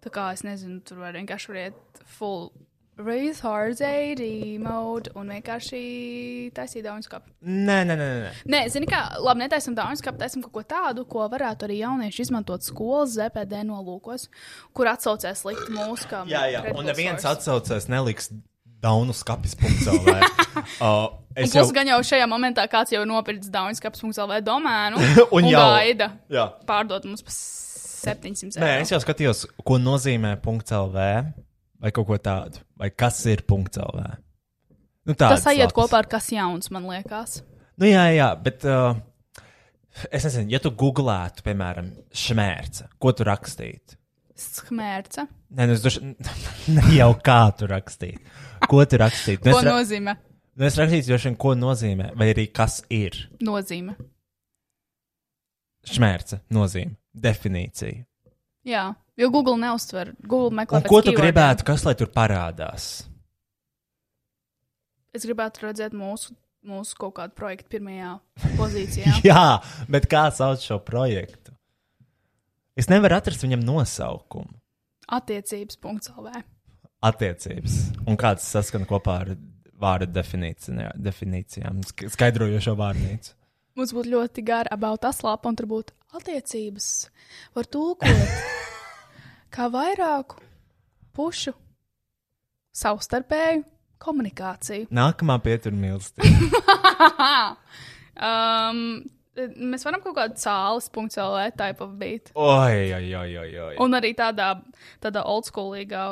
Tā kā es nezinu, tur var vienkārši iet full raise hard AD mode un vienkārši taisīt daunskapu. Nē, nē, nē, nē. Nē, zini kā, labi, netaisam daunskapu, taisam kaut ko tādu, ko varētu arī jaunieši izmantot skolas ZPD nolūkos, kur atsaucēs likt mūsu kā Jā, jā. Un critical neviens source. atsaucēs neliks daunu skapis punktu. (laughs) uh, Un plus es jau. jau... gan jau šajā momentā kāds jau nopircis daunskaps.lv (laughs) domēnu Un un jau. gaida Jā. pārdot mums par 700 eiro. Nē, es jau skatījos, ko nozīmē punkts LV vai kaut ko tādu. Vai kas ir punkts LV? Nu, Tas tādas aiziet lapas. kopā ar kas jauns, man liekas. Nu, jā, jā, bet uh, es nezinu, ja tu googlētu, piemēram, šmērce, ko tu rakstītu. Schmērce. (laughs) Nē, nu, es droši vien jau kā tu rakstītu. Ko tu rakstītu? Nu, Ko es ra- nozīmē? Nu, es rakstīju, droši vien, ko nozīmē, vai arī kas ir Nozīme. šmērce, nozīme, definīcija. Jā, jo Google neustver. Google meklē Un pēc ko tu keywordiem. gribētu, kas lai tur parādās? Es gribētu redzēt mūsu, mūsu kaut kādu projektu pirmajā pozīcijā. (laughs) Jā, bet kā sauc šo projektu? Es nevaru atrast viņam nosaukumu. Attiecības. CELV. Attiecības. Un kāds saskan kopā ar vārdu definīcijā- definīcijām, sk- skaidrojošo vārnīcu. Mums būtu ļoti gara about us lapa, un tur būtu attiecības. Var tulkot (laughs) kā vairāku pušu savstarpēju komunikāciju. Nākamā pietur (laughs) mīlestība. um, mēs varam kaut kādu cēlus, punktu, CELV type of beat. Oi, oi, oi, oi, oi. Un arī tādā, tādā oldschoolīgā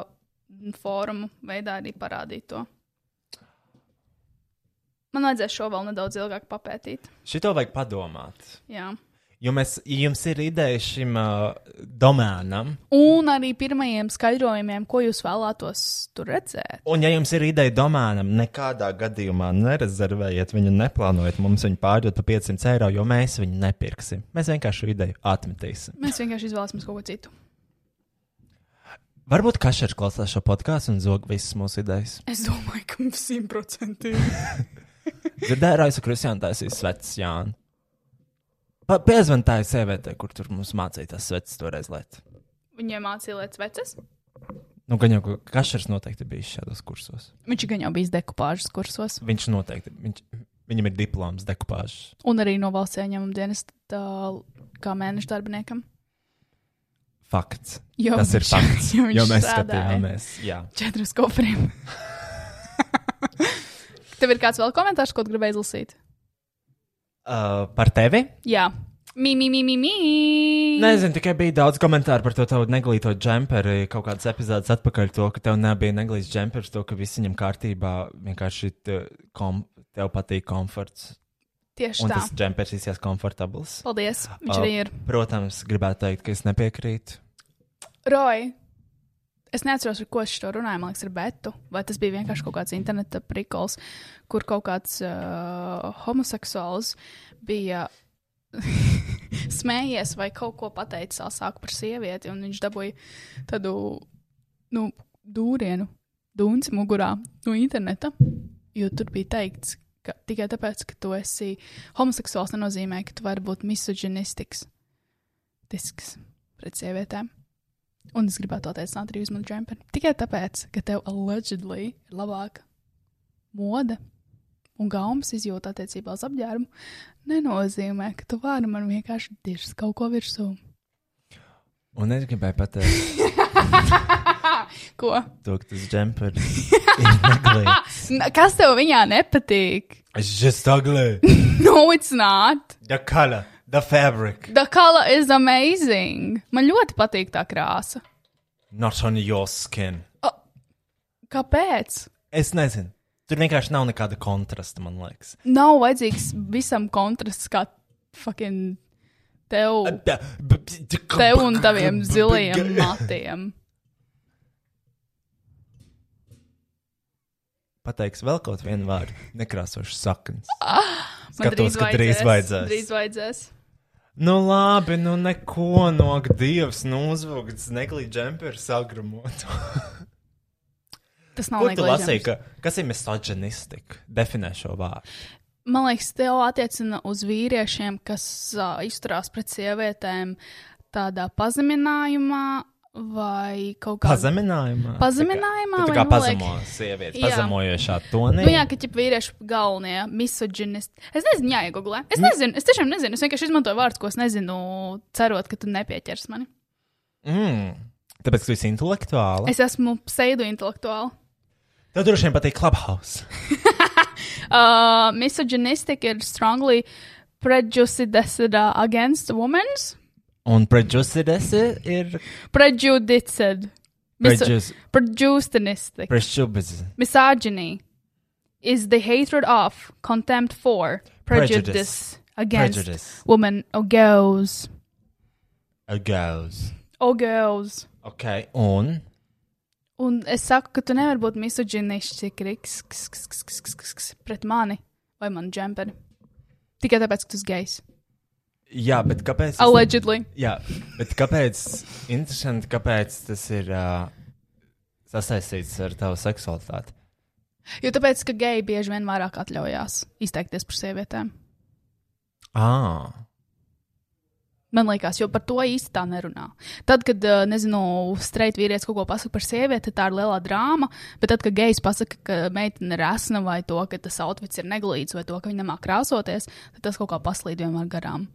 formā, veidā arī parādīt to. Man vajadzēs šo vēl nedaudz ilgāk papētīt. Šito vajag padomāt. Jā. Jo mēs, ja jums ir ideja šim uh, domēnam, Un arī pirmajiem skaidrojumiem, ko jūs vēlētos tur redzēt. un ja jums ir ideja domēnam, nekādā gadījumā nerezervējiet viņu, neplānojiet mums viņu pārdot par 500 eiro, jo mēs viņu nepirksim. Mēs vienkārši šo ideju atmetīsim. Mēs vienkārši izvēlēsimies kaut ko citu. Varbūt Kašers klausās šo podkāstu un zog visas mūsu idejas. Es domāju, ka mums simtprocentīgi. Dzirdēju, Raisa Kristiāna taisīs sveces Jānu. Piezvan tā ir sieviete, kur tur mums mācīja tās sveces toreiz lietas. Viņiem mācīja lietas vecas. Nu, gan jau ka Kašers noteikti bija šādos kursos. Viņš gan jau bijis dekupāžas kursos, Viņš noteikti, viņš, viņam ir diploms dekupāžas. un arī no valsts ieņēmuma dienesta kā mēneša darbiniekam. Fakts. Jo Tas ir viņš- fakts. (laughs) jo viņš jo mēs strādāja. skatījāmies. Jā. Četrus kofriem. Tev ir kāds vēl komentārs, ko tu gribēji izlasīt? Uh, par tevi? Jā, mīmīmīmīmī. Nezinu, tikai bija daudz komentāru par to tavu neglīto džemperi. Kaut kādas epizodes atpakaļ, to, ka tev nebija neglīts džempers, to, ka viss viņam kārtībā vienkārši te- kom, tev patīk komforts. Tieši Un tā. tas džempers izskatās komfortabls. Paldies. Viņš Ā. arī ir. Protams, gribētu teikt, ka es nepiekrītu. Roy, es neatceros, ar ko es to runāju. Man liekas, ar Betu. Vai tas bija vienkārši kaut kāds interneta prikols, kur kaut kāds uh, homoseksuāls bija. (laughs) Smējies vai kaut ko pateicis asāku par sievieti, un viņš dabūja tādu nu, dūrienu, dūnci mugurā no interneta. Jo tur bija teikts, ka tikai tāpēc, ka tu esi homoseksuāls, nenozīmē, ka tu vari būt misoģinistisks disks pret sievietēm. Un es gribētu attiecināt arī uz manu džemperi. Tikai tāpēc, ka tev allegedly ir labāka mode un gaumas izjūta attiecībā uz apģērbu, nenozīmē, ka tu vari man vienkārši dirzt kaut ko virsū. Un es gribēju pateikt, Ko? to, ka tas džempers (laughs) ir neglīts. N- Kas tev viņā nepatīk? (laughs) Es just ugly. No, it's not. The color, the fabric. The color is amazing. Man ļoti patīk tā krāsa. Not on your skin. Kāpēc? Es nezinu. Tur vienkārši nav nekāda kontrasta, man liekas. Nav vajadzīgs visam kontrasts, kā fucking tev. tev un taviem zilajiem matiem. Pateiks vēl kaut vienu vārdu. Nekrāsošs saknes. Man Skatos, ka drīz vajadzēs. Drīz vajadzēs. Nu, labi, nu neko no dievs, nu uzvilkts neglīts džempers sagrumot. Tas nav Ko tu lasīji? neglīdzams. Ka, kas ir misoģinistika? Definē šo vārdu. Man liekas, te jau attiecina uz vīriešiem, kas uh, izturās pret sievietēm tādā pazeminājumā vai kaut kādā Pazeminājumā. Pazeminājumā Tā kā, vai tu tā nu, kā pazemo liek- sievieti, Jā. pazemojošā tonī. Nu, jā, ka ķip vīrieši galvenie, misoģinisti. Es nezinu, jā, iegūlē. Es nezinu, es tiešām nezinu. Es vienkārši izmantoju vārdus, ko es nezinu, cerot, ka tu nepieķers mani. Mm. Tāpēc, ka tu esi intelektuāli. Es... Es esmu pseidu intelektuāli. Tev droši vien patīk Clubhouse. uh, misogynistic ir strongly prejudiced uh, against women. Un prejudices ir Prejudiced. Miso- prejudice. Prejudicinistic. Prejudice. Misogyny is the hatred of, contempt for, prejudice, Prejudice. against Prejudice. women or girls. A girls. Or girls. Ok, un Un es saku, ka tu nevari būt misoģinists pret mani vai manu džemperi. Tikai tāpēc, ka tu esi gejs. Jā, bet kāpēc? tas- Allegedly. Jā, bet kāpēc? Interesanti, kāpēc tas ir uh, sasaistīts ar tavu seksualitāti. Jo tāpēc, ka geji bieži vien vairāk atļaujās izteikties par sievietēm. Ah. Man liekas, jo par to īsti tā nerunā. Tad, kad, eh, nezinu, streit vīrietis kaut ko pasakā par sievieti, tā ir lielā drāma. Bet tad, kad gejs pasakā, ka meitene ir asna vai to, ka tas outfits ir neglīts vai to, ka viņa nemā krāsoties, tad tas kaut kā paslīd vienmēr garām.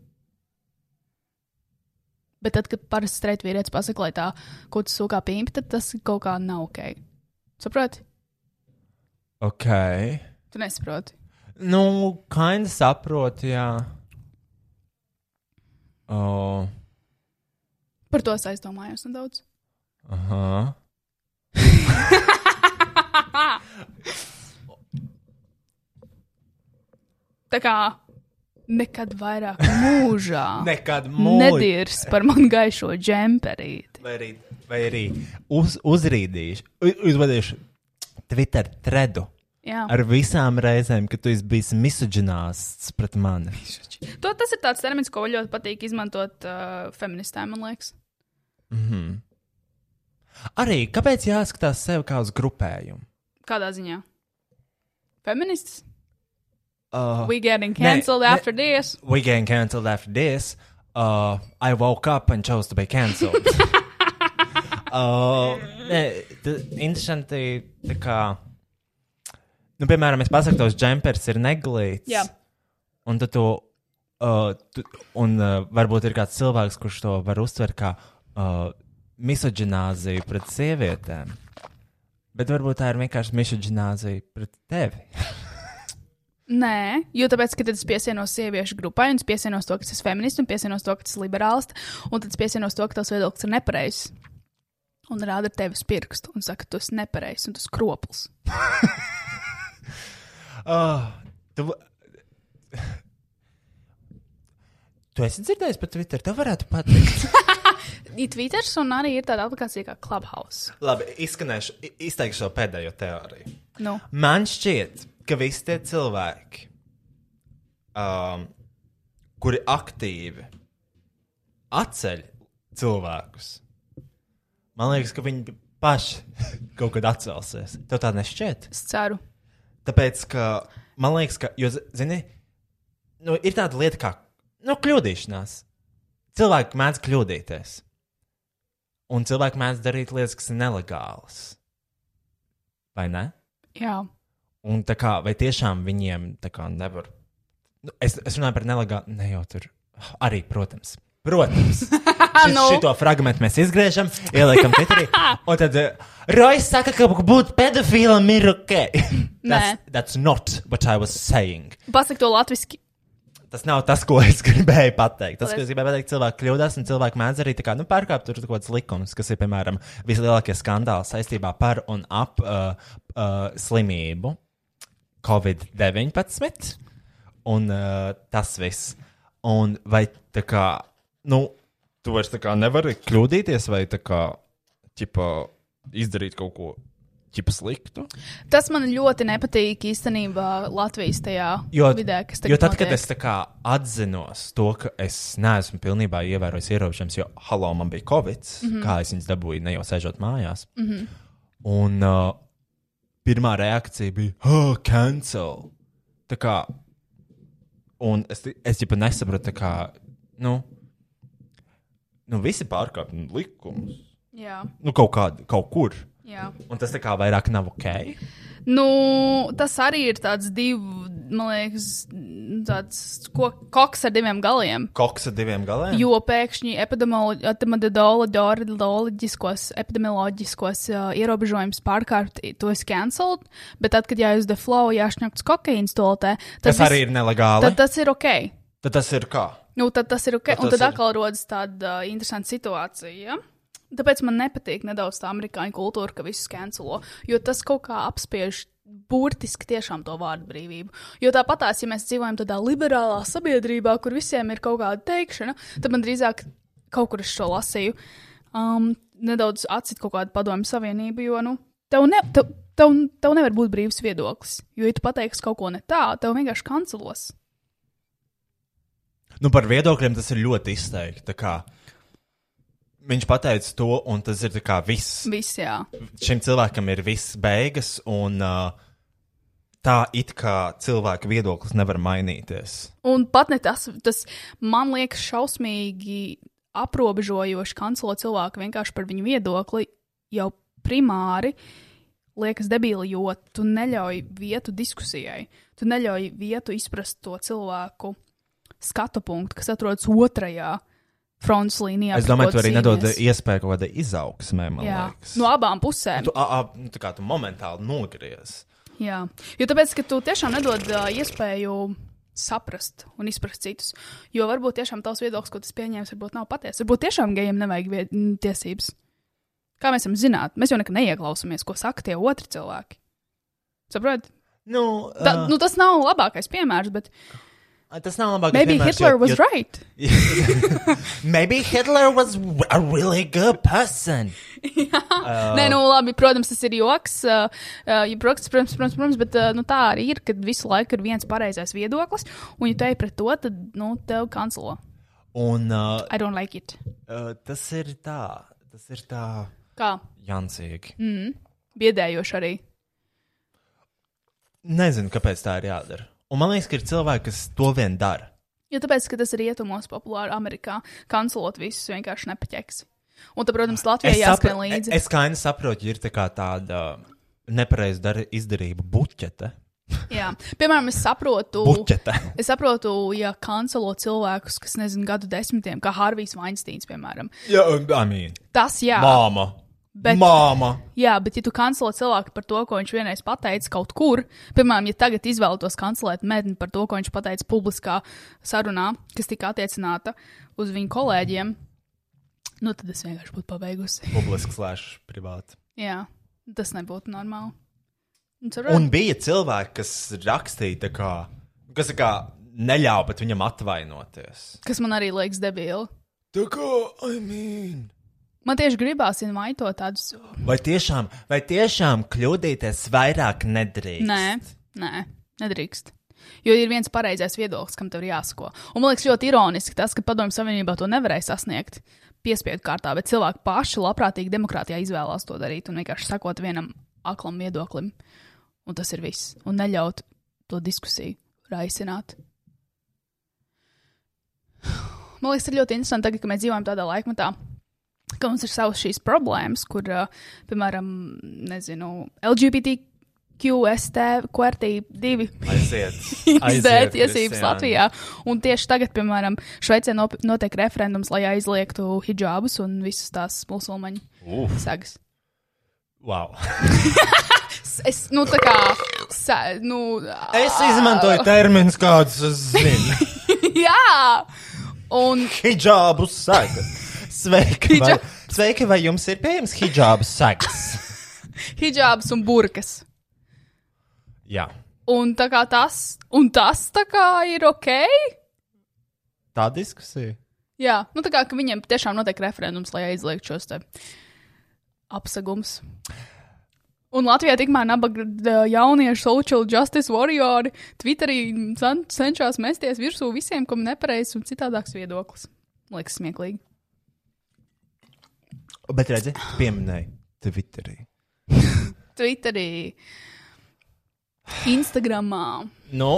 Bet tad, kad parasti streit vīrietis pasakā, lai tā, ko tu sūkā pīmpi, tad tas kaut kā nav ok. Saproti? Ok. Tu nesaproti. Nu, kaina saprotu, jā. Oh, Par to es aizdomājos nedaudz. aha. Tā kā nekad vairāk (laughs) mūžā. Nekad mūžā. Nedirs par manu gaišo džemperīti. Vai arī, vai arī uz, uzrīdīšu, u- uzvadīšu Twitter tredu Jā, ar visām reizēm, kad tu esi bijis misoģināsts pret mani. to, tas ir tāds termins, ko ļoti patīk izmantot uh, feministēm, man liekas. Arī kāpēc jāskatās sev kā uz grupējumu? Kādā ziņā? Feminists? Uh, We getting cancelled ne. after this. we getting cancelled after this. Uh, I woke up and chose to be (laughs) cancelled. uh, nē, t- interesanti, tā kā, nu, piemēram, es pasaku, tos džempers ir neglīts. Jā. Un tad to, uh, tu, un uh, varbūt ir kāds cilvēks, kurš to var uztvert kā uh, misoģināziju pret sievietēm. Bet varbūt tā ir vienkārši misoģināzija pret tevi. Nē, jo tāpēc, ka tad es piesienos sieviešu grupai, un es piesienos to, ka tas ir feminists, un piesienos to, ka tas ir liberāls, un tad es piesienos to, ka tavs viedoklis ir nepareizs. Un rāda ar tevi uz pirkstu un saka, tu esi nepareizs un tu esi kroplis. Ah, tu... (laughs) tu esi dzirdējis par Twitter, tev varētu patikt. Ir Twitter un arī ir tāda aplikācija kā Clubhouse. (laughs) Labi, izskanēšu, i- izteikšu šo pēdējo teoriju. Nu, Man šķiet, ka visi tie cilvēki, um, kuri aktīvi atceļ cilvēkus, man liekas, ka viņi paši (laughs) kaut kad atcelsies. Tev tā nešķiet? es ceru. Tāpēc, ka man liekas, ka, jo, zini, nu, ir tāda lieta kā nu, kļūdīšanās. Cilvēki mēdz kļūdīties. Un cilvēki mēdz darīt lietas, kas ir nelegālas. Vai ne? Jā. Un tā kā, vai tiešām viņiem tā kā nevar. Nu, es, es runāju par nelegālu, ne jau tur. Arī, protams. (laughs) Protams. Nu. Šo no. fragment mēs izgriežam, ieliekam Twitterī. Un tad uh, Rojas saka, ka būt pedofilam ir ok. (laughs) Nē. that's, that's not what I was saying. Pasak to latviešu. Tas nav tas, ko es (laughs) gribēju pateikt. Tas, ko Paldies. es gribēju pateikt, cilvēki kļūdās, un cilvēki mēdz arī tā kā, nu, pārkāpt tur kaut kādas likumus, kas ir, piemēram, vislielākie skandāli saistībā par un ap uh, uh, slimību Covid-19. Un uh, tas viss. Un vai tā kā, nu, tu vairs tā kā nevari kļūdīties vai tā kā, ķipa, izdarīt kaut ko, ķipa, sliktu? Tas man ļoti nepatīk īstenībā Latvijas tajā Jo, vidē, kas tagad jo tad, kad notiek. es tā kā atzinos to, ka es neesmu pilnībā ievērojis ierobežojumus, jo halo, man bija covid, mm Mhm. -hmm. kā es viņas dabūju, ne jau sēžot mājās. Mm -hmm. Un uh, pirmā reakcija bija, ah, cancel. Tā kā, un es, ti- es jau nesapratu, tā kā, nu, nu visi pārkāpj likumus, Jā, nu, kaut, kād, kaut kur. jā. Un tas tā kā vairāk nav ok. Nu, tas arī ir tāds divu, man liekas, tāds ko, koks ar diviem galiem. Koks ar diviem galiem. Jo pēkšņi epidemiolo- epidemioloģiskos, epidemioloģiskos uh, ierobežojumus pārkārt, to es cancelled, bet tad, kad jāizdara flow, jāšņakts kokaīns toltē, tad, Tas arī ir nelegāli. tad tas ir ok. Tad tas ir kā? Nu, tad tas ir ok. Tad Un tas tad ir- atkal rodas tāda uh, interesanta situācija. Ja? Tāpēc man nepatīk nedaudz tā amerikāņu kultūra, ka visus cancelo, jo tas kaut kā apspiež. Burtiski tiešām to vārdu brīvību. Jo tāpatās, ja mēs dzīvojam tādā liberālā sabiedrībā, kur visiem ir kaut kāda teikšana, tad man drīzāk kaut kur es šo lasīju. Um, nedaudz atcīt kaut kādu padomu savienību, jo nu, tev, ne, tev, tev, tev nevar būt brīvs viedoklis. Jo, ja tu pateiksi kaut ko ne tā, tev vienkārši kancelos. Nu, par viedokļiem tas ir ļoti izteikti. tā kā Viņš pateica to, un tas ir tā kā viss. Viss, jā. Šim cilvēkam ir viss beigas, un uh, tā it kā cilvēka viedoklis nevar mainīties. Un pat ne tas, tas man liekas šausmīgi aprobežojoši kancelo cilvēku vienkārši par viņu viedokli jau primāri. Liekas, debīli, jo tu neļauj vietu diskusijai. Tu neļauj vietu izprast to cilvēku skatu punktu, kas atrodas otrajā fronts līnijā. Es par ko domāju, tu arī nedod cīnies. iespēju kaut kādai izaugsmē, man Jā, Nu, liekas. no abām pusēm. Tu, a, a, nu, tā kā tu momentāli nogriez. Jā, jo tāpēc, ka tu tiešām nedod ā, iespēju saprast un izprast citus. Jo varbūt tiešām tavs viedoklis, ko tas pieņēmis, varbūt nav patiesa. Varbūt tiešām gejiem nevajag vie- n, tiesības. Kā mēs varam zināt? Mēs jau nekad neieklausāmies, ko saka tie otri cilvēki. Saprotiet? Nu, Uh. Nu, tas nav labākais piemērs, bet uh, tas nav labākais. maybe piemērs, Hitler jo- was jo- right. Maybe Hitler was a really good person. Uh. Nē, nu labi, protams, tas ir joks. Uh, uh, ja protams, protams, protams, protams, bet uh, nu, tā arī ir, kad visu laiku ir viens pareizais viedoklis, un ja tu ej pret to, tad nu, tev kancelo. Un uh, I don't like it. uh, tas ir tā, tas ir tā Kā? jancīgi. biedējoši arī. Nezinu, kāpēc tā ir jādara. Un man liekas, ka ir cilvēki, kas to vien dara. Jo tāpēc, ka tas ir rietumos populāri Amerikā, kancelot visus vienkārši nepaķeksi. Un, tad, protams, Latvijai jāskrien sapra- līdzi. es kā viens saprotu, ja ir tā kā tāda uh, nepareiza dar- izdarība buķete. Jā. Piemēram, es saprotu, (laughs) Buķete. es saprotu, ja kancelo cilvēkus, kas nezinu, gadu desmitiem, kā Harvijs Vainsteins, piemēram. Jā, I mean, Tas jā, māma. bet, Māma. jā, bet ja tu kancelo cilvēku par to, ko viņš vienreiz pateica kaut kur, piemēram, ja tagad izvēlētos kancelēt medni par to, ko viņš pateica publiskā sarunā, kas tika attiecināta uz viņu kolēģiem, nu tad es vienkārši būtu pabeigusi. Publiski slash privāti. Jā, tas nebūtu normāli. Un, Un un... bija cilvēki, kas rakstīja, tā kā, kas tā kā neļāva pat viņam atvainoties. Kas man arī liekas debīli. Tā kā, I mean. Man tieši gribās invaitot tādus. Vai tiešām, vai tiešām kļūdīties vairāk nedrīkst? Nē, nē, nedrīkst. Jo ir viens pareizais viedoklis, kam tev ir jāsako. Un man liekas ļoti ironiski tas, ka Padomju Savienībā to nevarēja sasniegt piespiedu kārtā, bet cilvēki paši labprātīgi demokrātijā izvēlās to darīt un vienkārši sakot vienam aklam viedoklim. Un tas ir viss. Un neļaut to diskusiju raisināt. Man liekas, ir ļoti interesanti, tagad, ka mēs dzīvojam tādā laikmetā, ka mums ir savas šīs problēmas, kur, uh, piemēram, nezinu, LGBTQST, QRT2 (laughs) Aiziet. XD aiziet tiesības visiem. Latvijā. Un tieši tagad, piemēram, Šveicē nop- notiek referendums, lai aizliegtu hijabus un visas tās musulmaņu Uf, sagas. wow. Es, es nu, tā kā, sa, nu, Es izmantoju terminus, kādus es (laughs) zinu. (laughs) jā! Un Hidžābu sagas. Sveiki, vai, Hidžā- sveiki, vai jums ir pieejams hidžābu sagas? hijabs un burkas. Jā, Un tā kā tas, un tas tā kā ir ok. tā diskusija. Jā, nu tā kā ka viņiem tiešām notiek referendums, lai aizliegtu šos te apsegums. Un Latvijā tikmēr nabaga d- jaunieši, social justice warriori, Twitterī cen, cenšas mesties virsū visiem, kam nepareizs un citādāks viedoklis. Man Liekas smieklīgi. Bet redzi, pieminēji Twitterī. Twitterī, Instagramā, Nu,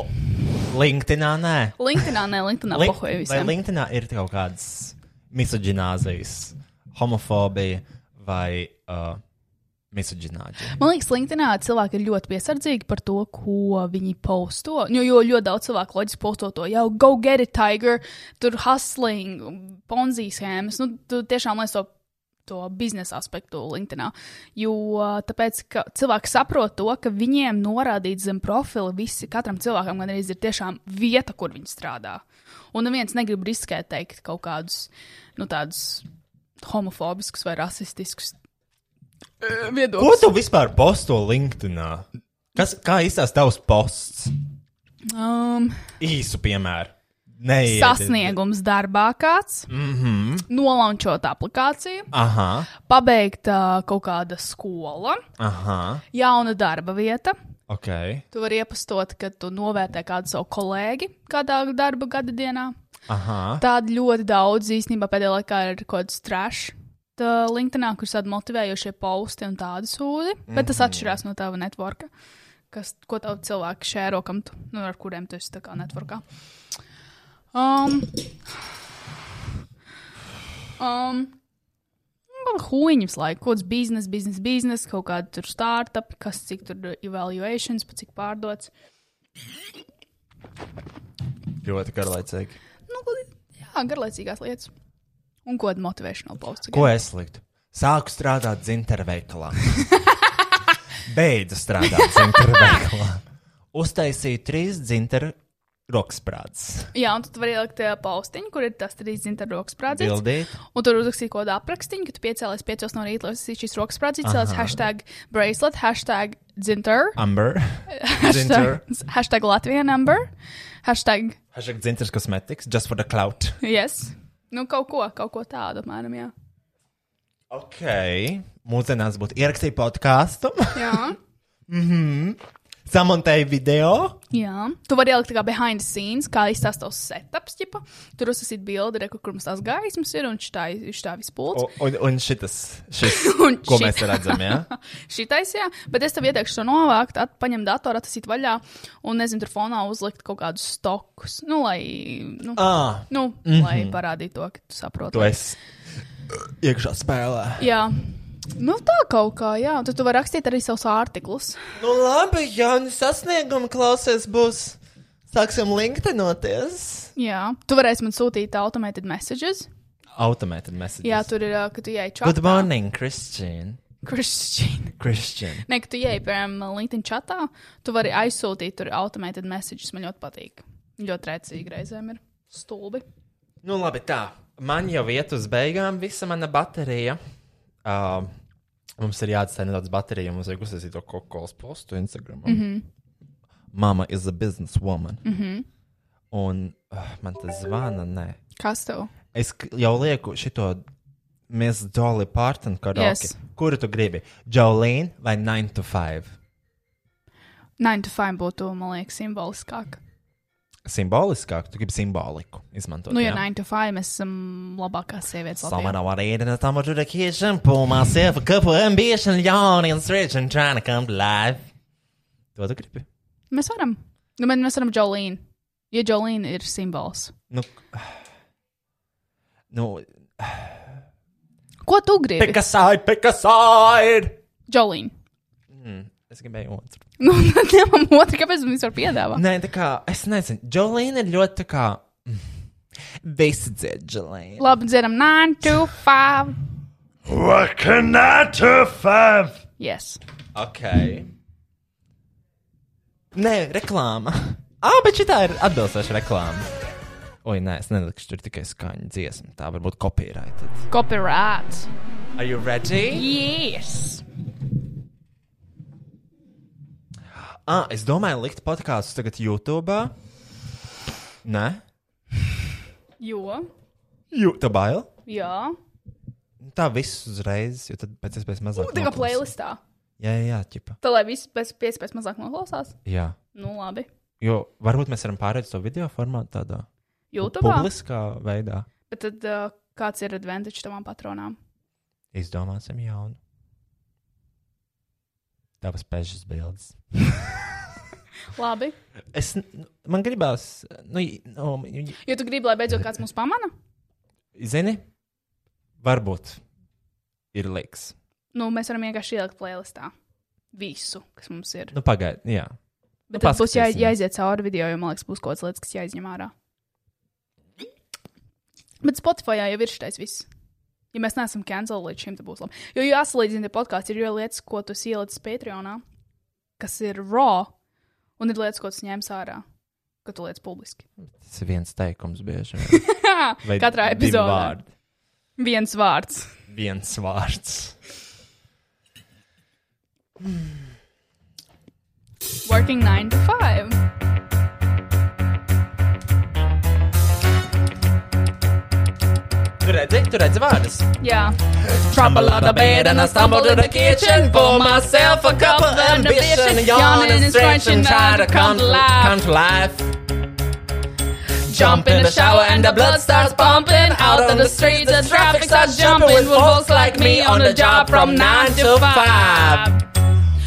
LinkedInā nē. LinkedInā, ne LinkedInā, Lin- pohoja vai visiem. LinkedInā ir kaut kādas misoģināzijas, homofobija vai uh, misoģinācija? Man liekas, LinkedInā cilvēki ir ļoti piesardzīgi par to, ko viņi posto. Jo, jo ļoti daudz cilvēku loģiski posto to jau go get it, tiger, tur hustling, ponzi schēmas. Nu, tu tiešām liekas to, to biznesa aspektu LinkedInā. Jo tāpēc, ka cilvēki saprot to, ka viņiem norādīts zem profila visi, katram cilvēkam gan arī ir tiešām vieta, kur viņi strādā. Un neviens negrib riskēt teikt kaut kādus, nu, tādus homofobiskus vai rasistiskus eh, viedokļus. Ko tu vispār posto LinkedInā? Kas, kā izstāsta tavs posts? Um, Īsu piemēru. Nē, sasniegums darbā kāds, Mm -hmm. Nolaunčot aplikāciju, Aha, pabeigta kaut kāda skola, aha, jauna darba vieta. ok. Tu vari iepastot, ka tu novērtē kādu savu kolēģi kādā darba gada dienā. Aha, Tāda ļoti daudz īstenībā pēdējā laikā ir kaut kāds trash. Tā LinkedInā, kurš tādi motivējošie posti un tādu sūdi, bet mm -hmm. tas atšķirās no tava networka, kas, ko tev cilvēki šēro, kam tu, nu, ar kuriem tu esi tā kā networkā. Um, um, Huīņas laika, kaut kāds biznesa, biznesa, biznesa, kaut kāda tur startup, kas cik tur evaluations, pa cik pārdots. ļoti garlaicīgi. Nu, jā, garlaicīgās lietas. Un ko tad motivēšanā posts? Ko es liktu? Sāku strādāt dzinterveikalā. Beidzu strādāt dzinterveikalā. Uztaisīju trīs dzinteru roksprāts. Jā, un tad var ielikt tajā paustiņu, kur ir tas trīs zinta rokas sprādziens. Bildīt. Un tur uzrakstīt kaut kādu aprakstu, ka tu piecēlies piecos no rīta, lai uzsīsi šīs rokas sprādziens, cēlies hashtag bracelet, hashtag zinter, Amber. hashtag, (laughs) hashtag Latvijas number, hashtag Hashtag dzinters kosmetics, just for the clout. yes. Nu, kaut ko, kaut ko tādu, apmēram, jā. Ok. Mūsdienās būtu ierakstīju podkāstu, (laughs) Jā, samontēju video. (laughs) jā. tu vari ielikt tā kā behind the scenes, kā izstāst tavs setups, ķipa. Tur uzsākt bildi, reku, kur mums tās gaismas ir un šitā, šitā vispūts. U- Un, un šitas, šis, (laughs) Un ko šit- mēs redzam, jā? Ja? (laughs) Šitais, jā, bet es tev ieteikšu to novākt, at, paņemt datoru, atsīt vaļā un, nezinu, tur fonā uzlikt kaut kādus stokus. Nu, lai, nu, (laughs) Ah, nu, mm -hmm. lai parādītu to, ka tu saproti. tu esi iekšā spēlē. Jā, nu, tā kaut kā, jā, un tad tu vari rakstīt arī savus artiklus. Nu labi, jauni sasniegumi klausies būs. Sāksim linktenoties. Jā, tu varēsi man sūtīt automated messages. Automated message. Jā, tur ir, ā, ka tu ieej (laughs) Good čatā. morning, Christian. Kristīna. Christian. Nē, ka tu ieej, piemēram, LinkedIn čatā, tu vari aizsūtīt tur automated messages. Man ļoti patīk. Ļoti rēcīgi reizēm ir stulbi. Nu, labi, tā. Man jau iet uz beigām visa mana baterija. Uh, mums ir jāatstāj nedaudz baterija, mums vajag uzsākt to kokolas postu Instagram. Mm Mhm. -hmm. Mama is a businesswoman. Mm -hmm. Un uh, man tas zvana, nē. Kas tev? Es k- jau lieku šito Miss Dolly Parton karaoke. Yes. Yes. Kuru tu gribi? Jolene vai 9 to 5? 9 to 5 būtu, man liekas, simboliskāk. Simboliskāk, tu gribi simboliku izmantot. Nu, ja jā? 9 to 5 mēs esam labākās sievietes Someone Latvijā. already in the summer to the kitchen, pull myself a cup of ambition, yawn and stretch and trying to come to life. To tu gribi? Mēs varam. Nu, bet mēs varam Jolīnu. Ja Jolīna ir simbols. (sighs) Nu, nu Ko tu gribi? pick a side, pick a side! Jolīna. Es gribēju otru. (laughs) Nu, tad ņemam otru, kāpēc mums var piedāvāt? Nē, tā kā, es nezinu, Jolīna ir ļoti tā kā, mm, visi dzied Jolīna. Labi, dzirdam, 9 to 5. What can I do five? Yes. Ok. Nē, reklāma. Ah, bet šī ir atbilstoša reklāma. Oi, nē, es nelikšu, tur tikai skaņa dziesma. Tā varbūt copyrighted. Copyright. Are you ready? Yes. Ah, es domāju, likt podkāstu tagad YouTube. Nē, Jo. YouTube bail. Jā. Tā viss uzreiz, jo tad pēc iespējas mazāk. Tā kā noklausās. playlistā. Jā, jā, jā, ķipa. Tā lai viss pēc iespējas mazāk noklausās. Jā. Nu, labi. Jo varbūt mēs varam pāriet uz to video formātu tādā YouTube. publiskā veidā. Bet tad uh, kāds ir advantage tavam patronām? Izdomāsim jaunu. Tavas pežas bildes. Labi. Es, nu, man gribās, nu, j- nu, j- j- Jo tu gribi, lai beidzot kāds mūs pamana? zini, varbūt ir liks. Nu, mēs varam vienkārši ielikt playlistā visu, kas mums ir. Nu, pagaidi, jā. Bet tas būs jā, paskatīsimies. jāiziet cauri video, jo man liekas, būs kaut kādas lietas, kas jāizņem ārā. Bet Spotify jau ir šitais viss. Ja mēs neesam cancel līdz šim, tad būs labi. Jo jāsalīdzina tie podkāstī, ir jau lietas, ko tu esi ielicis Patreonā, kas ir raw, un ir lietas, ko tu ņēmis ārā, ka tu lietas publiski. Tas ir viens teikums bieži. vien. (laughs) Vai Katrā divi epizodē vārdi? viens vārds. Viens vārds. Working 9 to 5. Reklāma! Tu redzi, tu redzi vārdus. Yeah. Trouble on the bed and I stumble to the kitchen. Pour myself a cup of ambition. Yawning and stretching, try to come to life. life. Jump in the shower and the blood starts pumping. Out on the streets, the traffic starts jumping. With folks like me on the job from 9 to 5.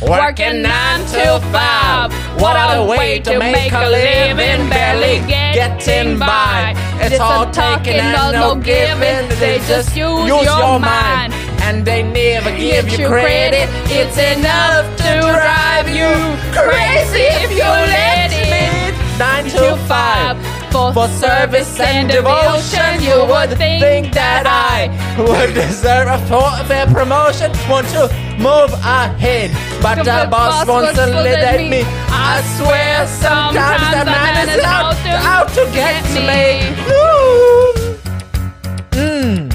Working 9 to 5. What a way to make a living. Barely getting by. It's all taking and no giving. They just use your mind. And they never give you credit. It's enough to drive you crazy if you let it. Nine To five for service and devotion, you would think that I would deserve a for- fair promotion. Want to move ahead, but But the boss wants to liquidate me. I swear, sometimes the man is out, out to get me. Ooh. Mm.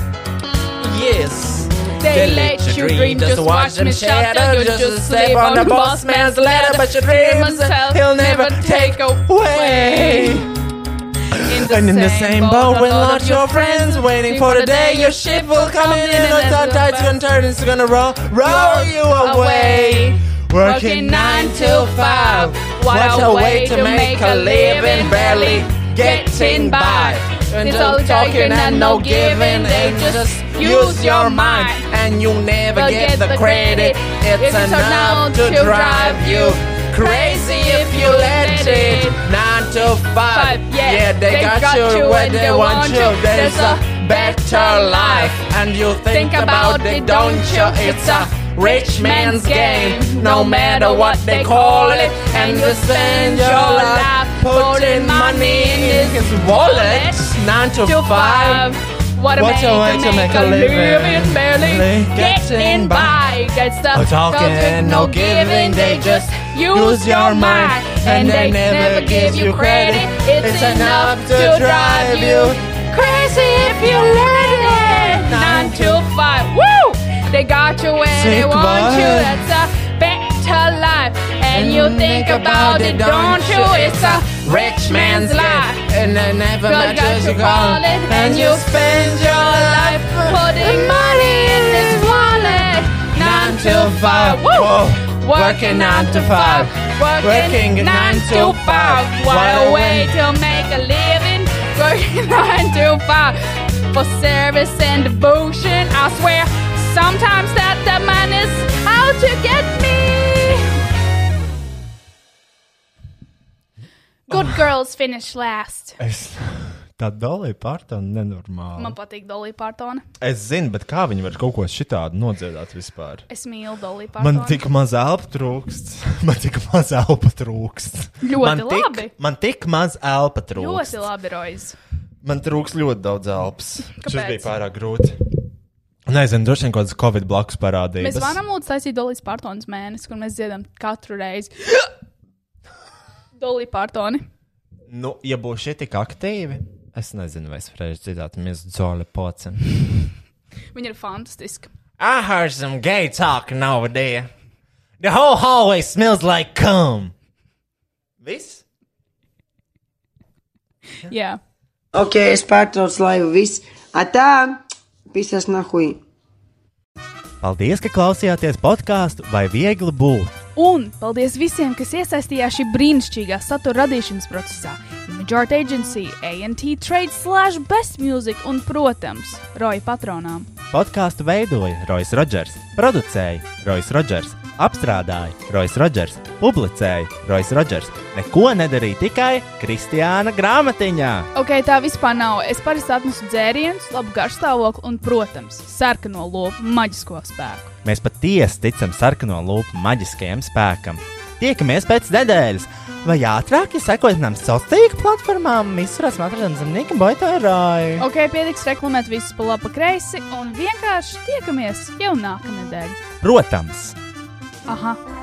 Yes. They let you dream, just watch them shatter. You just sleep on the boss man's ladder, but your dreams he'll never take away. In the And in the same boat with a lot lots of your friends waiting for the day your ship will come in and the then tide's gonna turn it's gonna roll roll you away working nine till five what a way to make a living barely getting by and It's no all talking and no giving they just use your mind mind. and you never get the credit it's enough to drive you crazy if you let it nine to five. Yeah, Yeah, they, they got, got you you where and they want you. There's a better life, and you think, about it, don't you? It's a rich man's game, no matter what they call it. And you spend your life putting money in his wallet. Nine to to five. five. What a, What a way, to make a living, barely Barely getting getting by. Oh, That's the No talking, no giving, they just use your mind. and they never give you credit. It's enough to drive you crazy if you let it. Nine to five, woo! They got you where they Sick want you. boy. That's a better life, and you Mm, think about it, don't you? It's a rich man's life. And I never Girl, got matters to you call call it, and And you you spend your life life putting money in this wallet. Nine to five, woo! Working nine to five, working nine to five. What a way to make a living. Working (laughs) nine to five for service and devotion. I swear, sometimes that the man is out to get me. Good girls finish last. Es (laughs) tā dolēju pārta un nenormāli. Man patīk Dolly Partona. Es zinu, bet kā viņi var kaut ko šitādu nodziedāt vispār? Es mīlu Dolly Partonu. Man tik maz elpa trūkst. (laughs) Man tik maz elpa trūkst. Ļoti man tik, labi. Man tik maz elpa trūkst. ļoti labi, Roiz. Man trūks ļoti daudz elpas. Kāpēc? Šis bija pārāk grūti. Nezinu, droši vien kaut kāds Covid blakus Mēs parādījās. varam lūdzu taisīt Dolly Partons mēnesi, kur mēs dziedam katru reizi. Dolly Partoni. Nu, ja būs šie tik aktīvi, es nezinu, vai es varēšu dzirdēt, mēs dzoli pocam. Viņa ir fantastiska. I heard some Ah, gay talking over there. The whole hallway smells like cum. Viss? Jā, Ok, es pārtraucu laivu viss. Atā, pisas nahuj. Paldies, ka klausījāties podkāstu vai viegli būt. un paldies visiem, kas iesaistījās šī brīnišķīgā satura radīšanas procesā. Majority Agency, ANT Trade, Slash, Best Music un, protams, Roja patronām. Podkāstu veidoja Rois Rodžers, producēja Rois Rodžers, apstrādāja Rois Rodžers, publicēja Rois Rodžers. Neko nedarīja tikai Kristiāna grāmatiņā. Ok, tā vispār nav. Es parasti atnesu dzērienus, labu garšstāvokli un, protams, sarkano lopu maģisko spēku. Mēs patiesi ticam sarkano lupu maģiskajam spēkam. Tiekamies pēc nedēļas, vai ātrāk, ja sekojat mums sociālajām tīkla platformām, visurās matradienas zemnieka boitārāju. Ok, pietiks reklamēt visus pa labi, pa kreisi un vienkārši tiekamies jau nākamnedēļ. Protams, Aha,